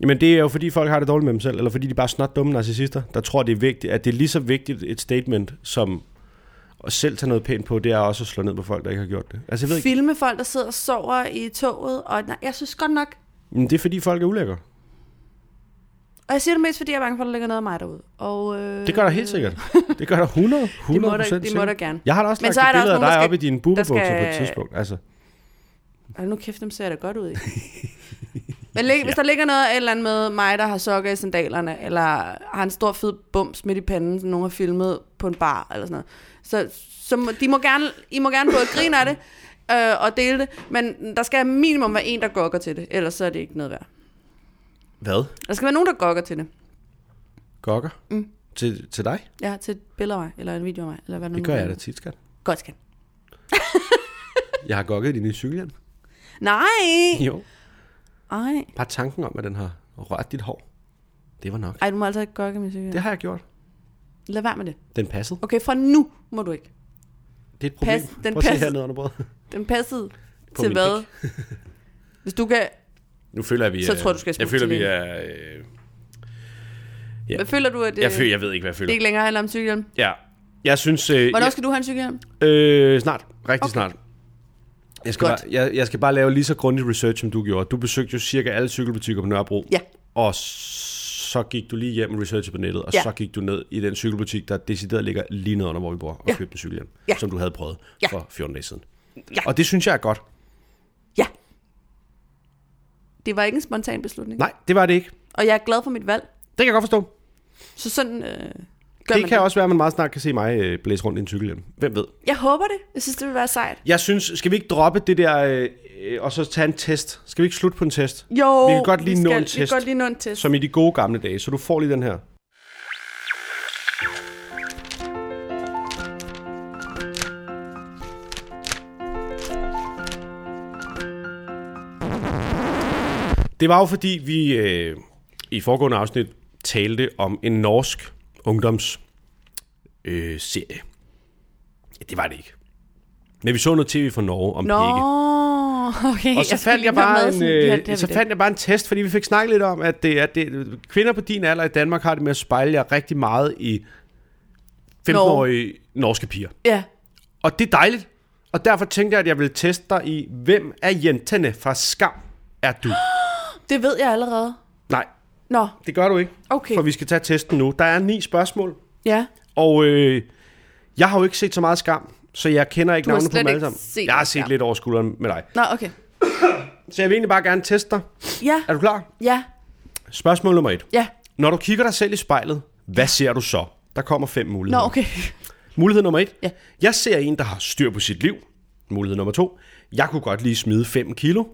Speaker 1: Jamen det er jo fordi folk har det dårligt med dem selv, eller fordi de bare er snart dumme narcissister, der tror det er vigtigt, at det er lige så vigtigt et statement, som at selv tage noget pænt på, det er også at slå ned på folk, der ikke har gjort det. Altså jeg ved ikke,
Speaker 2: Filme folk, der sidder og sover i toget, og nej, jeg synes godt nok,
Speaker 1: men det er fordi folk er ulækre.
Speaker 2: og jeg siger det mest, fordi jeg er bange for, at der ligger noget af mig derude. Og, øh,
Speaker 1: Det gør der helt sikkert. Det gør der 100, 100
Speaker 2: der-
Speaker 1: procent
Speaker 2: det må
Speaker 1: sikkert.
Speaker 2: der gerne.
Speaker 1: Jeg har da også
Speaker 2: Men
Speaker 1: lagt
Speaker 2: så er
Speaker 1: et
Speaker 2: der
Speaker 1: billede af
Speaker 2: også
Speaker 1: dig
Speaker 2: nogen, der
Speaker 1: op i
Speaker 2: skal-
Speaker 1: dine boomerbukser
Speaker 2: der
Speaker 1: på et
Speaker 2: skal-
Speaker 1: tidspunkt. Altså,
Speaker 2: Ej, nu kæft, dem ser da godt ud, ikke? Men lig, hvis der ligger noget et eller andet med mig, der har sokker i sandalerne, eller har en stor fed bums midt i panden, som nogen har filmet på en bar, eller sådan noget. Så, så må, de må gerne, I må gerne både grine af det, øh, og dele det, men der skal minimum være en, der gokker til det, ellers så er det ikke noget værd.
Speaker 1: hvad?
Speaker 2: Der skal være nogen, der gokker til det.
Speaker 1: Gokker? Mm. Til, til dig?
Speaker 2: Ja, til et billede af mig, eller en video af mig, eller hvad nu
Speaker 1: Det
Speaker 2: man
Speaker 1: gør jeg
Speaker 2: kalder
Speaker 1: da tit, skat.
Speaker 2: Godt skal.
Speaker 1: Jeg har gokket i din nye cykelhjelm.
Speaker 2: Nej!
Speaker 1: Jo.
Speaker 2: Ej.
Speaker 1: Bare tanken om, at den har rørt dit hår. Det var nok.
Speaker 2: Ej, du må altså ikke gokke med cykel.
Speaker 1: Det har jeg gjort.
Speaker 2: Lad være med det.
Speaker 1: Den passede.
Speaker 2: Okay, fra nu må du ikke.
Speaker 1: Det er et problem.
Speaker 2: Pas- den
Speaker 1: Prøv at se
Speaker 2: passede.
Speaker 1: hernede under bordet.
Speaker 2: Den passede
Speaker 1: På
Speaker 2: til
Speaker 1: min
Speaker 2: hvad? Hvis du kan...
Speaker 1: Nu føler jeg, vi
Speaker 2: Så
Speaker 1: er-
Speaker 2: tror jeg, du skal
Speaker 1: Jeg
Speaker 2: smutte
Speaker 1: føler, vi
Speaker 2: til
Speaker 1: er... Øh, Ja.
Speaker 2: Hvad føler du, at det,
Speaker 1: jeg, føler, jeg ved ikke, hvad jeg
Speaker 2: det
Speaker 1: føler.
Speaker 2: ikke længere handler om cykelhjelm?
Speaker 1: Ja. Jeg synes... Øh,
Speaker 2: Hvornår skal du have en cykelhjelm?
Speaker 1: jeg, øh, snart. Rigtig okay.
Speaker 2: Okay.
Speaker 1: snart. Jeg skal,
Speaker 2: Godt.
Speaker 1: bare, jeg, jeg skal bare lave lige så grundig research, som du gjorde. Du besøgte jo cirka alle cykelbutikker på Nørrebro.
Speaker 2: Ja.
Speaker 1: Og så gik du lige hjem og researchede på nettet, og
Speaker 2: Ja.
Speaker 1: så gik du ned i den cykelbutik, der decideret ligger lige nede under, hvor vi bor, og ja. købte en cykelhjelm,
Speaker 2: Ja.
Speaker 1: som du havde prøvet
Speaker 2: Ja.
Speaker 1: for 14 dage siden.
Speaker 2: Ja.
Speaker 1: Og det synes jeg er godt.
Speaker 2: Ja. Det var ikke en spontan beslutning.
Speaker 1: Nej, det var det ikke. Det
Speaker 2: Og jeg er glad for mit valg.
Speaker 1: kan jeg godt forstå.
Speaker 2: Så sådan øh, gør
Speaker 1: det
Speaker 2: man
Speaker 1: kan også være, at man meget snart kan se mig øh, blæse rundt i en cykelhjelm. Hvem ved?
Speaker 2: Jeg håber det. Jeg synes, det vil være sejt.
Speaker 1: Jeg synes, skal vi ikke droppe det der, øh, øh, og så tage en test? Skal vi ikke slutte på en test?
Speaker 2: Jo,
Speaker 1: Vi kan godt lige nå en
Speaker 2: Vi
Speaker 1: test.
Speaker 2: kan godt lige nå en test.
Speaker 1: Som i de gode gamle dage, så du får lige den her. Det var jo fordi, vi øh, i foregående afsnit talte om en norsk ungdomsserie. Øh, serie. ja, det var det ikke. Men vi så noget tv fra Norge om
Speaker 2: Nå,
Speaker 1: pigge.
Speaker 2: okay.
Speaker 1: Og så,
Speaker 2: skulle
Speaker 1: fandt
Speaker 2: lige
Speaker 1: jeg,
Speaker 2: komme
Speaker 1: bare
Speaker 2: med
Speaker 1: en,
Speaker 2: sådan, ja, det har
Speaker 1: øh,
Speaker 2: vi
Speaker 1: så
Speaker 2: da.
Speaker 1: fandt jeg bare en test, fordi vi fik snakket lidt om, at, det, at det, kvinder på din alder i Danmark har det med at spejle jer rigtig meget i 15-årige norske piger.
Speaker 2: Ja,
Speaker 1: Og det er dejligt. Og derfor tænkte jeg, at jeg ville teste dig i, hvem af jentene fra Skam er du?
Speaker 2: det ved jeg allerede.
Speaker 1: Nej,
Speaker 2: Nå,
Speaker 1: det gør du ikke,
Speaker 2: okay.
Speaker 1: for vi skal tage testen nu. Der er ni spørgsmål,
Speaker 2: Ja.
Speaker 1: og øh, jeg har jo ikke set så meget Skam, så jeg kender ikke
Speaker 2: Du har
Speaker 1: navnene på
Speaker 2: slet
Speaker 1: dem alle
Speaker 2: ikke
Speaker 1: sammen.
Speaker 2: set
Speaker 1: Jeg har
Speaker 2: Skam.
Speaker 1: set lidt over skulderen med dig.
Speaker 2: Nå, okay.
Speaker 1: Så jeg vil egentlig bare gerne teste dig.
Speaker 2: Ja,
Speaker 1: Er du klar?
Speaker 2: ja,
Speaker 1: Spørgsmål nummer et.
Speaker 2: ja.
Speaker 1: Når du kigger dig selv i spejlet, hvad ser du så? Der kommer fem
Speaker 2: Nå,
Speaker 1: muligheder.
Speaker 2: okay.
Speaker 1: Mulighed nummer et.
Speaker 2: Ja.
Speaker 1: Jeg ser en, der har styr på sit liv. Mulighed nummer to. Jeg kunne godt lige smide 5 kilo.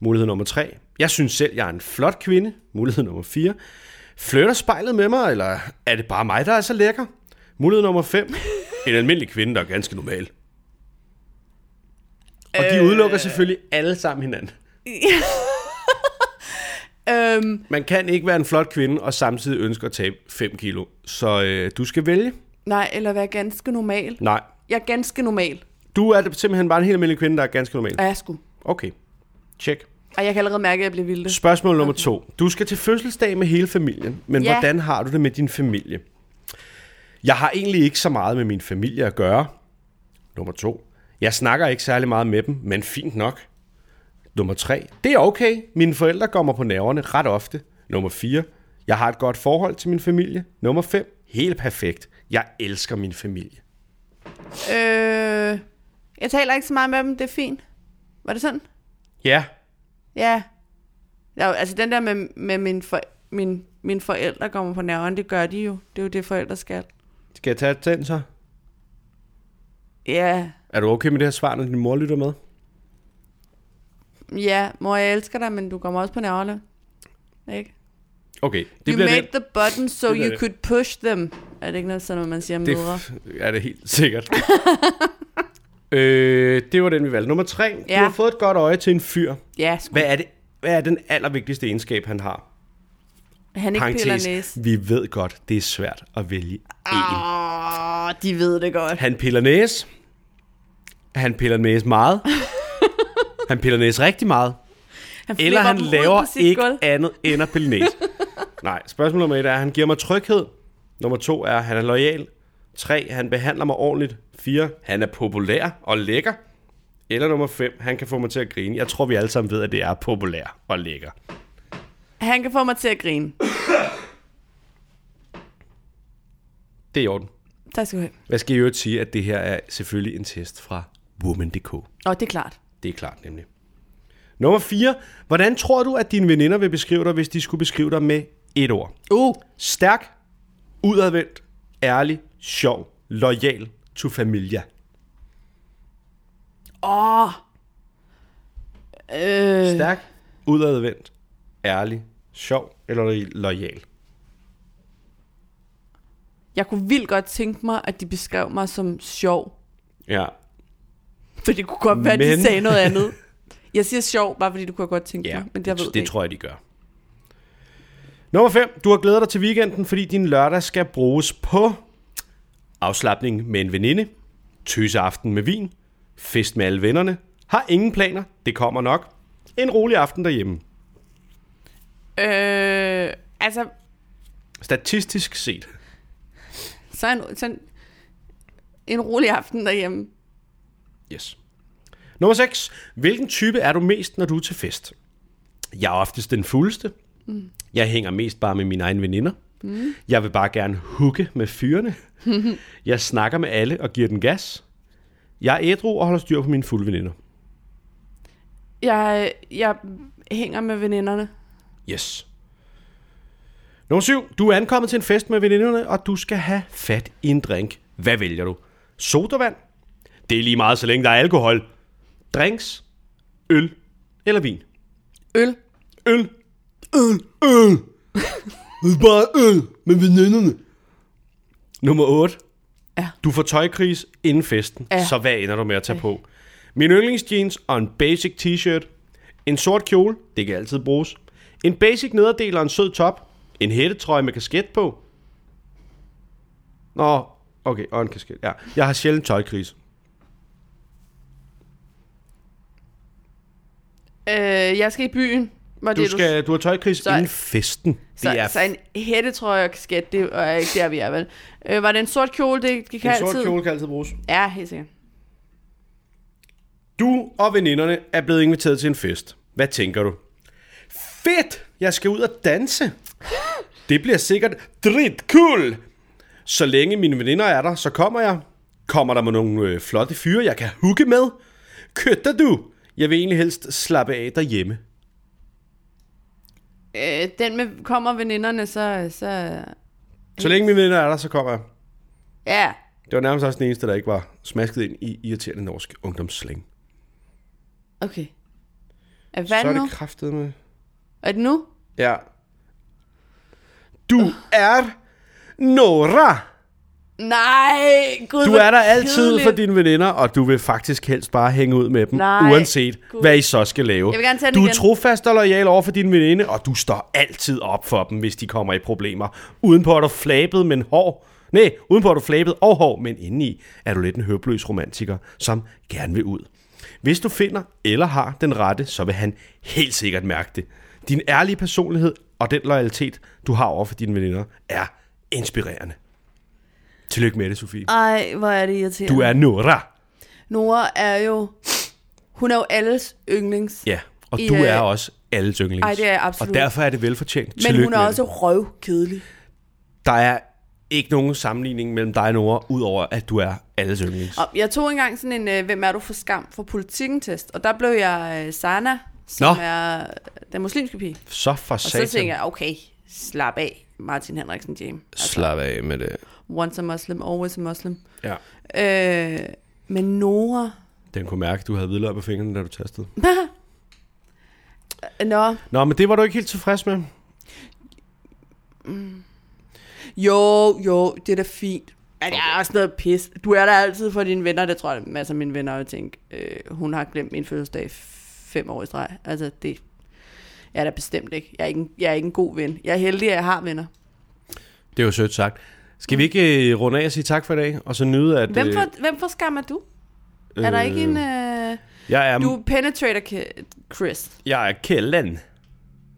Speaker 1: Mulighed nummer tre. Jeg synes selv, jeg er en flot kvinde. Mulighed nummer fire. Flytter spejlet med mig, eller er det bare mig, der er så lækker? Mulighed nummer 5. En almindelig kvinde, der er ganske normal. Og
Speaker 2: Øh.
Speaker 1: de udelukker selvfølgelig alle sammen hinanden.
Speaker 2: Øhm,
Speaker 1: Man kan ikke være en flot kvinde og samtidig ønske at tabe 5 kilo. Så øh, du skal vælge.
Speaker 2: nej, eller være ganske normal.
Speaker 1: Nej,
Speaker 2: Jeg er ganske normal.
Speaker 1: Du er simpelthen bare en helt almindelig kvinde, der er ganske normal.
Speaker 2: Ja, jeg skulle.
Speaker 1: Okay. Check.
Speaker 2: Og jeg kan allerede mærke, at jeg bliver vildt.
Speaker 1: Spørgsmål nummer to. Du skal til fødselsdag med hele familien, men
Speaker 2: Ja.
Speaker 1: hvordan har du det med din familie? Jeg har egentlig ikke så meget med min familie at gøre. Nummer to. Jeg snakker ikke særlig meget med dem, men fint nok. Nummer tre. Det er okay. Mine forældre går mig på nerverne ret ofte. Nummer fire. Jeg har et godt forhold til min familie. Nummer fem. Helt perfekt. Jeg elsker min familie.
Speaker 2: Øh, jeg taler ikke så meget med dem, det er fint. Var det sådan?
Speaker 1: Ja.
Speaker 2: Ja. ja altså den der med, med min, for, min, mine forældre kommer på nerven, det gør de jo. Det er jo det, forældre skal.
Speaker 1: Skal jeg tage den så?
Speaker 2: Ja,
Speaker 1: Er du okay med det her svar, når din mor lytter med?
Speaker 2: ja, mor, jeg elsker dig, men du kommer også på nerverne. Ikke?
Speaker 1: Okay, det
Speaker 2: you
Speaker 1: bliver
Speaker 2: made
Speaker 1: det.
Speaker 2: the buttons so
Speaker 1: Det bliver
Speaker 2: you
Speaker 1: det.
Speaker 2: could push them. Er det ikke noget sådan, noget, man siger om
Speaker 1: Det
Speaker 2: mødre?
Speaker 1: er det helt sikkert. Øh, det var den, vi valgte. Nummer tre. Ja.
Speaker 2: Ja.
Speaker 1: Du har fået et godt øje til en fyr.
Speaker 2: Ja, sgu.
Speaker 1: Hvad er, det, hvad er den allervigtigste egenskab, han har?
Speaker 2: Han ikke piller Ah. næse.
Speaker 1: vi ved godt, det er svært at vælge en.
Speaker 2: Åh, oh, de ved det godt.
Speaker 1: Han piller næse. Han piller næse meget. Han piller næse rigtig meget.
Speaker 2: Han
Speaker 1: Eller
Speaker 2: flipper
Speaker 1: han
Speaker 2: dem ud
Speaker 1: laver
Speaker 2: på sit
Speaker 1: ikke
Speaker 2: gulv.
Speaker 1: andet end at pille næse. Nej, spørgsmål nummer et er, han giver mig tryghed. Nummer to er, han er lojal. Tre, han behandler mig ordentligt. Fire, han er populær og lækker. Eller nummer fem, han kan få mig til at grine. Jeg tror, vi alle sammen ved, at det er populær og lækker.
Speaker 2: Han kan få mig til at grine.
Speaker 1: Det er i orden.
Speaker 2: Tak skal du have.
Speaker 1: Jeg skal i øvrigt sige, at det her er selvfølgelig en test fra woman.dk.
Speaker 2: Åh, det er klart.
Speaker 1: Det er klart nemlig. Nummer 4. Hvordan tror du, at dine veninder vil beskrive dig, hvis de skulle beskrive dig med et ord?
Speaker 2: Uh,
Speaker 1: Stærk, udadvendt, ærlig, sjov, lojal, to familia.
Speaker 2: åh. Oh. Øh,
Speaker 1: Stærk, udadvendt, ærlig, sjov eller lo- lojal.
Speaker 2: jeg kunne vildt godt tænke mig, at de beskrev mig som sjov.
Speaker 1: Ja.
Speaker 2: For det kunne godt være, at
Speaker 1: Men-
Speaker 2: de sagde noget andet. Jeg siger sjov, bare fordi du kunne godt tænke
Speaker 1: Ja,
Speaker 2: mig, men jeg ved
Speaker 1: det,
Speaker 2: det
Speaker 1: det tror jeg, de gør. Nummer 5. Du har glædet dig til weekenden, fordi din lørdag skal bruges på afslappning med en veninde, tøseaften med vin, fest med alle vennerne, har ingen planer, det kommer nok, en rolig aften derhjemme.
Speaker 2: Øh, altså,
Speaker 1: Statistisk set.
Speaker 2: så en, så en, en rolig aften derhjemme.
Speaker 1: Yes. Nummer 6. Hvilken type er du mest, når du er til fest? Jeg er oftest den fuldeste. Mm. Jeg hænger mest bare med mine egne veninder. Mm. Jeg vil bare gerne hugge med fyrene. jeg snakker med alle og giver den gas. Jeg er ædru og holder styr på mine fulde veninder.
Speaker 2: Jeg, jeg hænger med veninderne.
Speaker 1: Yes. Nummer 7. Du er ankommet til en fest med veninderne, og du skal have fat i en drink. Hvad vælger du? Sodavand? Det er lige meget, så længe der er alkohol. Drinks? Øl? Eller vin?
Speaker 2: Øl.
Speaker 1: Øl. Øl. Øl. Det er bare øl med veninderne. Nummer 8.
Speaker 2: Ja.
Speaker 1: Du får tøjkris inden festen,
Speaker 2: Ja.
Speaker 1: så hvad ender du med at tage på? Min yndlingsjeans og en basic t-shirt. En sort kjole, det kan altid bruges. En basic nederdel og en sød top. En hættetrøje med kasket på. Nå, okay, og en kasket, ja. Jeg har sjældent tøjkris.
Speaker 2: Øh, jeg skal i byen. Var
Speaker 1: Du,
Speaker 2: det,
Speaker 1: skal, du har tøjkris
Speaker 2: Så-
Speaker 1: inden festen.
Speaker 2: Så,
Speaker 1: det er
Speaker 2: så en hættetrøje og kasket, det er ikke der, vi er, vel? Øh, var det en sort kjole? Det gik
Speaker 1: en
Speaker 2: altid.
Speaker 1: sort kjole kan altid bruges.
Speaker 2: Ja, helt sikkert.
Speaker 1: Du og veninderne er blevet inviteret til en fest. Hvad tænker du? Fedt! Jeg skal ud og danse. Det bliver sikkert drit cool. Så længe mine veninder er der, så kommer jeg. Kommer der med nogle øh, flotte fyre, jeg kan hugge med? Køtter du? Jeg vil egentlig helst slappe af derhjemme.
Speaker 2: Øh, den med kommer veninderne, så... så
Speaker 1: Så længe mine veninder er der, så kommer jeg.
Speaker 2: ja,
Speaker 1: Det var nærmest også den eneste, der ikke var smasket ind i irriterende norsk ungdomsslæng.
Speaker 2: okay. Er
Speaker 1: Så
Speaker 2: hvad
Speaker 1: er
Speaker 2: nu?
Speaker 1: det kraftet med.
Speaker 2: Er det nu?
Speaker 1: Ja. Du er Nora.
Speaker 2: Nej, gud,
Speaker 1: Du
Speaker 2: hvor
Speaker 1: er der altid
Speaker 2: kedeligt.
Speaker 1: for dine veninder, og du vil faktisk helst bare hænge ud med dem,
Speaker 2: Nej,
Speaker 1: uanset
Speaker 2: Gud.
Speaker 1: hvad I så skal lave.
Speaker 2: Jeg vil gerne tage den
Speaker 1: du er
Speaker 2: igen.
Speaker 1: trofast og lojal over for dine veninde, og du står altid op for dem, hvis de kommer i problemer. Udenpå er du flabet, men hård. Nej, udenpå er du flabet og hård, men indeni er du lidt en høbløs romantiker, som gerne vil ud. Hvis du finder eller har den rette, så vil han helt sikkert mærke det. Din ærlige personlighed og den loyalitet, du har over for dine veninder, er inspirerende. Tillykke med det, Sofie.
Speaker 2: Ej, hvor er det irriterende.
Speaker 1: Du er Nora.
Speaker 2: Nora er jo... Hun er jo alles yndlings.
Speaker 1: Ja, og
Speaker 2: I,
Speaker 1: du
Speaker 2: øh,
Speaker 1: er også alles yndlings.
Speaker 2: Ej, det er jeg absolut.
Speaker 1: Og derfor er det velfortjent.
Speaker 2: Men
Speaker 1: Tillykke
Speaker 2: hun er
Speaker 1: med
Speaker 2: også
Speaker 1: det.
Speaker 2: røvkedelig.
Speaker 1: Der er ikke nogen sammenligning mellem dig og Nora, udover at du er alles yndlings.
Speaker 2: Og jeg tog engang sådan en, øh, hvem er du for skam for politikken-test, og der blev jeg øh, Sana, som
Speaker 1: Nå.
Speaker 2: er den muslimske pige.
Speaker 1: Så for
Speaker 2: Og
Speaker 1: satan.
Speaker 2: så tænkte jeg, okay, slap af, Martin Henriksen Jam.
Speaker 1: Altså- Slap af med det.
Speaker 2: Once a Muslim, always a Muslim.
Speaker 1: Ja.
Speaker 2: Øh, men Nora...
Speaker 1: Den kunne mærke, at du havde hvidløg på fingrene, da du tastede.
Speaker 2: Nå,
Speaker 1: Nå, men det var du ikke helt tilfreds med.
Speaker 2: jo, jo, det er da fint. Men det er også noget pis. Du er der altid for dine venner, det tror jeg, masser af mine venner vil tænke, øh, hun har glemt min fødselsdag fem år i streg. Altså, det jeg er da bestemt ikke. Jeg er ikke, en- jeg er ikke en god ven. Jeg er heldig, at jeg har venner.
Speaker 1: Det er jo sødt sagt. Skal vi ikke øh, runde af og sige tak for i dag, og så nyde, at...
Speaker 2: Hvem for, hvem for skammer du? Øh, er der ikke en... Øh,
Speaker 1: Jeg er,
Speaker 2: du er penetrator, Ki- Chris.
Speaker 1: jeg er Kellen.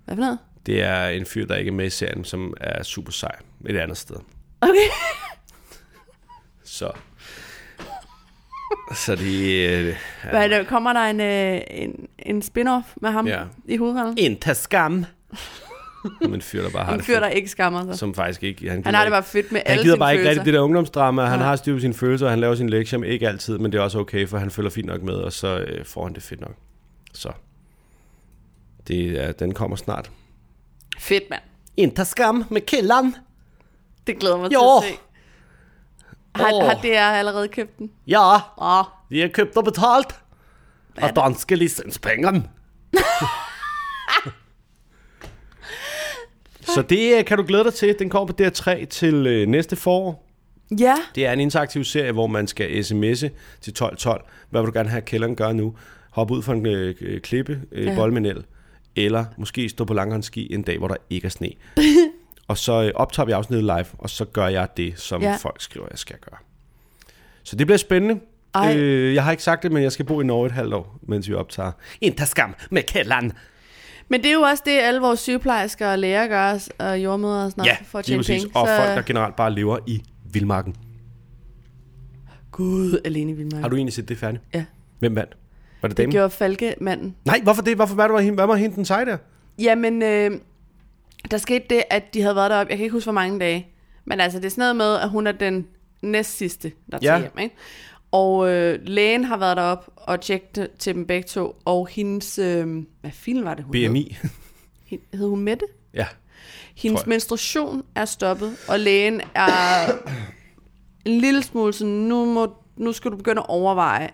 Speaker 2: Hvad for noget?
Speaker 1: Det er en fyr, der ikke er med i serien, som er super sej et andet sted.
Speaker 2: Okay.
Speaker 1: Så... Så det... Øh,
Speaker 2: Hvad, der- kommer der en, øh, en, en spin-off med ham
Speaker 1: Ja.
Speaker 2: ja. i hovedrollen?
Speaker 1: en skam. Som en fyr, der bare har
Speaker 2: En
Speaker 1: det
Speaker 2: fyr,
Speaker 1: fedt,
Speaker 2: der ikke skammer sig.
Speaker 1: Som faktisk ikke... Han,
Speaker 2: Han
Speaker 1: gider
Speaker 2: har det
Speaker 1: ikke-
Speaker 2: bare fedt med
Speaker 1: han
Speaker 2: alle
Speaker 1: gider
Speaker 2: sine
Speaker 1: bare ikke
Speaker 2: følelser.
Speaker 1: rigtig det der ungdomsdrama. Han
Speaker 2: Nej.
Speaker 1: har styr på sine følelser, og han laver sine lektier, men ikke altid. Men det er også okay, for han følger fint nok med, og så øh, får han det fedt nok. Så. Det er, den kommer snart.
Speaker 2: Fedt, mand.
Speaker 1: Inter skam med killeren.
Speaker 2: Det glæder mig
Speaker 1: Jo.
Speaker 2: til at se. Har,
Speaker 1: Åh.
Speaker 2: har DR allerede købt den?
Speaker 1: Ja,
Speaker 2: Åh, oh,
Speaker 1: vi har købt og betalt. Af danske licenspenge. Så det øh, kan du glæde dig til. Den kommer på DR3 til øh, næste forår.
Speaker 2: ja.
Speaker 1: Det er en interaktiv serie, hvor man skal sms'e til 1212. Hvad vil du gerne have, at kælderen gør nu? Hoppe ud for en øh, øh, klippe, øh, ja.
Speaker 2: Ja.
Speaker 1: boldmenel, eller måske stå på langhåndski en dag, hvor der ikke er sne. og så øh, optager vi afsnittet live, og så gør jeg det, som ja.
Speaker 2: Ja.
Speaker 1: folk skriver, jeg skal gøre. Så det bliver spændende.
Speaker 2: Ej.
Speaker 1: Øh, jeg har ikke sagt det, men jeg skal bo i Norge et halvt år, mens vi optager. Interskam med kælderen.
Speaker 2: Men det er jo også det, alle vores sygeplejersker og læger gør, os, og jordmødre og sådan noget,
Speaker 1: Ja,
Speaker 2: ja, for at
Speaker 1: lige
Speaker 2: tjene
Speaker 1: præcis.
Speaker 2: penge.
Speaker 1: Og folk, der generelt bare lever i vildmarken.
Speaker 2: Gud, alene vil man.
Speaker 1: Har du egentlig set det færdigt?
Speaker 2: Ja.
Speaker 1: Hvem vandt? Var det,
Speaker 2: Det
Speaker 1: damen?
Speaker 2: gjorde Falkemanden.
Speaker 1: Nej, hvorfor det? Hvorfor var det, var hende, hvad var hende den seje der?
Speaker 2: Jamen, øh, der skete det, at de havde været deroppe. Jeg kan ikke huske, hvor mange dage. Men altså, det er sådan noget med, at hun er den næst sidste, der tager
Speaker 1: Ja.
Speaker 2: ja. hjem. Ikke? Og øh, lægen har været deroppe og tjekket til dem begge to. Og hendes... Øh, hvad film var det, hun Hed?
Speaker 1: BMI.
Speaker 2: Hen- Hed hun Mette?
Speaker 1: ja. Tror
Speaker 2: Hendes
Speaker 1: jeg.
Speaker 2: menstruation er stoppet, og lægen er en lille smule sådan, nu, må, nu skal du begynde at overveje.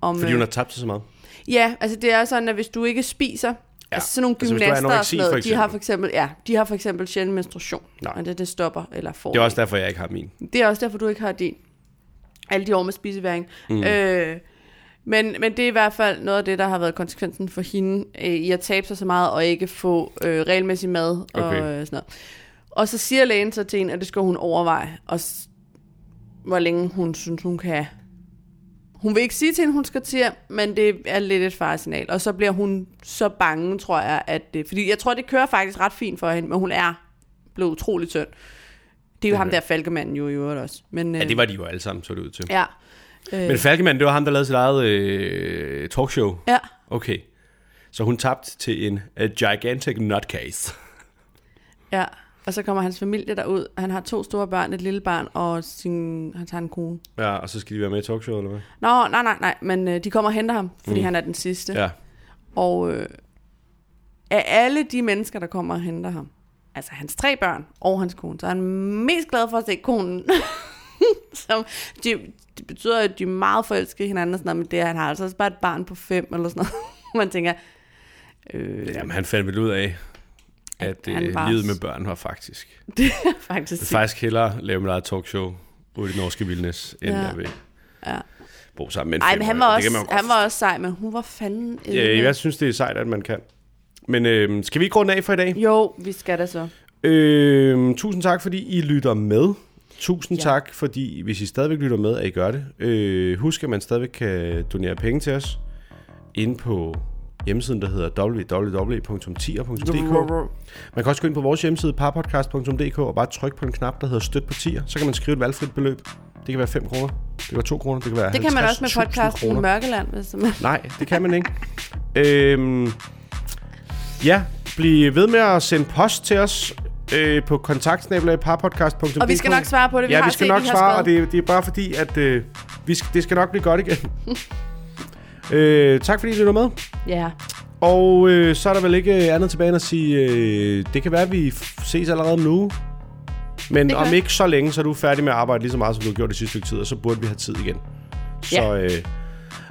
Speaker 2: Om,
Speaker 1: Fordi
Speaker 2: øh,
Speaker 1: hun har tabt sig så meget.
Speaker 2: Ja, altså det er sådan, at hvis du ikke spiser, ja. altså sådan nogle
Speaker 1: Altså, hvis du har
Speaker 2: gymnaster altså,
Speaker 1: anoreksi,
Speaker 2: og sådan
Speaker 1: for
Speaker 2: noget, de har
Speaker 1: eksempel.
Speaker 2: for eksempel, ja, de har for eksempel sjældent menstruation,
Speaker 1: Nej.
Speaker 2: og det, det stopper, eller får.
Speaker 1: Det er også derfor, jeg ikke har min.
Speaker 2: det er også derfor, du ikke har din. Alle de år med spiseværing. Mm. Øh, men, men det er i hvert fald noget af det, der har været konsekvensen for hende, øh, i at tabe sig så meget og ikke få øh, regelmæssig mad og
Speaker 1: Okay.
Speaker 2: øh, sådan noget. Og så siger lægen så til hende, at det skal hun overveje, og s- hvor længe hun synes, hun kan. Hun vil ikke sige til hende, hun skal til hjem, men det er lidt et faresignal. Og så bliver hun så bange, tror jeg, at det, fordi jeg tror, det kører faktisk ret fint for hende, men hun er blevet utrolig tynd. Det er jo okay. ham
Speaker 1: Okay.
Speaker 2: der falkemanden jo i øvrigt også. Men, øh,
Speaker 1: Ja, det var de jo alle sammen, så det ud til.
Speaker 2: Ja.
Speaker 1: Men Falkemand, det var ham, der lavede sit eget øh, talkshow.
Speaker 2: ja.
Speaker 1: Okay. Så hun tabte til en a gigantic nutcase.
Speaker 2: Ja, og så kommer hans familie derud. Han har to store børn, et lille barn, og sin, han tager en kone.
Speaker 1: Ja, og så skal de være med i talkshowet, eller hvad?
Speaker 2: Nå, nej, nej, nej, men øh, de kommer og henter ham, fordi mm. han er den sidste.
Speaker 1: Ja.
Speaker 2: Og øh, af alle de mennesker, der kommer og henter ham, altså hans tre børn og hans kone, så er han mest glad for at se konen. Som, de, det betyder, at de er meget forelskede i hinanden og sådan noget, men det, er- han har altså også bare et barn på fem eller sådan noget. Man tænker, øh,
Speaker 1: Jamen, han fandt vel ud af, at
Speaker 2: han
Speaker 1: øh,
Speaker 2: var-
Speaker 1: livet med børn var faktisk... Jeg
Speaker 2: det er faktisk
Speaker 1: vil
Speaker 2: sygt.
Speaker 1: faktisk hellere lave mit eget talkshow ude i det norske vildnes, end
Speaker 2: Ja.
Speaker 1: jeg vil bo sammen med en
Speaker 2: Ej, men han
Speaker 1: femårig.
Speaker 2: var,
Speaker 1: Det kan man jo
Speaker 2: også,
Speaker 1: godt
Speaker 2: han var også sej, men hun var fanden...
Speaker 1: forstå. Ja, jeg synes, det er sejt, at man kan. Men øh, skal vi ikke runde af for i dag?
Speaker 2: Jo, vi skal da så.
Speaker 1: Øh, tusind tak, fordi I lytter med. Tusind ja.
Speaker 2: Ja.
Speaker 1: tak, fordi hvis I stadigvæk lytter med, at I gør det. Øh, husk, at man stadigvæk kan donere penge til os inde på hjemmesiden, der hedder www.tier.dk. Man kan også gå ind på vores hjemmeside, parpodcast.dk, og bare trykke på en knap, der hedder Støt på tier. Så kan man skrive et valgfrit beløb. Det kan være 5 kroner, det kan være 2 kroner, det kan være
Speaker 2: Det kan man også med
Speaker 1: 50.000
Speaker 2: podcasten
Speaker 1: kroner.
Speaker 2: Mørkeland, hvis man...
Speaker 1: Nej, det kan man ikke. øhm, ja, bliv ved med at sende post til os øh, på kontaktsnabelagparpodcast.dk
Speaker 2: Og vi skal nok svare på det. Vi
Speaker 1: ja,
Speaker 2: har
Speaker 1: vi skal
Speaker 2: set,
Speaker 1: nok
Speaker 2: I har
Speaker 1: svare, og
Speaker 2: skrevet.
Speaker 1: det, er- det er bare fordi, at øh, vi skal, det skal nok blive godt igen. øh, tak fordi I lytter med.
Speaker 2: Ja.
Speaker 1: Og øh, så er der vel ikke øh, andet tilbage end at sige, øh, det kan være, at vi f- ses allerede nu. Men
Speaker 2: Det
Speaker 1: om
Speaker 2: kan.
Speaker 1: ikke så længe, så er du færdig med at arbejde lige så meget, som du har gjort det sidste stykke tid, og så burde vi have tid igen. Så
Speaker 2: Ja.
Speaker 1: øh,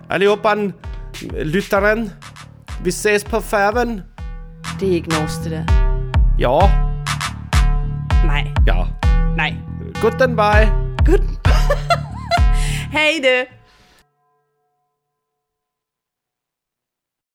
Speaker 1: allihopan, lytteren, vi ses på færven.
Speaker 2: Det er ikke norsk, det der.
Speaker 1: Ja,
Speaker 2: Nej,
Speaker 1: ja.
Speaker 2: nej.
Speaker 1: Guten bye.
Speaker 2: Good. Hej det.